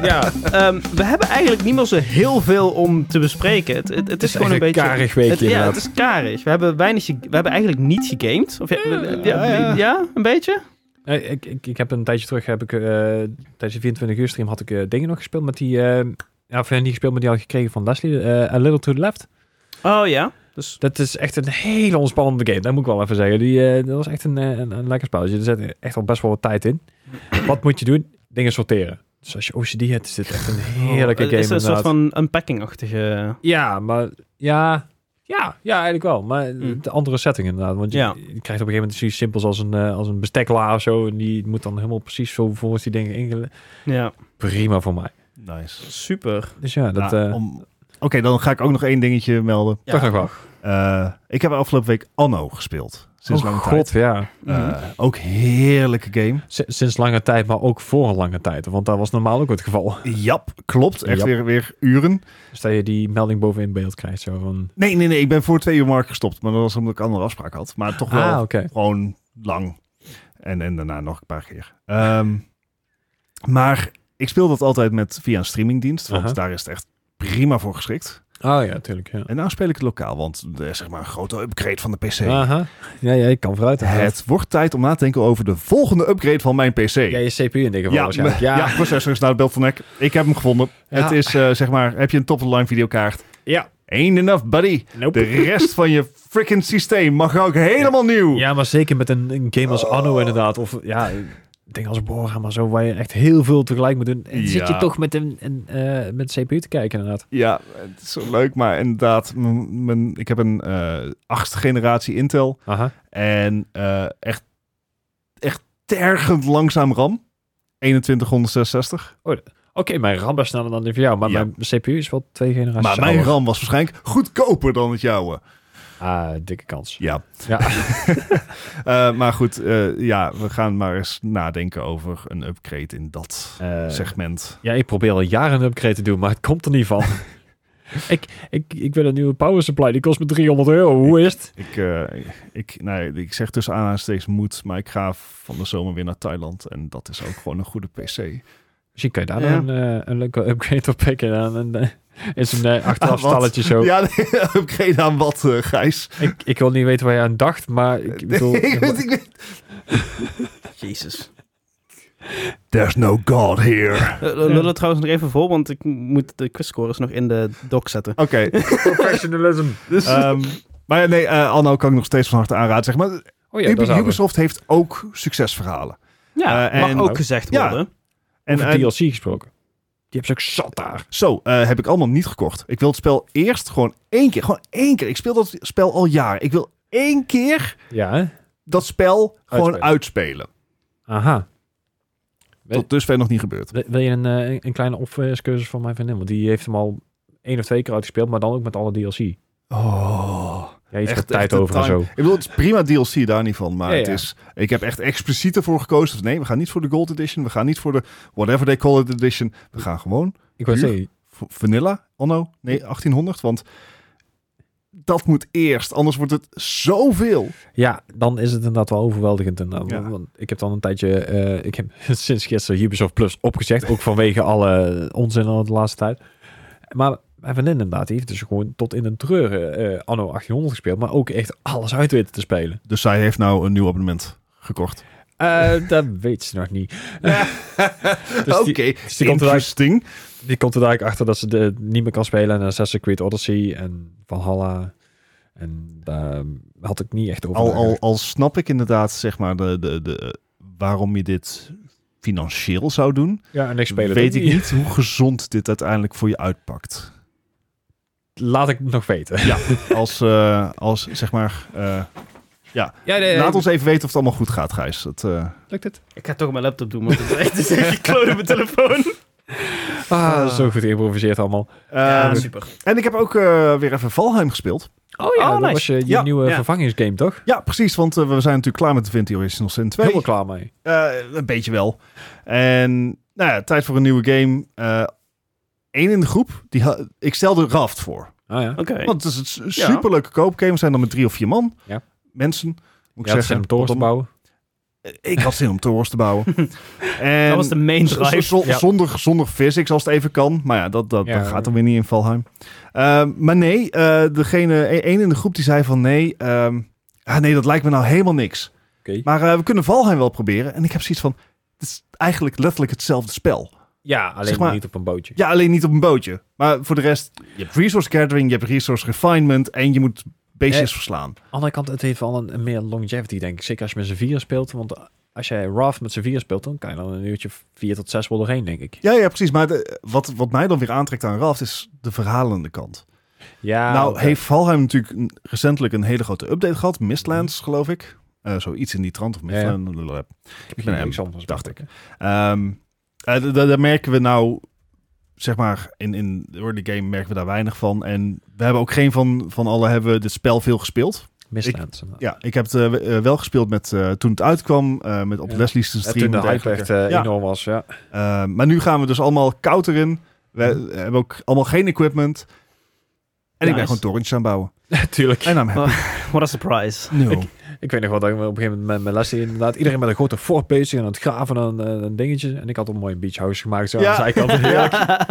Speaker 3: ja ehm, we hebben eigenlijk niet meer zo heel veel om te bespreken. Het, het, het is gewoon een
Speaker 1: echt
Speaker 3: beetje...
Speaker 1: karig weekje
Speaker 3: het, ja,
Speaker 1: inderdaad.
Speaker 3: het is karig. We hebben, weinig, ge- we hebben eigenlijk niet gegamed. Of, ja, we- ja,
Speaker 2: ja.
Speaker 3: ja, een beetje?
Speaker 1: Nee, ik, ik, ik heb een tijdje terug, heb ik, eh, tijdens de 24 uur stream had ik eh, dingen nog gespeeld met die... eh, ja, of eh, niet gespeeld, maar die had ik gekregen van Leslie. eh, A Little to the Left.
Speaker 3: Oh ja. Dus
Speaker 1: Dat is echt een hele ontspannende game. Dat moet ik wel even zeggen. Die, eh, dat was echt een, eh, een, een lekker spelletje. Er zit echt al best wel wat tijd in. Wat moet je doen? Dingen sorteren. Dus als je OCD hebt, is dit echt een heerlijke
Speaker 3: Oh,
Speaker 1: game.
Speaker 3: Is het een soort
Speaker 1: inderdaad.
Speaker 3: van unpacking-achtige...
Speaker 1: Ja, maar ja, ja, ja, eigenlijk wel. Maar
Speaker 3: Hmm.
Speaker 1: de andere setting inderdaad. Want je,
Speaker 3: Ja.
Speaker 1: je krijgt op een gegeven moment zoiets simpels als een, eh, als een bestekla of zo. En die moet dan helemaal precies zo volgens die dingen ingele...
Speaker 3: Ja,
Speaker 1: Prima voor mij.
Speaker 2: Nice.
Speaker 3: super.
Speaker 1: Dus ja, dat... eh
Speaker 2: Nou, om- Oké, dan ga ik ook nog één dingetje melden.
Speaker 1: Toch nog wel.
Speaker 2: Eh, ik heb afgelopen week Anno gespeeld. Sinds
Speaker 1: Oh,
Speaker 2: lang
Speaker 1: god, Mhm. ja.
Speaker 2: tijd. Eh, ook heerlijke game.
Speaker 1: S- sinds lange tijd, maar ook voor een lange tijd. Want dat was normaal ook het geval.
Speaker 2: Jap, klopt. Echt
Speaker 1: Jap.
Speaker 2: Weer, weer uren.
Speaker 1: Dus dat je die melding boven in beeld krijgt. Zo van,
Speaker 2: Nee, nee, nee. Ik ben voor twee uur mark gestopt. Maar dat was omdat ik een andere afspraak had. Maar toch wel
Speaker 1: ah, oké.
Speaker 2: gewoon lang. En, en daarna nog een paar keer. Ehm, maar ik speel dat altijd met, via een streamingdienst. Want
Speaker 1: Aha.
Speaker 2: daar is het echt prima voor geschikt.
Speaker 1: Oh ja, natuurlijk. Ja.
Speaker 2: En nou speel ik het lokaal. Want er is zeg maar een grote upgrade van de PC.
Speaker 1: Aha. Ja, ja, je kan vooruit. inderdaad.
Speaker 2: Het wordt tijd om na te denken over de volgende upgrade van mijn PC.
Speaker 1: Ja, je CPU in dit geval waarschijnlijk.
Speaker 2: ja, ja, processor is nou het beeld van nek. Ik heb hem gevonden.
Speaker 1: Ja.
Speaker 2: Het is eh, zeg maar, heb je een top-of-the-line videokaart?
Speaker 1: Ja.
Speaker 2: Ain't enough, buddy. De
Speaker 1: Nope.
Speaker 2: rest van je freaking systeem mag ook helemaal nieuw.
Speaker 1: Ja, maar zeker met een, een game als
Speaker 2: Oh.
Speaker 1: Anno inderdaad. Of ja, ik denk als Bora, maar zo waar je echt heel veel tegelijk moet doen. En zit je
Speaker 2: Ja.
Speaker 1: toch met een, een eh, met CPU te kijken inderdaad.
Speaker 2: Ja, het is zo leuk, maar inderdaad, m- mijn- ik heb een eh achtste generatie Intel
Speaker 1: Aha.
Speaker 2: en eh, echt, echt tergend langzaam RAM. 2166.
Speaker 1: Oké, mijn RAM is sneller dan die van jou, maar
Speaker 2: Ja.
Speaker 1: mijn CPU is wel twee generaties
Speaker 2: Maar mijn
Speaker 1: ouder.
Speaker 2: RAM was waarschijnlijk goedkoper dan het jouwe.
Speaker 1: Ah, dikke kans.
Speaker 2: Ja.
Speaker 1: Ja.
Speaker 2: Eh, maar goed, eh, ja, we gaan maar eens nadenken over een upgrade in dat
Speaker 1: Eh,
Speaker 2: segment.
Speaker 1: Ja, ik probeer al jaren een upgrade te doen, maar het komt er niet van. ik, ik, ik wil een nieuwe power supply, die kost me 300 euro. Hoe is het?
Speaker 2: Ik, eh, ik, nee, ik zeg tussen aanhalingstekens moet, maar ik ga van de zomer weer naar Thailand. En dat is ook gewoon een goede PC.
Speaker 1: Misschien kan je daar
Speaker 3: Ja.
Speaker 1: nog een, eh, een leuke upgrade op pikken. En, en, eh, is een eh, achteraf
Speaker 2: Ah, wat?
Speaker 1: stalletje zo.
Speaker 2: Ja, nee, upgrade aan wat, eh, Gijs?
Speaker 1: Ik, ik wil niet weten waar je aan dacht, maar ik bedoel...
Speaker 2: Ik weet- ik weet-
Speaker 3: Jezus.
Speaker 2: There's no God here.
Speaker 3: Eh, Lul het trouwens nog even vol, want ik moet de quizscores nog in de doc zetten.
Speaker 2: Oké,
Speaker 1: Professionalism.
Speaker 3: Dus,
Speaker 2: ehm, maar ja, nee, eh, Anno kan ik nog steeds van harte aanraden. Zeg maar,
Speaker 1: Oh ja, dat
Speaker 2: Ubi-
Speaker 1: is Ubisoft.
Speaker 2: Ubisoft heeft ook succesverhalen.
Speaker 3: ja,
Speaker 2: eh,
Speaker 3: mag
Speaker 2: en-
Speaker 3: ook gezegd
Speaker 2: Ja.
Speaker 3: worden.
Speaker 2: En,
Speaker 1: Over
Speaker 2: en-
Speaker 1: DLC gesproken. Die hebben ze ook zat daar.
Speaker 2: Zo, eh, heb ik allemaal niet gekocht. Ik wil het spel eerst gewoon één keer. Gewoon één keer. Ik speel dat spel al jaren. Ik wil één keer
Speaker 1: Ja, hè?
Speaker 2: dat spel gewoon
Speaker 1: Uitspelen.
Speaker 2: uitspelen.
Speaker 1: Aha. Weet-
Speaker 2: Tot dusver nog niet gebeurd.
Speaker 1: Wil wil je een, eh, een kleine opfriscursus van mijn vriendin? Want die heeft hem al één of twee keer uitgespeeld, maar dan ook met alle DLC.
Speaker 2: Oh.
Speaker 1: Ja, iets
Speaker 2: Echt-
Speaker 1: met
Speaker 2: echt
Speaker 1: tijd
Speaker 2: de
Speaker 1: over en
Speaker 2: time.
Speaker 1: zo.
Speaker 2: Ik bedoel, het is prima DLC daar niet van, maar
Speaker 1: Ja,
Speaker 2: het
Speaker 1: ja.
Speaker 2: is... Ik heb echt expliciet ervoor gekozen. Dus nee, we gaan niet voor de Gold Edition. We gaan niet voor de whatever they call it edition. We gaan gewoon
Speaker 1: Ik wou
Speaker 2: Duur.
Speaker 1: zeggen,
Speaker 2: v- vanilla anno nee, 1800. Want dat moet eerst, anders wordt het zoveel.
Speaker 1: ja, dan is het inderdaad wel overweldigend. En, dan-
Speaker 2: Ja.
Speaker 1: want ik heb dan een tijdje, eh, ik heb sinds gisteren Ubisoft Plus opgezegd, ook vanwege alle onzin al de laatste tijd. Maar mijn vriendin inderdaad, die heeft dus gewoon tot in een treuren eh, anno 1800 gespeeld, maar ook echt alles uit weten te spelen.
Speaker 2: Dus zij heeft nou een nieuw abonnement gekocht.
Speaker 1: Eh, dat weet ze nog niet. Dus
Speaker 2: Oké,
Speaker 1: die- dus die komt er eigenlijk-
Speaker 2: interesting.
Speaker 1: Die komt er eigenlijk achter dat ze de, niet meer kan spelen. En Assassin's Creed Odyssey en Valhalla. En daar had ik niet echt over.
Speaker 2: Al, al,
Speaker 1: nagedacht.
Speaker 2: al snap ik inderdaad, zeg maar, de, de, de, waarom je dit financieel zou doen.
Speaker 1: ja, en ik speel het
Speaker 2: weet
Speaker 1: ook
Speaker 2: ik niet hoe gezond dit uiteindelijk voor je uitpakt.
Speaker 1: Laat ik het nog weten.
Speaker 2: Ja, als, eh, als zeg maar... eh,
Speaker 1: Ja, nee,
Speaker 2: laat ons even weten of het allemaal goed gaat, Gijs. Dat, eh,
Speaker 1: Lukt het?
Speaker 3: Ik ga toch mijn laptop doen, want het is echt het is echt gekloot op mijn telefoon.
Speaker 1: Ah, Oh zo goed geïmproviseerd allemaal.
Speaker 3: Ja,
Speaker 2: ehm,
Speaker 3: super.
Speaker 2: en ik heb ook eh, weer even Valheim gespeeld.
Speaker 1: Oh
Speaker 3: ja,
Speaker 1: dat
Speaker 3: nice.
Speaker 1: was je, je
Speaker 2: Ja,
Speaker 1: nieuwe
Speaker 3: ja.
Speaker 1: vervangingsgame, toch?
Speaker 2: Ja, precies, want eh, we zijn natuurlijk klaar met de Vinti Original Sin 2.
Speaker 1: Helemaal klaar mee.
Speaker 2: Eh, een beetje wel. En nou ja, tijd voor een nieuwe game. Eén in de groep, die ha- ik stelde Raft voor.
Speaker 1: Ah ja.
Speaker 3: Oké.
Speaker 2: Want het is een su- superleuke koopgame. We zijn dan met drie of vier man.
Speaker 1: Ja.
Speaker 2: Mensen, moet ik
Speaker 1: Ja, het zijn
Speaker 2: zeggen.
Speaker 1: om torens te
Speaker 2: Pardon.
Speaker 1: bouwen.
Speaker 2: Ik had zin om torens te bouwen. en
Speaker 3: Dat was de main
Speaker 2: Z- z-
Speaker 3: drive.
Speaker 2: z-
Speaker 1: Ja.
Speaker 2: zonder, zonder physics als het even kan. Maar ja, dat, dat,
Speaker 1: Ja.
Speaker 2: dat gaat dan weer niet in Valheim. Ehm, maar nee, eh, degene, e- één in de groep die zei van nee, ehm, ah, nee, dat lijkt me nou helemaal niks.
Speaker 1: Oké.
Speaker 2: Maar eh, we kunnen Valheim wel proberen. En ik heb zoiets van, het is eigenlijk letterlijk hetzelfde spel.
Speaker 1: Ja, alleen
Speaker 2: Zeg maar-
Speaker 1: niet op een bootje.
Speaker 2: Ja, alleen niet op een bootje. Maar voor de rest, je hebt resource gathering, je hebt resource refinement en je moet beestjes
Speaker 1: Nee.
Speaker 2: verslaan.
Speaker 1: Aan de andere kant, het heeft wel een, een meer longevity, denk ik. Zeker als je met z'n vier speelt. Want als jij Raft met z'n vier speelt, dan kan je dan een uurtje vier tot zes wel doorheen, denk ik.
Speaker 2: Ja, ja, precies. Maar de- wat, wat mij dan weer aantrekt aan Raft is de verhalende kant.
Speaker 1: Ja,
Speaker 2: nou,
Speaker 1: Ah, oké.
Speaker 2: heeft Valheim natuurlijk een- recentelijk een hele grote update gehad. Mistlands, geloof ik. Eh, zoiets in die trant. Of Mistlands. blablabla.
Speaker 1: Ik
Speaker 2: ben hem,
Speaker 1: anders
Speaker 2: dacht
Speaker 1: ik.
Speaker 2: Ehm, eh, d- d- daar merken we nou, zeg maar, in, in de early game merken we daar weinig van. En we hebben ook geen van, van allen hebben we dit spel veel gespeeld.
Speaker 1: Mislands. Ja,
Speaker 2: Ja, ik heb het eh, w- eh, wel gespeeld met, eh, toen het uitkwam, eh, met op
Speaker 1: Ja.
Speaker 2: Leslie's stream.
Speaker 1: toen de
Speaker 2: en
Speaker 1: hype
Speaker 2: dergelijke.
Speaker 1: echt eh,
Speaker 2: Ja.
Speaker 1: enorm was, ja.
Speaker 2: Ehm, maar nu gaan we dus allemaal koud erin. We
Speaker 1: Mhm.
Speaker 2: hebben ook allemaal geen equipment. En ik
Speaker 3: Nice.
Speaker 2: ben gewoon torentjes aan het bouwen.
Speaker 1: Natuurlijk.
Speaker 2: En I'm happy.
Speaker 3: What a surprise.
Speaker 2: No.
Speaker 1: Ik weet nog wel dat ik op een gegeven moment met mijn les hier inderdaad iedereen met een grote fort bezig en aan het graven en eh, een dingetje. En ik had een mooi beachhouse gemaakt zo
Speaker 2: Ja.
Speaker 1: aan de zijkant. Heerlijk.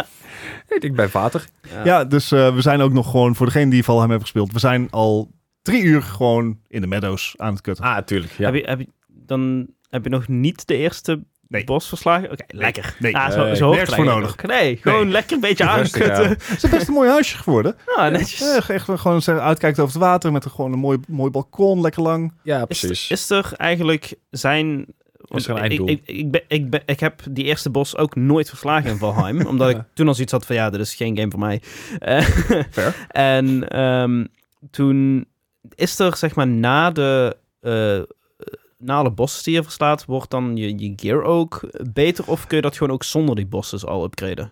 Speaker 1: Ik denk bij vader.
Speaker 2: Ja, dus eh, we zijn ook nog gewoon, voor degene die Valheim hebben gespeeld, we zijn al drie uur gewoon in de meadows aan het kutten.
Speaker 1: Ah, tuurlijk. Ja.
Speaker 3: Heb je, heb je, dan heb je nog niet de eerste
Speaker 2: Nee.
Speaker 3: bos verslagen? Oké, lekker.
Speaker 2: Nee,
Speaker 3: Ah, zo,
Speaker 1: Nee,
Speaker 3: zo hoort
Speaker 2: nergens
Speaker 3: het
Speaker 2: voor
Speaker 3: eigenlijk ook. Nee, gewoon
Speaker 2: Nee.
Speaker 3: lekker een beetje
Speaker 1: Rustig,
Speaker 3: aankutten.
Speaker 2: het is best een mooi huisje geworden.
Speaker 3: Ah, netjes.
Speaker 2: Ja, echt eh, gewoon zeg, uitkijkt over het water met een, gewoon een mooi, mooi balkon, lekker lang.
Speaker 1: Ja,
Speaker 3: Is,
Speaker 1: precies.
Speaker 3: is er eigenlijk zijn... want
Speaker 1: er een
Speaker 3: ik,
Speaker 1: einddoel?
Speaker 3: ik, ik, ben, ik, ben, ik heb die eerste bos ook nooit verslagen in Valheim. omdat ik
Speaker 1: Ja.
Speaker 3: toen al zoiets had van ja, dit is geen game voor mij. Eh,
Speaker 2: Fair.
Speaker 3: en ehm, toen is er zeg maar na de... eh, na alle bossen die je verslaat, wordt dan je, je gear ook beter? Of kun je dat gewoon ook zonder die bossen al upgraden?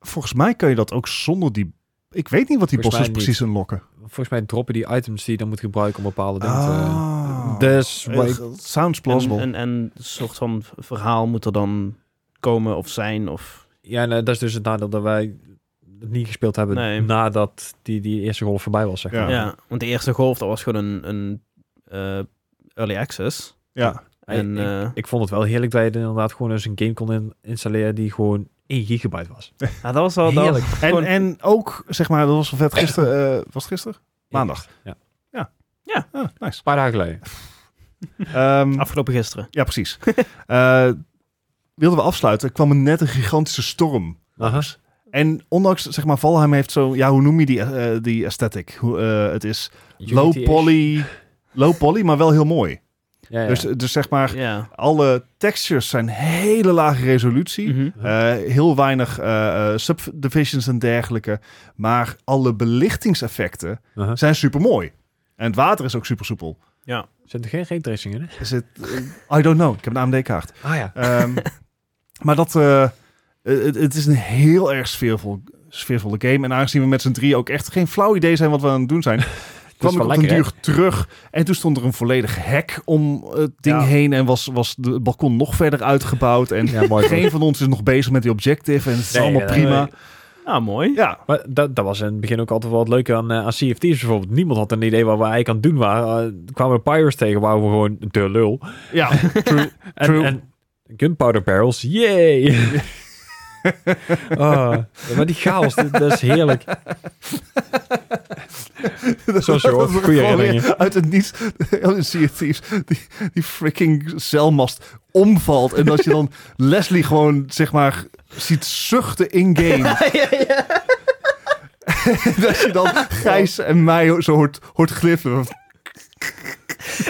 Speaker 2: Volgens mij kan je dat ook zonder die... Ik weet niet wat die
Speaker 1: Volgens
Speaker 2: bossen
Speaker 1: mij
Speaker 2: precies unlocken.
Speaker 1: Volgens mij droppen die items die je dan moet gebruiken om bepaalde dingen te...
Speaker 2: Ah.
Speaker 1: Dus,
Speaker 2: Eh,
Speaker 1: wat ik-
Speaker 2: dat sounds
Speaker 3: En,
Speaker 2: plausible.
Speaker 3: en, en een soort van verhaal moet er dan komen of zijn? Of...
Speaker 1: ja, nou, dat is dus het nadeel dat wij het niet gespeeld hebben
Speaker 3: Nee.
Speaker 1: nadat die, die eerste golf voorbij was, zeg
Speaker 2: Ja.
Speaker 1: maar.
Speaker 3: Ja. want de eerste golf dat was gewoon een, een eh, early access.
Speaker 2: ja.
Speaker 3: En,
Speaker 1: Ik-
Speaker 3: eh,
Speaker 1: Ik vond het wel heerlijk dat je er inderdaad gewoon eens een game kon in- installeren die gewoon 1 gigabyte was.
Speaker 3: ja, dat was wel dat
Speaker 1: Heerlijk.
Speaker 3: was
Speaker 2: en,
Speaker 3: gewoon-
Speaker 2: en ook, zeg maar, dat was wel vet gisteren. eh, was het gisteren? Maandag.
Speaker 1: Ja. Een
Speaker 2: Ah, nice.
Speaker 1: paar dagen geleden.
Speaker 2: Ehm,
Speaker 3: afgelopen gisteren.
Speaker 2: Ja, precies. Eh, wilden we afsluiten, kwam er net een gigantische storm.
Speaker 1: Aha.
Speaker 2: En ondanks, zeg maar, Valheim heeft zo... Ja, hoe noem je die, eh, die aesthetic? Hoe, eh, het is low poly, low poly, maar wel heel mooi.
Speaker 1: Ja, ja.
Speaker 2: Dus, dus zeg maar,
Speaker 3: Ja.
Speaker 2: alle textures zijn hele lage resolutie.
Speaker 3: Mhm.
Speaker 2: Eh, heel weinig eh, eh, subdivisions en dergelijke. Maar alle belichtingseffecten
Speaker 1: Aha.
Speaker 2: zijn super mooi. En het water is ook super soepel.
Speaker 3: Ja.
Speaker 1: Zit er geen raytracing in, hè?
Speaker 2: Is het, eh, I don't know. Ik heb een AMD-kaart.
Speaker 1: Ah ja.
Speaker 2: Ehm, maar dat, eh, het, het is een heel erg sfeervol, sfeervolle game. En aangezien we met z'n drie ook echt geen flauw idee zijn wat we aan het doen zijn, kwam ik
Speaker 1: wel
Speaker 2: op een
Speaker 1: lekker,
Speaker 2: duur terug. En toen stond er een volledig hek om het ding
Speaker 1: Ja.
Speaker 2: heen en was, was de, het balkon nog verder uitgebouwd. En
Speaker 1: Ja, mooi.
Speaker 2: geen van ons is nog bezig met die objective en het is
Speaker 1: Nee,
Speaker 2: allemaal
Speaker 1: eh,
Speaker 2: prima.
Speaker 1: nee.
Speaker 3: Nou, mooi.
Speaker 2: Ja,
Speaker 1: Maar dat, dat was in het begin ook altijd wel het leuke aan, eh, aan CFT's bijvoorbeeld. Niemand had een idee wat we eigenlijk aan het doen waren. Eh, kwamen we Pirates tegen, waren we gewoon de lul.
Speaker 2: ja.
Speaker 1: En,
Speaker 2: True.
Speaker 1: en gunpowder barrels, yay! Ah, maar die chaos, dat, dat is heerlijk. Zoals je hoort,
Speaker 2: Dat
Speaker 1: goede
Speaker 2: gewoon weer
Speaker 1: herinneringen.
Speaker 2: Uit het niets, Oh, in Sea of Thieves, die, die freaking celmast omvalt. En dat je dan Leslie gewoon, zeg maar, ziet zuchten in-game. dat je dan Gijs en mij zo hoort, hoort glippen.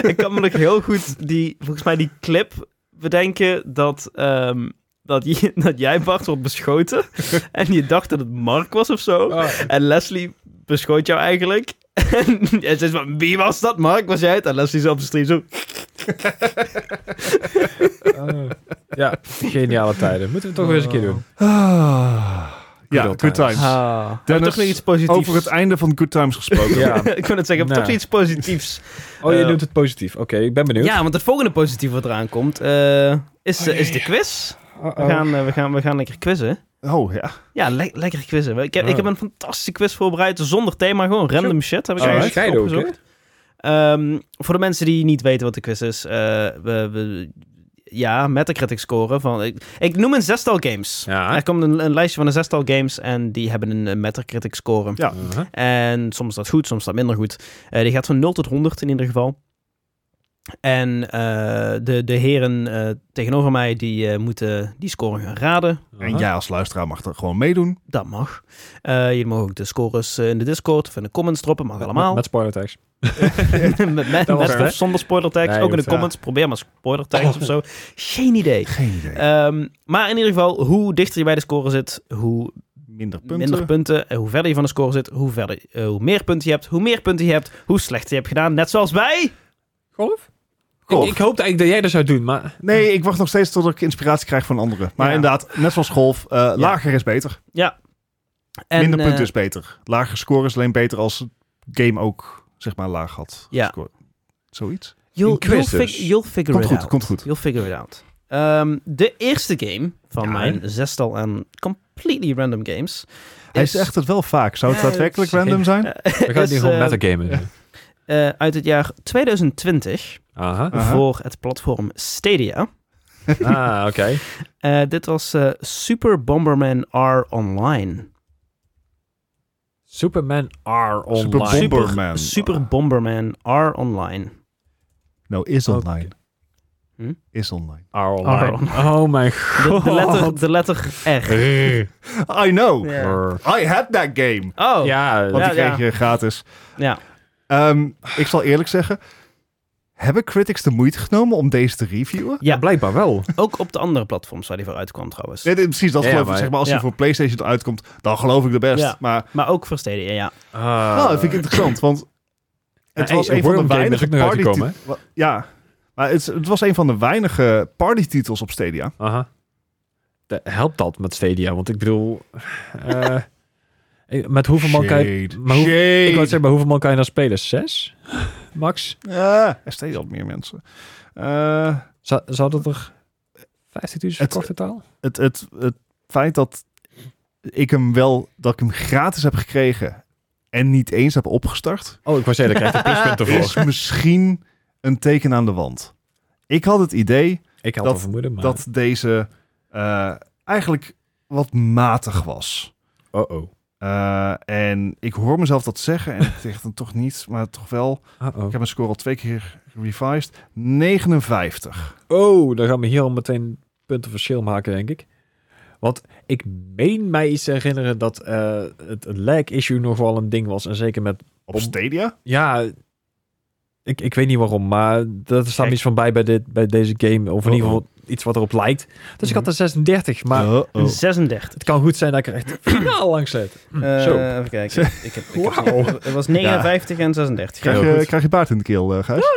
Speaker 3: Ik kan me nog heel goed die, volgens mij die clip bedenken dat, ehm, dat, je- dat jij Bart wordt beschoten. En je dacht dat het Mark was of zo.
Speaker 2: Ah,
Speaker 3: En Leslie beschoot jou eigenlijk. en ze is van, wie was dat? Mark, was jij het? En Leslie zo op de stream zo...
Speaker 1: Ah, ja, geniale tijden. Moeten we toch weer eens een keer doen.
Speaker 2: Ah. ja, good,
Speaker 1: old
Speaker 2: times.
Speaker 1: times.
Speaker 3: Ah,
Speaker 2: Dennis,
Speaker 3: toch nog iets positiefs.
Speaker 2: Over het einde van Good Times gesproken.
Speaker 1: Ja.
Speaker 3: ik wil het zeggen,
Speaker 1: Nou.
Speaker 3: toch nog iets positiefs.
Speaker 1: Oh, je
Speaker 3: Eh,
Speaker 1: doet het positief. Oké, ik ben benieuwd.
Speaker 3: Ja, want het volgende positief wat eraan komt eh, is, eh, is de quiz.
Speaker 1: Uh-oh.
Speaker 3: We gaan, eh, we, gaan, we gaan lekker quizzen.
Speaker 2: Oh ja.
Speaker 3: Ja, le- lekker quizzen. Ik heb,
Speaker 1: Oh.
Speaker 3: ik heb een fantastische quiz voorbereid zonder thema, gewoon random shit. Heb ik
Speaker 1: Zo
Speaker 3: eigenlijk
Speaker 1: bescheiden ook, hè?
Speaker 3: opgezocht. Ehm, voor de mensen die niet weten wat de quiz is, eh we, we, ja, Metacritic scoren van. Ik, ik noem een zestal games.
Speaker 1: Ja.
Speaker 3: Er komt een, een lijstje van een zestal games en die hebben een eh, Metacritic score.
Speaker 2: Ja.
Speaker 1: Uh-huh.
Speaker 3: En soms is dat goed, soms is dat minder goed. Eh, die gaat van 0 tot 100 in ieder geval. En eh, de, de heren eh, tegenover mij, die eh, moeten die score gaan raden.
Speaker 2: En jij als luisteraar mag er gewoon meedoen.
Speaker 3: Dat mag. Eh jullie mogen ook de scores eh, in de Discord of in de comments droppen, mag allemaal.
Speaker 1: Met, met spoiler tags.
Speaker 3: met,
Speaker 1: was
Speaker 3: met- met
Speaker 1: het, hè?
Speaker 3: of zonder spoiler tags,
Speaker 1: Nee,
Speaker 3: ook in de
Speaker 1: goed, ja.
Speaker 3: comments. Probeer maar spoiler tags of zo. Geen idee.
Speaker 2: Geen idee.
Speaker 3: Ehm, maar in ieder geval, hoe dichter je bij de score zit, hoe
Speaker 2: minder punten.
Speaker 3: minder punten. En hoe verder je van de score zit, hoe, verder, eh, hoe meer punten je hebt. Hoe meer punten je hebt, hoe slechter je hebt gedaan. Net zoals bij...
Speaker 1: Golf?
Speaker 2: Golf.
Speaker 1: Ik, ik hoopte eigenlijk dat jij dat zou doen, maar...
Speaker 2: Nee, ik wacht nog steeds tot ik inspiratie krijg van anderen. Maar
Speaker 3: Ja.
Speaker 2: inderdaad, net zoals golf, eh, lager is beter.
Speaker 3: En,
Speaker 2: Minder punten
Speaker 3: eh,
Speaker 2: is beter. Lagere score is alleen beter als het game ook, zeg maar, laag had.
Speaker 3: Ja.
Speaker 2: gescoord. Zoiets.
Speaker 3: You'll,
Speaker 2: Een quiz
Speaker 3: you'll
Speaker 2: dus.
Speaker 3: fig- you'll figure
Speaker 2: Komt
Speaker 3: it
Speaker 2: goed,
Speaker 3: out.
Speaker 2: komt goed.
Speaker 3: You'll figure it out. Ehm, de eerste game van
Speaker 1: Ja,
Speaker 3: mijn zestal aan completely random games...
Speaker 2: Hij
Speaker 3: is-
Speaker 2: zegt het wel vaak. Zou het
Speaker 3: Dus- Ja,
Speaker 2: daadwerkelijk
Speaker 1: het is-
Speaker 2: random zijn?
Speaker 3: eh,
Speaker 1: We gaan
Speaker 3: is,
Speaker 1: hier gewoon
Speaker 3: eh,
Speaker 1: metagamen.
Speaker 3: eh, uit het jaar 2020
Speaker 1: Aha.
Speaker 2: Aha.
Speaker 3: voor het platform Stadia.
Speaker 1: Ah, oké.
Speaker 3: Eh, dit was eh, Super Bomberman R Online.
Speaker 1: Superman R online.
Speaker 2: Super Bomber- Bomberman.
Speaker 3: Super, Super Bomberman R Online.
Speaker 2: Nou, is
Speaker 1: Oké.
Speaker 2: online.
Speaker 3: Hm?
Speaker 2: Is online.
Speaker 1: R online.
Speaker 3: R
Speaker 1: Oh mijn
Speaker 3: De,
Speaker 1: god.
Speaker 3: de, letter, de letter R.
Speaker 1: R.
Speaker 2: I know.
Speaker 1: R.
Speaker 2: I had that game.
Speaker 3: Oh, ja.
Speaker 1: Ja,
Speaker 2: Want
Speaker 1: ja.
Speaker 2: die
Speaker 3: ja.
Speaker 2: kreeg je gratis. Ehm, ik zal eerlijk zeggen, hebben critics de moeite genomen om deze te reviewen?
Speaker 3: Ja,
Speaker 1: blijkbaar wel.
Speaker 3: ook op de andere platforms waar die voor uitkwam trouwens.
Speaker 2: Nee, nee, precies, dat
Speaker 1: Ja,
Speaker 2: geloof ik.
Speaker 1: maar-
Speaker 2: Zeg maar, als
Speaker 3: ja.
Speaker 2: hij voor PlayStation uitkomt, dan geloof ik de best.
Speaker 3: Ja.
Speaker 2: Maar
Speaker 3: Maar ook voor Stadia, ja.
Speaker 2: Nou, dat vind ik interessant, want het
Speaker 1: hey,
Speaker 2: was een
Speaker 1: een
Speaker 2: van de
Speaker 1: Worm game is
Speaker 2: weinige
Speaker 1: ook nog
Speaker 2: party
Speaker 1: uitgekomen,
Speaker 2: Ja, maar het, het was een van de weinige partytitels op Stadia.
Speaker 1: Aha. De- helpt dat met Stadia? Want ik bedoel... eh, eh, met hoeveel man kan je...
Speaker 2: Shade.
Speaker 1: Maar hoe-
Speaker 2: Shade.
Speaker 1: ik wou zeggen, bij hoeveel man kan je dan spelen? Zes? Max?
Speaker 2: Ja, er steeds wat meer mensen. Eh,
Speaker 1: Zou, zou dat er 15.000 verkocht totaal?
Speaker 2: het, het, het feit dat ik hem wel, dat ik hem gratis heb gekregen en niet eens heb opgestart,
Speaker 1: Oh, ik wou zeggen, daar krijg je pluspunten
Speaker 2: is
Speaker 1: voor.
Speaker 2: misschien een teken aan de wand. Ik had het idee
Speaker 1: Ik had
Speaker 2: dat-
Speaker 1: al vermoeden, maar...
Speaker 2: dat deze eh, eigenlijk wat matig was.
Speaker 1: Oh-oh.
Speaker 2: Eh, en ik hoor mezelf dat zeggen en ik zeg dan toch niet, maar toch wel. Ik
Speaker 1: Uh-oh.
Speaker 2: heb mijn score al twee keer revised. 59.
Speaker 1: Oh, dan gaan we hier al meteen punten verschil maken, denk ik. Want ik meen mij iets te herinneren dat eh, het lag issue nog wel een ding was. En zeker met...
Speaker 2: Op
Speaker 1: Om-
Speaker 2: Stadia?
Speaker 1: Ja, Ik, ik weet niet waarom, maar dat staat me
Speaker 3: Kijk.
Speaker 1: iets van bij bij, dit, bij deze game. Of in
Speaker 2: Oh,
Speaker 1: ieder geval iets wat erop lijkt. Dus ik had een 36, maar
Speaker 2: Uh-oh.
Speaker 3: Een 36.
Speaker 1: het kan goed zijn dat ik er echt finaal langs zit.
Speaker 3: Eh,
Speaker 1: Zo.
Speaker 3: Even kijken. Ik heb, ik heb- het was 59 en 36.
Speaker 2: Krijg,
Speaker 3: Heel
Speaker 2: je,
Speaker 3: goed.
Speaker 2: krijg je baard in de keel, eh, Gijs?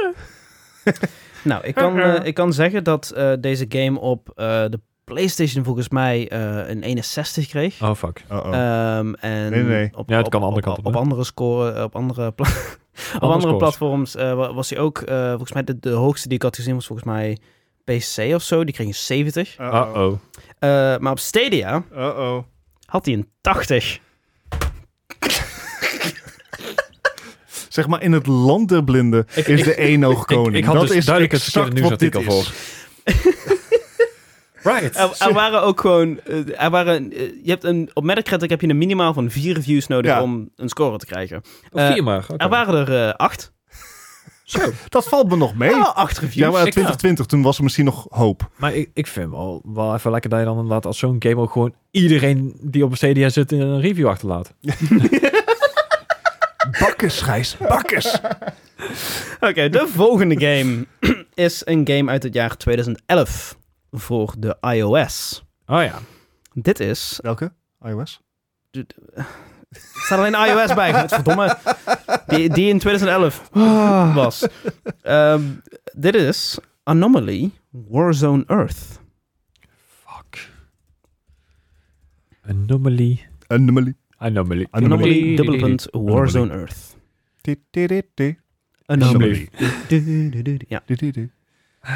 Speaker 3: Nou, ik kan, eh, ik kan zeggen dat eh, deze game op eh, de PlayStation volgens mij eh, een 61 kreeg.
Speaker 1: Oh, fuck.
Speaker 2: Uh-oh.
Speaker 3: Ehm, en
Speaker 2: Nee, nee.
Speaker 3: Op,
Speaker 1: Ja, het
Speaker 3: op-
Speaker 1: kan de andere
Speaker 3: op-
Speaker 1: kant op,
Speaker 3: Op,
Speaker 1: hè?
Speaker 3: andere scoren, op andere, pla- op
Speaker 1: Andere
Speaker 3: andere
Speaker 1: scores.
Speaker 3: platforms eh, wa- was hij ook, eh, volgens mij de, de hoogste die ik had gezien was volgens mij PC of zo. Die kreeg een 70.
Speaker 2: Uh-oh.
Speaker 1: Uh-oh.
Speaker 3: Eh, maar op Stadia
Speaker 2: Uh-oh.
Speaker 3: had hij een 80.
Speaker 2: Zeg maar, in het land der blinden
Speaker 1: Ik-
Speaker 2: is
Speaker 1: ik-
Speaker 2: de eenoog koning.
Speaker 1: Ik, ik had
Speaker 2: dat
Speaker 1: dus
Speaker 2: is
Speaker 1: duidelijk het
Speaker 2: exact
Speaker 1: verkeerde nieuwsartikel
Speaker 2: wat dit is.
Speaker 1: voor. right.
Speaker 3: Er, er waren ook gewoon, eh, er waren, eh, je hebt een, op Metacritic heb je een minimaal van vier reviews nodig
Speaker 2: Ja.
Speaker 3: om een score te krijgen.
Speaker 1: Oh,
Speaker 3: eh,
Speaker 1: vier maar. oké.
Speaker 3: Er waren er eh, acht.
Speaker 1: Zo.
Speaker 2: Dat valt me nog mee.
Speaker 3: Ja, acht reviews.
Speaker 2: ja, maar
Speaker 1: ik-
Speaker 2: 2020, toen was er misschien nog hoop.
Speaker 1: Maar ik, ik vind wel, wel even lekker dat je dan inderdaad als zo'n game ook gewoon iedereen die op een CDA zit in een review achterlaat.
Speaker 2: Bakkers, Gijs. Bakkers.
Speaker 3: Oké, de volgende game is een game uit het jaar 2011 voor de iOS.
Speaker 1: Oh ja.
Speaker 3: Dit is...
Speaker 2: Welke? iOS?
Speaker 3: Er staat alleen iOS bij, godverdomme. Die, die in 2011
Speaker 2: Ah.
Speaker 3: was. Ehm, dit is Anomaly Warzone Earth.
Speaker 1: Fuck. Anomaly.
Speaker 2: Anomaly.
Speaker 1: Anomaly.
Speaker 3: Anomaly, dubbele punt, Warzone Earth.
Speaker 2: Ti, ti, ti, ti.
Speaker 1: Anomaly.
Speaker 3: Ja.
Speaker 2: Ti, ti, ti.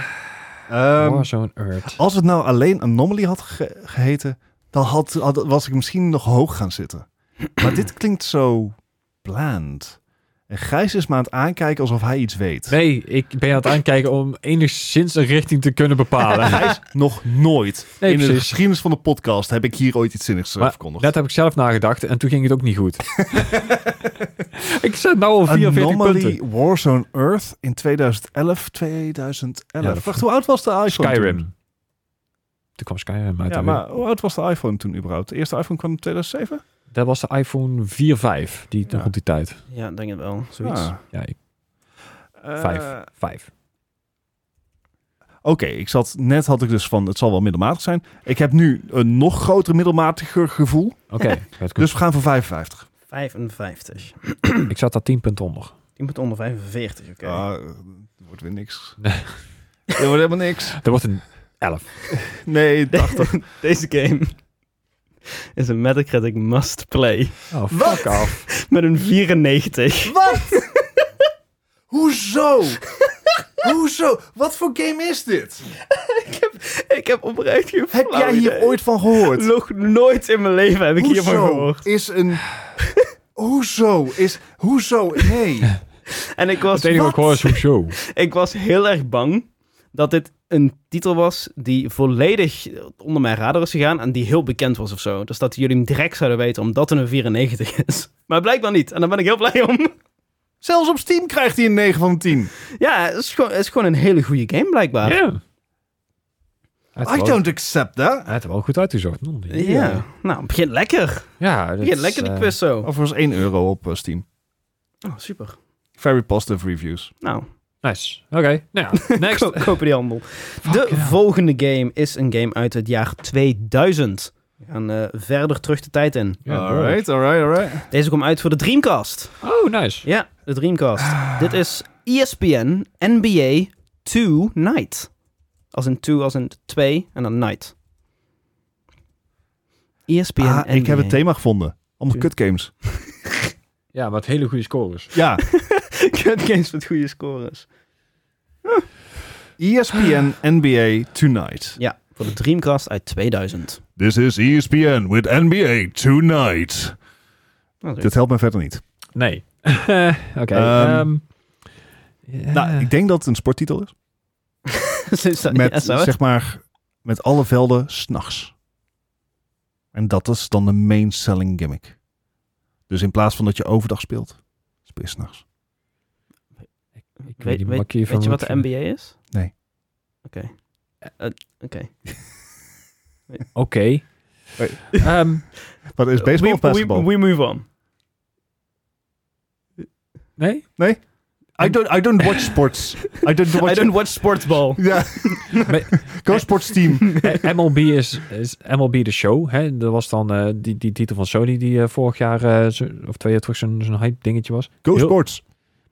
Speaker 2: Ehm,
Speaker 1: Warzone Earth.
Speaker 2: Als het nou alleen Anomaly had ge- geheten, dan had, had- was ik misschien nog hoog gaan zitten. Maar dit klinkt zo bland. En Gijs is me aan het aankijken alsof hij iets weet.
Speaker 1: Nee, ik ben aan het aankijken om enigszins een richting te kunnen bepalen.
Speaker 2: Gijs, nog nooit
Speaker 1: Nee,
Speaker 2: in de
Speaker 1: precies.
Speaker 2: geschiedenis van de podcast heb ik hier ooit iets zinnigs eh,
Speaker 1: Maar
Speaker 2: verkondigd.
Speaker 1: Net heb ik zelf nagedacht en toen ging het ook niet goed. ik zit nou al 44 punten.
Speaker 2: Anomaly Warzone Earth in 2011, 2011.
Speaker 1: Ja, dat-
Speaker 2: Wacht, hoe oud was de iPhone
Speaker 1: Skyrim.
Speaker 2: toen?
Speaker 1: Toen kwam Skyrim uit.
Speaker 2: Ja,
Speaker 1: alweer.
Speaker 2: maar hoe oud was de iPhone toen überhaupt? De eerste iPhone kwam in 2007?
Speaker 1: Dat was de iPhone 4, 5. Die,
Speaker 2: Ja.
Speaker 1: Rond die tijd.
Speaker 3: ja, denk het wel. Zoiets.
Speaker 2: Ah.
Speaker 1: Ja, ik,
Speaker 2: Eh,
Speaker 1: 5. 5.
Speaker 2: Oké, ik zat net had ik dus van het zal wel middelmatig zijn. Ik heb nu een nog groter middelmatiger gevoel.
Speaker 1: Oké. gaat goed.
Speaker 2: Dus we gaan voor 55.
Speaker 3: 55.
Speaker 2: Dus-
Speaker 1: Ik zat daar 10 punten onder.
Speaker 3: Ik moet onder 45, oké.
Speaker 2: Ja, eh, wordt weer niks.
Speaker 1: Nee.
Speaker 2: Er wordt helemaal niks.
Speaker 1: Er wordt een 11.
Speaker 2: Nee,
Speaker 3: De- Deze game is een Metacritic must play.
Speaker 1: Oh, fuck off.
Speaker 3: Met een 94.
Speaker 2: Wat? Hoezo? Hoezo? Wat voor game is dit?
Speaker 3: Ik heb oprecht geen
Speaker 2: Heb
Speaker 3: flauw
Speaker 2: jij hier
Speaker 3: idee.
Speaker 2: ooit van gehoord?
Speaker 3: Nog nooit in mijn leven heb ik hiervan
Speaker 2: hoezo
Speaker 3: gehoord.
Speaker 2: is een... Hoezo is... Hoezo? Nee.
Speaker 3: En ik was,
Speaker 1: Het enige wat ik hoor is hoezo.
Speaker 3: ik was heel erg bang dat dit een titel was die volledig onder mijn radar is gegaan en die heel bekend was of zo. Dus dat jullie hem direct zouden weten omdat het een 94 is. Maar blijkbaar niet. En daar ben ik heel blij om.
Speaker 2: Zelfs op Steam krijgt hij een 9 van de 10.
Speaker 3: Ja, het is gewoon, het is gewoon een hele goede game blijkbaar.
Speaker 1: Ja. Hij
Speaker 2: I
Speaker 1: heeft wel-
Speaker 2: don't accept that.
Speaker 1: hij heeft er wel goed uitgezocht. non?
Speaker 3: Ja. Nou, het begint lekker. Het
Speaker 1: Ja, dat
Speaker 3: begint
Speaker 1: is,
Speaker 3: lekker de
Speaker 1: eh,
Speaker 3: quiz zo.
Speaker 2: Overigens 1 euro op eh, Steam.
Speaker 3: Oh, super.
Speaker 2: Very positive reviews.
Speaker 3: Nou,
Speaker 1: Nice. Oké. Nou ja, next.
Speaker 3: Ko- kopen die handel. De
Speaker 1: hell.
Speaker 3: volgende game is een game uit het jaar 2000. We gaan eh, verder terug de tijd in.
Speaker 1: Ja,
Speaker 2: alright, alright, alright.
Speaker 3: Deze komt uit voor de Dreamcast.
Speaker 1: Oh, nice.
Speaker 3: Ja, de Dreamcast. Dit is E ESPN NBA 2 Night. Als in 2, als in 2 en dan Night. E ESPN
Speaker 2: Ah, ik
Speaker 3: NBA.
Speaker 2: heb het thema gevonden. Allemaal
Speaker 3: Tuurlijk.
Speaker 2: kutgames.
Speaker 1: Ja, maar het hele goede scores.
Speaker 2: Ja,
Speaker 3: Kut games met goede scores.
Speaker 2: E ESPN NBA Tonight.
Speaker 3: Ja, voor de Dreamcast uit Nou, 2000.
Speaker 2: This is E ESPN with NBA Tonight.
Speaker 3: Nou,
Speaker 2: Dit helpt mij verder niet.
Speaker 1: Nee. Oké.
Speaker 2: Ehm,
Speaker 1: ehm, ja.
Speaker 2: Nou, ik denk dat het een sporttitel is.
Speaker 3: Sinds dat-
Speaker 2: Met,
Speaker 3: ja, zo, hè?
Speaker 2: zeg maar, met alle velden s'nachts. En dat is dan de main selling gimmick. Dus in plaats van dat je overdag speelt, speel je s'nachts.
Speaker 1: Ik
Speaker 3: Weet-
Speaker 1: niet
Speaker 3: weet-
Speaker 1: wat ik hiervan
Speaker 3: Weet je wat
Speaker 1: moet
Speaker 3: de
Speaker 1: vinden.
Speaker 3: NBA is?
Speaker 2: Nee.
Speaker 3: Oké. Eh, Oké.
Speaker 1: Oké.
Speaker 2: Hey.
Speaker 1: Ehm,
Speaker 2: Wat is baseball of
Speaker 3: we, we,
Speaker 2: basketball?
Speaker 3: we move on.
Speaker 1: Nee?
Speaker 2: Nee? I don't, I don't watch sports. I don't watch...
Speaker 3: I don't watch sportsball.
Speaker 2: Ja. Go sports team.
Speaker 1: Eh, MLB is, is MLB de show. Hè? Dat was dan eh, die, die titel van Sony die eh, vorig jaar eh, zo- of twee jaar terug zo'n zo'n hype dingetje was.
Speaker 2: Go
Speaker 1: Heel-
Speaker 2: sports.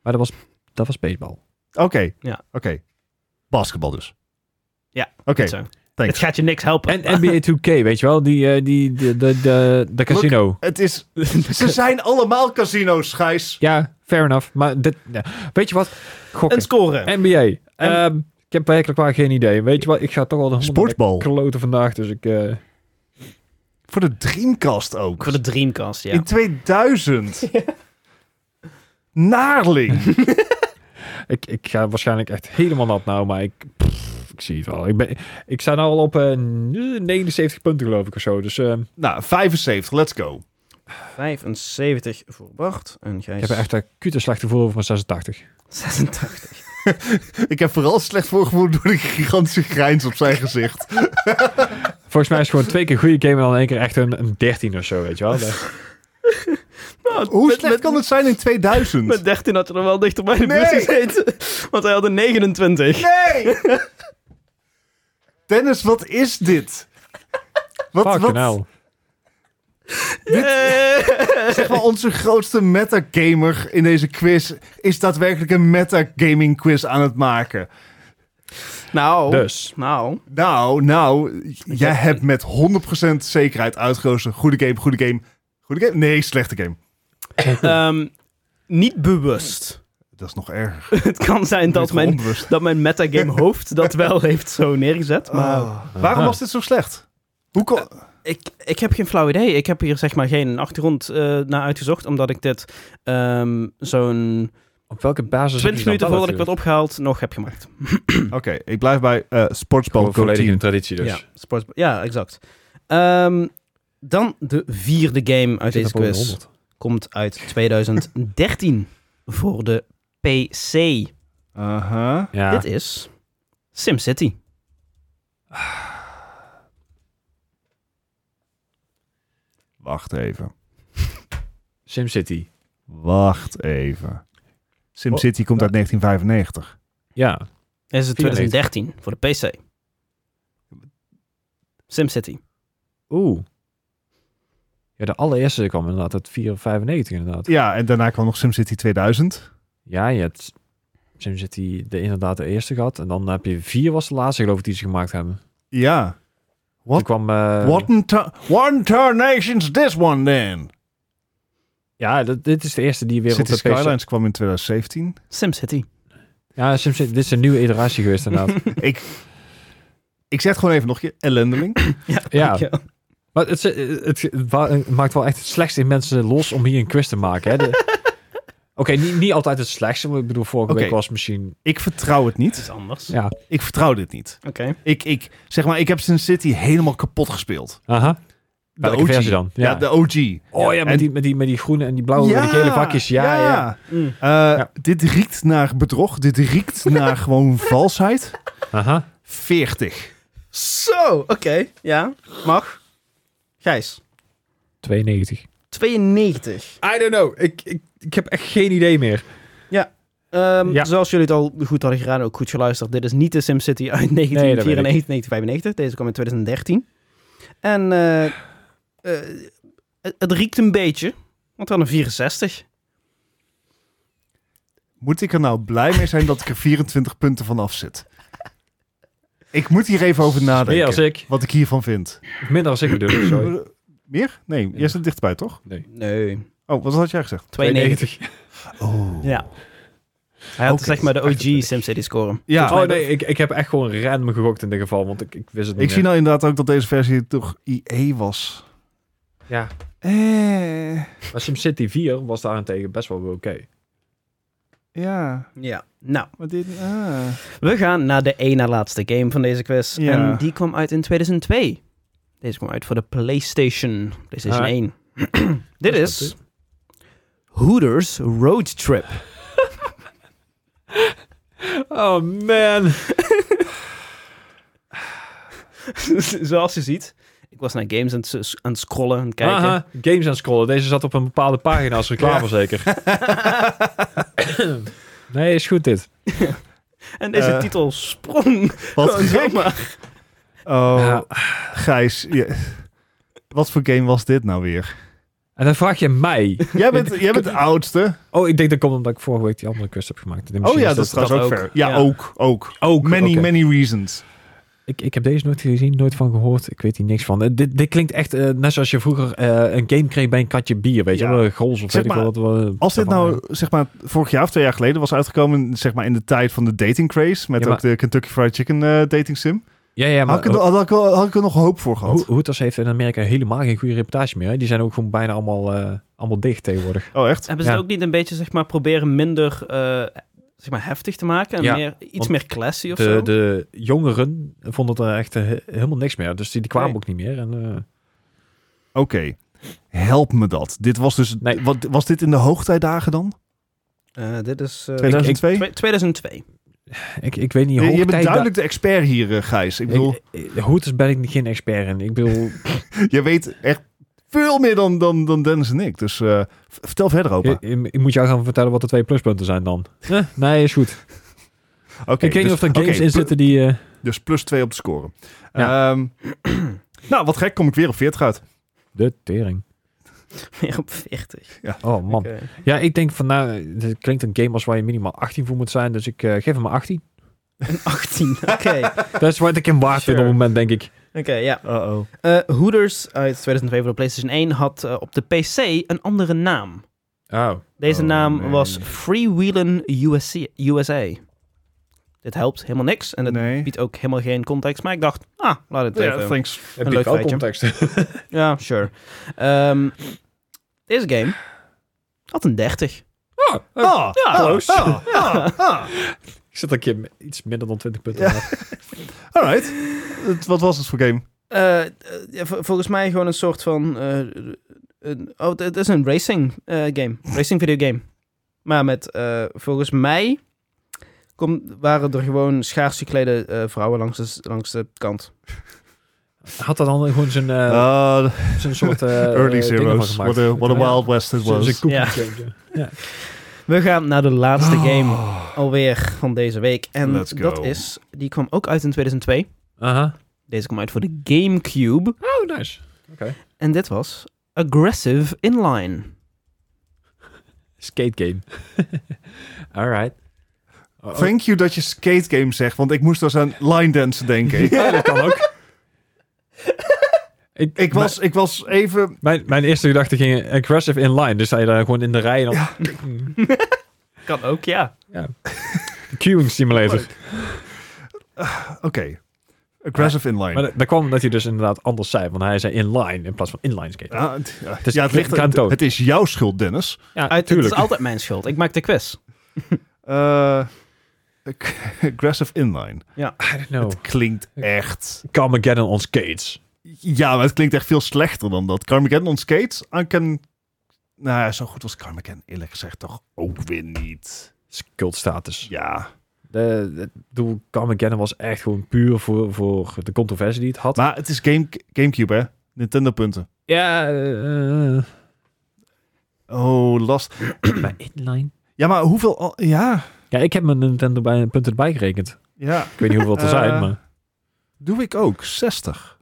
Speaker 1: Maar dat was, dat was baseball.
Speaker 2: Oké.
Speaker 3: Ja.
Speaker 2: Oké. Basketbal dus.
Speaker 3: Ja,
Speaker 2: Oké.
Speaker 3: Zo.
Speaker 2: thanks.
Speaker 3: Het gaat je niks helpen.
Speaker 1: En NBA 2K, weet je wel? Die, eh, die, de, de, de, de casino.
Speaker 2: Het is... Ze zijn allemaal casino's, Gijs.
Speaker 1: Ja, fair enough. Maar dit, ja. weet je wat? Gokken.
Speaker 3: en scoren.
Speaker 1: NBA. Ehm, ik heb werkelijk waar geen idee. Weet je wat? Ik ga toch al de handen
Speaker 2: Sportbal.
Speaker 1: kloten vandaag. Dus ik... eh,
Speaker 2: Voor de Dreamcast ook.
Speaker 3: Voor de Dreamcast, ja.
Speaker 2: In 2000. Naarling.
Speaker 1: Ik, ik ga waarschijnlijk echt helemaal nat nou, maar ik, pff, ik zie het wel. Ik, ben, ik sta nou al op eh, 79 punten geloof ik of zo. Dus eh,
Speaker 2: nou, 75. Let's go.
Speaker 3: 75 voor Bart. En Gijs...
Speaker 1: ik heb er echt een cute slecht gevoel over mijn 86.
Speaker 3: 86.
Speaker 2: Ik heb vooral slecht voorgevoel door de gigantische grijns op zijn gezicht.
Speaker 1: Volgens mij is het gewoon twee keer goede game en dan één keer echt een, een 13 of zo, weet je wel.
Speaker 2: Hoe
Speaker 3: Met-
Speaker 2: slecht
Speaker 3: met-
Speaker 2: kan het zijn in 2000?
Speaker 3: Met 13 had je er wel dichter bij de
Speaker 2: Nee.
Speaker 3: buurt gezeten. Want hij had een 29.
Speaker 2: Nee! Dennis, wat is dit? Wat,
Speaker 1: Fuck
Speaker 2: wat,
Speaker 1: nou.
Speaker 3: Yeah.
Speaker 2: Zeg maar, onze grootste metagamer in deze quiz is daadwerkelijk een metagaming quiz aan het maken.
Speaker 3: nou,
Speaker 1: Dus,
Speaker 3: nou.
Speaker 2: Nou, nou, jij hebt met 100% zekerheid uitgekozen. Goede game, goede game, goede game. Nee, slechte game.
Speaker 3: ehm, niet bewust.
Speaker 2: Dat is nog erger.
Speaker 3: Het kan zijn dat
Speaker 2: Niet
Speaker 3: mijn,
Speaker 2: onbewust.
Speaker 3: dat mijn metagame hoofd dat wel heeft zo neergezet. Maar
Speaker 2: Oh. Waarom was dit zo slecht? Hoe kon...
Speaker 3: ik, ik heb geen flauw idee. Ik heb hier zeg maar geen achtergrond eh, naar uitgezocht. Omdat ik dit ehm, zo'n
Speaker 1: op welke basis...
Speaker 3: 20 minuten voordat ik werd
Speaker 1: op...
Speaker 3: opgehaald nog heb gemaakt.
Speaker 2: Oké, ik blijf bij eh Sportsbal Go
Speaker 1: Volledig
Speaker 2: Team.
Speaker 1: in traditie dus.
Speaker 3: Ja, sports, ja exact. Ehm, dan de vierde game uit
Speaker 1: Zit
Speaker 3: deze
Speaker 1: op over de
Speaker 3: quiz.
Speaker 1: 100.
Speaker 3: Komt uit 2013 voor de PC.
Speaker 2: Aha.
Speaker 1: Ja.
Speaker 3: Dit is SimCity.
Speaker 2: Wacht even.
Speaker 1: SimCity.
Speaker 2: Wacht even. Oh, SimCity komt uit 1995.
Speaker 1: Ja.
Speaker 3: Is het 2013 voor de PC. SimCity.
Speaker 1: Oeh. Ja, de allereerste kwam inderdaad uit 94 inderdaad.
Speaker 2: Ja, en daarna kwam nog SimCity 2000.
Speaker 1: Ja, je hebt SimCity de, inderdaad de eerste gehad. En dan heb je vier was de laatste geloof ik die ze gemaakt hebben.
Speaker 2: Ja.
Speaker 1: Toen kwam... eh,
Speaker 2: What in ta- what in tarnation's this one then?
Speaker 1: Ja, dat- dit is de eerste die weer
Speaker 2: City
Speaker 1: op de PC
Speaker 2: Skylines kwam in 2017.
Speaker 3: SimCity.
Speaker 1: Ja, SimCity, dit is een nieuwe iteratie geweest inderdaad.
Speaker 2: ik, ik zeg het gewoon even nog je ellendeling.
Speaker 1: ja,
Speaker 3: Dankjewel.
Speaker 1: maar het, het, het, wa- het maakt wel echt het slechtste in mensen los om hier een quiz te maken. Hè? De- Oké, niet, niet altijd het slechtste. maar Ik bedoel, vorige
Speaker 2: Oké.
Speaker 1: week was misschien...
Speaker 2: Ik vertrouw het
Speaker 3: Het
Speaker 2: niet.
Speaker 3: is anders.
Speaker 1: Ja,
Speaker 2: Ik vertrouw dit niet.
Speaker 3: Oké.
Speaker 2: Ik, ik zeg maar, ik heb SimCity helemaal kapot gespeeld.
Speaker 1: aha. Welke
Speaker 2: OG.
Speaker 1: versie dan?
Speaker 2: Ja,
Speaker 1: Ja.
Speaker 2: de OG.
Speaker 1: Oh ja, met,
Speaker 2: En-
Speaker 1: die, met, die, met die groene en die blauwe en die gele vakjes. Ja, ja.
Speaker 3: Mm.
Speaker 2: Eh,
Speaker 1: Ja.
Speaker 2: Dit riekt naar bedrog. Dit riekt naar gewoon valsheid.
Speaker 1: Aha.
Speaker 2: 40.
Speaker 3: Zo, oké. Ja, mag. Gijs.
Speaker 1: 92.
Speaker 3: 92.
Speaker 1: I don't know. Ik, ik, ik heb echt geen idee meer.
Speaker 3: Ehm,
Speaker 1: Ja.
Speaker 3: Zoals jullie het al goed hadden gedaan, ook goed geluisterd. Dit is niet de SimCity uit 1994, 1995. Deze kwam in 2013. En eh, eh, het, het riekt een beetje, want dan een 64.
Speaker 2: Moet ik er nou blij mee zijn dat ik er 24 punten van af zit? Ik moet hier even over
Speaker 1: Meer als
Speaker 2: nadenken.
Speaker 1: ik.
Speaker 2: Wat ik hiervan vind.
Speaker 1: Minder als ik bedoel. Sorry.
Speaker 2: Meer? Nee, jij zit dichtbij, toch?
Speaker 3: Nee,
Speaker 2: Oh, wat had jij gezegd?
Speaker 3: 92.
Speaker 2: Oh.
Speaker 3: Ja. Hij had
Speaker 2: Oké.
Speaker 3: zeg maar de OG SimCity score.
Speaker 2: Ja,
Speaker 1: Oh nee, ik, ik heb echt gewoon random gegokt in dit geval, want ik, ik wist het niet
Speaker 2: ik zie
Speaker 1: meer.
Speaker 2: nou inderdaad ook dat deze versie toch IE was.
Speaker 1: Ja.
Speaker 2: Eh,
Speaker 1: Maar SimCity 4 was daarentegen best wel weer oké.
Speaker 2: ja.
Speaker 3: Ja. Nou,
Speaker 2: Maar dit... ah.
Speaker 3: we gaan naar de één na laatste game van deze quiz.
Speaker 2: Ja.
Speaker 3: En die kwam uit in 2002. Deze kwam uit voor de PlayStation. PlayStation
Speaker 1: Ah.
Speaker 3: 1. Dit
Speaker 1: Dat
Speaker 3: is...
Speaker 1: is wat,
Speaker 3: Hooters Road Trip.
Speaker 1: Oh man.
Speaker 3: Zoals je ziet. Ik was naar games aan het, s- aan het scrollen en kijken.
Speaker 1: Aha, games aan scrollen. Deze zat op een bepaalde pagina als reclame
Speaker 2: Ja.
Speaker 1: zeker. Nee, is goed dit.
Speaker 3: En deze
Speaker 2: Eh.
Speaker 3: titel sprong.
Speaker 2: Wat
Speaker 3: Gewoon
Speaker 2: gek.
Speaker 3: zomaar.
Speaker 2: Oh,
Speaker 1: Ja.
Speaker 2: Gijs. je- Wat voor game was dit nou weer?
Speaker 1: En dan vraag je mij.
Speaker 2: Jij bent, jij bent de oudste.
Speaker 1: Oh, ik denk dat komt omdat ik vorige week die andere quest heb gemaakt.
Speaker 2: Oh ja, dat is
Speaker 1: dat
Speaker 2: trouwens ook
Speaker 3: ook.
Speaker 2: fair. Ja,
Speaker 3: Ja.
Speaker 2: ook. Ook.
Speaker 1: Ook,
Speaker 2: Many,
Speaker 1: oké.
Speaker 2: many reasons.
Speaker 1: Ik, ik heb deze nooit gezien, nooit van gehoord. Ik weet hier niks van. Eh, dit, dit klinkt echt eh, net zoals je vroeger eh, een game kreeg bij een katje bier. Weet je
Speaker 2: Ja.
Speaker 1: wel, een gols of
Speaker 2: Zeg
Speaker 1: weet ik
Speaker 2: maar,
Speaker 1: wel. Wat, we-
Speaker 2: Als dit
Speaker 1: daarvan
Speaker 2: nou, zeg maar, vorig jaar of twee jaar geleden was uitgekomen, zeg maar, in de tijd van de dating craze, met
Speaker 1: Ja, maar-
Speaker 2: ook de Kentucky Fried Chicken eh, dating sim,
Speaker 1: Ja, ja, maar
Speaker 2: had, ik er, had, ik, wel- had ik er nog hoop voor gehad.
Speaker 1: Ho- Hooters heeft in Amerika helemaal geen goede reputatie meer. Hè? Die zijn ook gewoon bijna allemaal, eh, allemaal dicht tegenwoordig.
Speaker 2: Oh, echt?
Speaker 3: Hebben ze
Speaker 1: Ja.
Speaker 3: het ook niet een beetje zeg maar, proberen minder eh, zeg maar, heftig te maken? En
Speaker 1: Ja,
Speaker 3: meer, iets
Speaker 1: want
Speaker 3: meer classy of
Speaker 1: De,
Speaker 3: zo?
Speaker 1: de jongeren vonden het er echt eh, he- helemaal niks meer. Dus die, die kwamen
Speaker 3: Nee.
Speaker 1: ook niet meer. En, eh,
Speaker 2: Oké. Help me dat. Dit was dus,
Speaker 1: Nee.
Speaker 2: wat, was dit in de hoogtijdagen dan?
Speaker 3: Eh, dit is...
Speaker 1: ik-
Speaker 2: 2002?
Speaker 3: 2002.
Speaker 1: ik, ik weet niet
Speaker 2: Je-
Speaker 1: hoe
Speaker 2: je bent duidelijk de expert hier, eh, Gijs. Ik bedoel,
Speaker 1: Hooters ben ik eh, geen expert in. Ik bedoel,
Speaker 2: je weet echt veel meer dan, dan, dan Dennis en ik. Dus eh, v- vertel verder, opa.
Speaker 1: ik, ik- ik moet jou gaan vertellen wat de twee pluspunten zijn dan. Eh, nee, is goed.
Speaker 2: Oké,
Speaker 1: ik weet niet
Speaker 2: dus-
Speaker 1: of er games
Speaker 2: oké,
Speaker 1: in
Speaker 2: pl-
Speaker 1: zitten die... eh,
Speaker 2: Dus plus twee op de score. Ehm, nou, wat gek, kom ik weer op 40 uit.
Speaker 1: de tering.
Speaker 3: Meer op 40.
Speaker 1: Oh man.
Speaker 3: Oké.
Speaker 1: Ja, ik denk van nou, dit klinkt een game als waar je minimaal 18 voor moet zijn. Dus ik eh, geef hem een 18.
Speaker 3: Een 18. Oké. Oké,
Speaker 1: Dat is wat ik hem waard vind op
Speaker 3: Sure.
Speaker 1: het moment, denk ik.
Speaker 3: ja.
Speaker 2: Uh-oh.
Speaker 3: Eh, Hooters uit 2002 voor de PlayStation 1 had eh, op de PC een andere naam.
Speaker 1: Oh.
Speaker 3: Deze
Speaker 2: Oh,
Speaker 3: naam
Speaker 2: nee.
Speaker 3: was Freewheelin USC, USA. Dit helpt helemaal niks en het
Speaker 2: Nee.
Speaker 3: biedt ook helemaal geen context. Maar ik dacht, ah, laat het
Speaker 2: Ja,
Speaker 3: even.
Speaker 2: thanks.
Speaker 1: Heb
Speaker 3: Een leuk feitje.
Speaker 1: context?
Speaker 3: Ja, sure. Ehm, deze game had een 30.
Speaker 2: Ah,
Speaker 3: Ja.
Speaker 2: close. Ah, ah, ah.
Speaker 1: Ik zit een keer m- iets minder dan 20 punten.
Speaker 2: Ja.
Speaker 1: af.
Speaker 2: Alright. Het- Wat was het voor game?
Speaker 3: Eh, eh, ja, vol- volgens mij gewoon een soort van... eh, een- oh, het is een racing eh, game. Racing videogame. Maar met, eh, volgens mij... Kom, waren er gewoon schaars geklede eh, vrouwen langs de, langs de kant.
Speaker 1: Had dat dan gewoon zijn, eh,
Speaker 2: Ah,
Speaker 1: zijn soort... eh,
Speaker 2: early
Speaker 1: dingen van
Speaker 2: Zeroes.
Speaker 1: gemaakt?
Speaker 2: What a, what a
Speaker 1: Ja.
Speaker 2: Wild West it
Speaker 1: Zijn- zijn
Speaker 2: was.
Speaker 1: cookie
Speaker 3: Ja.
Speaker 1: game, ja. Ja.
Speaker 3: We gaan naar de laatste game
Speaker 2: Oh.
Speaker 3: alweer van deze week. En
Speaker 2: Let's go.
Speaker 3: dat is... Die kwam ook uit in 2002.
Speaker 1: Aha.
Speaker 3: Deze kwam uit voor de Gamecube.
Speaker 1: Oh, nice.
Speaker 3: En dit was Aggressive Inline.
Speaker 1: Skate game. Alright. Oh,
Speaker 2: Thank you dat je skate game zegt, want ik moest dus aan line dansen denken.
Speaker 1: oh, dat kan ook. ik,
Speaker 2: Ik was, ik was even...
Speaker 1: Mijn, mijn eerste gedachte ging aggressive in line. Dus sta je daar gewoon in de rij en dan...
Speaker 3: Kan ook, ja.
Speaker 1: Queuing simulator.
Speaker 2: ah, Oké. Aggressive inline.
Speaker 1: Maar da- daar kwam omdat hij dus inderdaad anders zei. Want hij zei inline in plaats van inline skaten.
Speaker 2: Ah, het- ja,
Speaker 1: is
Speaker 2: ja, het, ligt,
Speaker 1: klinkt aan
Speaker 2: het, het is jouw schuld, Dennis.
Speaker 1: Ja,
Speaker 3: Uit, het is
Speaker 1: tuurlijk.
Speaker 3: altijd mijn schuld. Ik maak de quiz.
Speaker 2: Eh, ag- aggressive inline.
Speaker 1: I don't know.
Speaker 2: Klinkt echt...
Speaker 1: Carmageddon on skates.
Speaker 2: Ja, maar het klinkt echt veel slechter dan dat. Carmageddon on skates? I can... Nou ja, zo goed was Carmageddon eerlijk gezegd toch ook weer niet.
Speaker 1: Cultstatus.
Speaker 2: Ja.
Speaker 1: De, de, doel Carmageddon was echt gewoon puur voor, voor de controversie die het had.
Speaker 2: Maar het is game, Gamecube, hè? Nintendo punten.
Speaker 1: ja, eh, eh,
Speaker 2: Oh, last.
Speaker 1: maar inline?
Speaker 2: Ja, maar hoeveel... al- Ja,
Speaker 1: Ja, ik heb mijn Nintendo bij, punten erbij gerekend.
Speaker 2: ja.
Speaker 1: Ik weet niet hoeveel er zijn,
Speaker 2: Eh,
Speaker 1: maar...
Speaker 2: Doe ik ook. 60.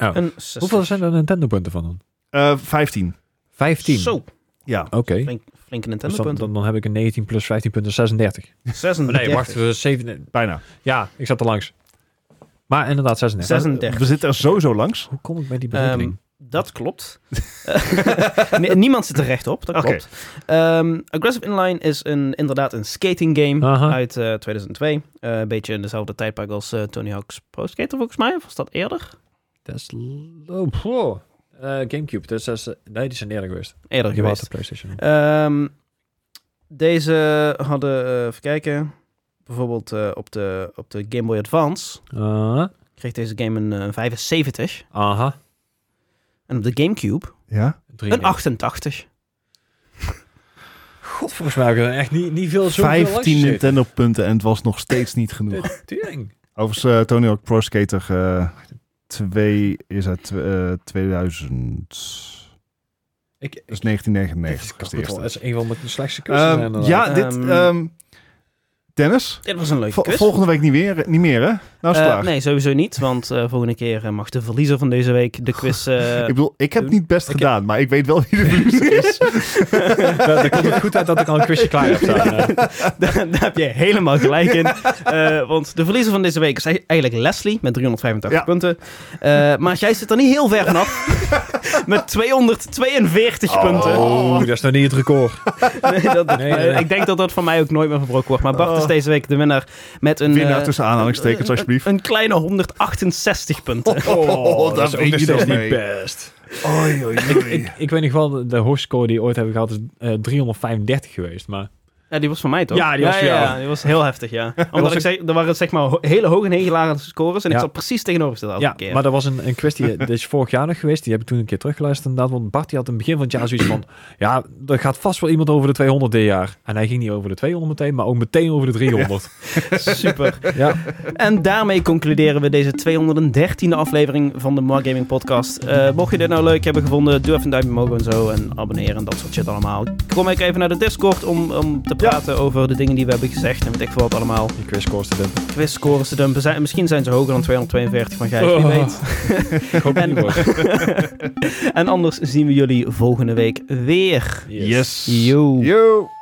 Speaker 1: Oh.
Speaker 3: Een zes-
Speaker 1: Hoeveel zijn er Nintendo punten van dan?
Speaker 2: Eh 15.
Speaker 1: 15.
Speaker 3: Zo,
Speaker 2: Ja.
Speaker 1: Oké.
Speaker 3: flink, flinke
Speaker 1: Dus
Speaker 3: Nintendo
Speaker 1: dan,
Speaker 3: punten.
Speaker 1: dan, dan heb ik een 19 plus 15 punten 36.
Speaker 3: 36.
Speaker 1: Oh, Nee, wacht. eh, 7,
Speaker 2: Bijna.
Speaker 1: ja, ik zat er langs. Maar inderdaad 36.
Speaker 3: Zes- 36.
Speaker 2: We zitten er sowieso langs.
Speaker 1: Hoe kom ik bij die
Speaker 3: Ehm,
Speaker 1: berekening?
Speaker 3: dat klopt. Nee, niemand zit er recht op, dat
Speaker 2: Oké.
Speaker 3: klopt. Ehm, Aggressive Inline is een, inderdaad een skating game
Speaker 1: Aha.
Speaker 3: uit eh, 2002. Eh, een beetje in dezelfde tijdpak als eh, Tony Hawk's Pro Skater volgens mij. Of was dat eerder?
Speaker 1: Dat is... Oh, pooh. Eh, Gamecube. Dus dat is, eh, nee, die zijn eerder geweest.
Speaker 3: Eerder
Speaker 1: Die was
Speaker 3: geweest.
Speaker 1: de PlayStation.
Speaker 3: Ehm, deze hadden, eh, even kijken, bijvoorbeeld eh, op, de, op de Game Boy Advance
Speaker 1: Ah,
Speaker 3: kreeg deze game een eh, 75.
Speaker 1: aha.
Speaker 3: En op de Gamecube
Speaker 2: Ja.
Speaker 3: een 88.
Speaker 1: God, volgens mij hebben we echt niet, niet veel zoveel
Speaker 2: 15
Speaker 1: lasjes.
Speaker 2: Nintendo punten en het was nog steeds niet genoeg.
Speaker 1: De tering.
Speaker 2: Overigens, eh, Tony Hawk Pro Skater 2 is uit eh, 2000.
Speaker 1: Ik, ik,
Speaker 2: Dus 1999 is de
Speaker 1: dat
Speaker 2: eerste.
Speaker 1: is een van de slechtste
Speaker 2: Ehm,
Speaker 1: kussen.
Speaker 2: ja, dit,
Speaker 3: Ehm,
Speaker 2: ehm, Dennis,
Speaker 3: Dit was een leuke
Speaker 2: vo-
Speaker 3: quiz.
Speaker 2: volgende week niet, weer, niet meer, hè? Nou is het
Speaker 3: Eh,
Speaker 2: klaar.
Speaker 3: nee, sowieso niet. Want eh, volgende keer eh, mag de verliezer van deze week de quiz... eh,
Speaker 2: Ik bedoel, ik heb
Speaker 3: eh,
Speaker 2: niet best
Speaker 3: ik-
Speaker 2: gedaan, maar ik weet wel wie de verliezer is.
Speaker 1: Daar daar komt het goed uit dat ik al een quizje klaar heb staan. eh.
Speaker 3: daar, daar heb je helemaal gelijk in. Eh, want de verliezer van deze week is ei- eigenlijk Leslie met 385
Speaker 2: Ja.
Speaker 3: punten. Eh, maar jij zit er niet heel ver vanaf. met 242 punten.
Speaker 1: Oh, dat is nou niet het record.
Speaker 3: Nee, dat,
Speaker 1: Nee, nee, nee.
Speaker 3: Ik denk dat dat van mij ook nooit meer verbroken wordt. Maar Bart is
Speaker 2: Oh.
Speaker 3: deze week de winnaar met een...
Speaker 2: Winnaar
Speaker 3: eh,
Speaker 2: tussen aanhalingstekens,
Speaker 3: een-
Speaker 2: alsjeblieft.
Speaker 3: Een, kleine 168 punten.
Speaker 2: Oh,
Speaker 1: dat is ook nog
Speaker 2: nog
Speaker 1: steeds niet
Speaker 2: mee.
Speaker 1: best.
Speaker 2: Oei, oei, oei.
Speaker 1: Ik, ik weet nog wel, de- de hoofdscore die we ooit hebben gehad is eh, 335 geweest. Maar
Speaker 3: Ja, die was van mij toch?
Speaker 1: Ja, die was
Speaker 3: ja,
Speaker 1: van jou.
Speaker 3: ja, die was heel heftig, ja. Omdat
Speaker 1: was
Speaker 3: ik
Speaker 1: ook-
Speaker 3: zei, er waren zeg maar ho- hele hoge en hele lage scores. En ik
Speaker 1: Ja.
Speaker 3: zat precies tegenovergesteld elke
Speaker 1: ja,
Speaker 3: keer.
Speaker 1: maar dat was een, een kwestie, dat is vorig jaar nog geweest. Die heb ik toen een keer teruggeluisterd inderdaad. Want Bart die had in het begin van het jaar zoiets van... Ja, er gaat vast wel iemand over de 200 dit jaar. En hij ging niet over de 200 meteen, maar ook meteen over de 300.
Speaker 3: Super.
Speaker 1: Ja,
Speaker 3: En daarmee concluderen we deze 213e aflevering van de More Gaming Podcast. Eh, mocht je dit nou leuk hebben gevonden, doe even een duimpje omhoog en zo. En abonneren en dat soort shit allemaal. Kom ook even naar de Discord om, om te praten over de dingen die we hebben gezegd. En weet ik veel wat allemaal.
Speaker 1: die quiz kostte het.
Speaker 3: Quizscores te dumpen. Zijn, misschien zijn ze hoger dan 242 van Gijs, wie
Speaker 1: Oh.
Speaker 3: weet.
Speaker 1: Ik hoop het niet hoor.
Speaker 3: En anders zien we jullie volgende week weer.
Speaker 2: Yes.
Speaker 3: Yo.
Speaker 2: Yo.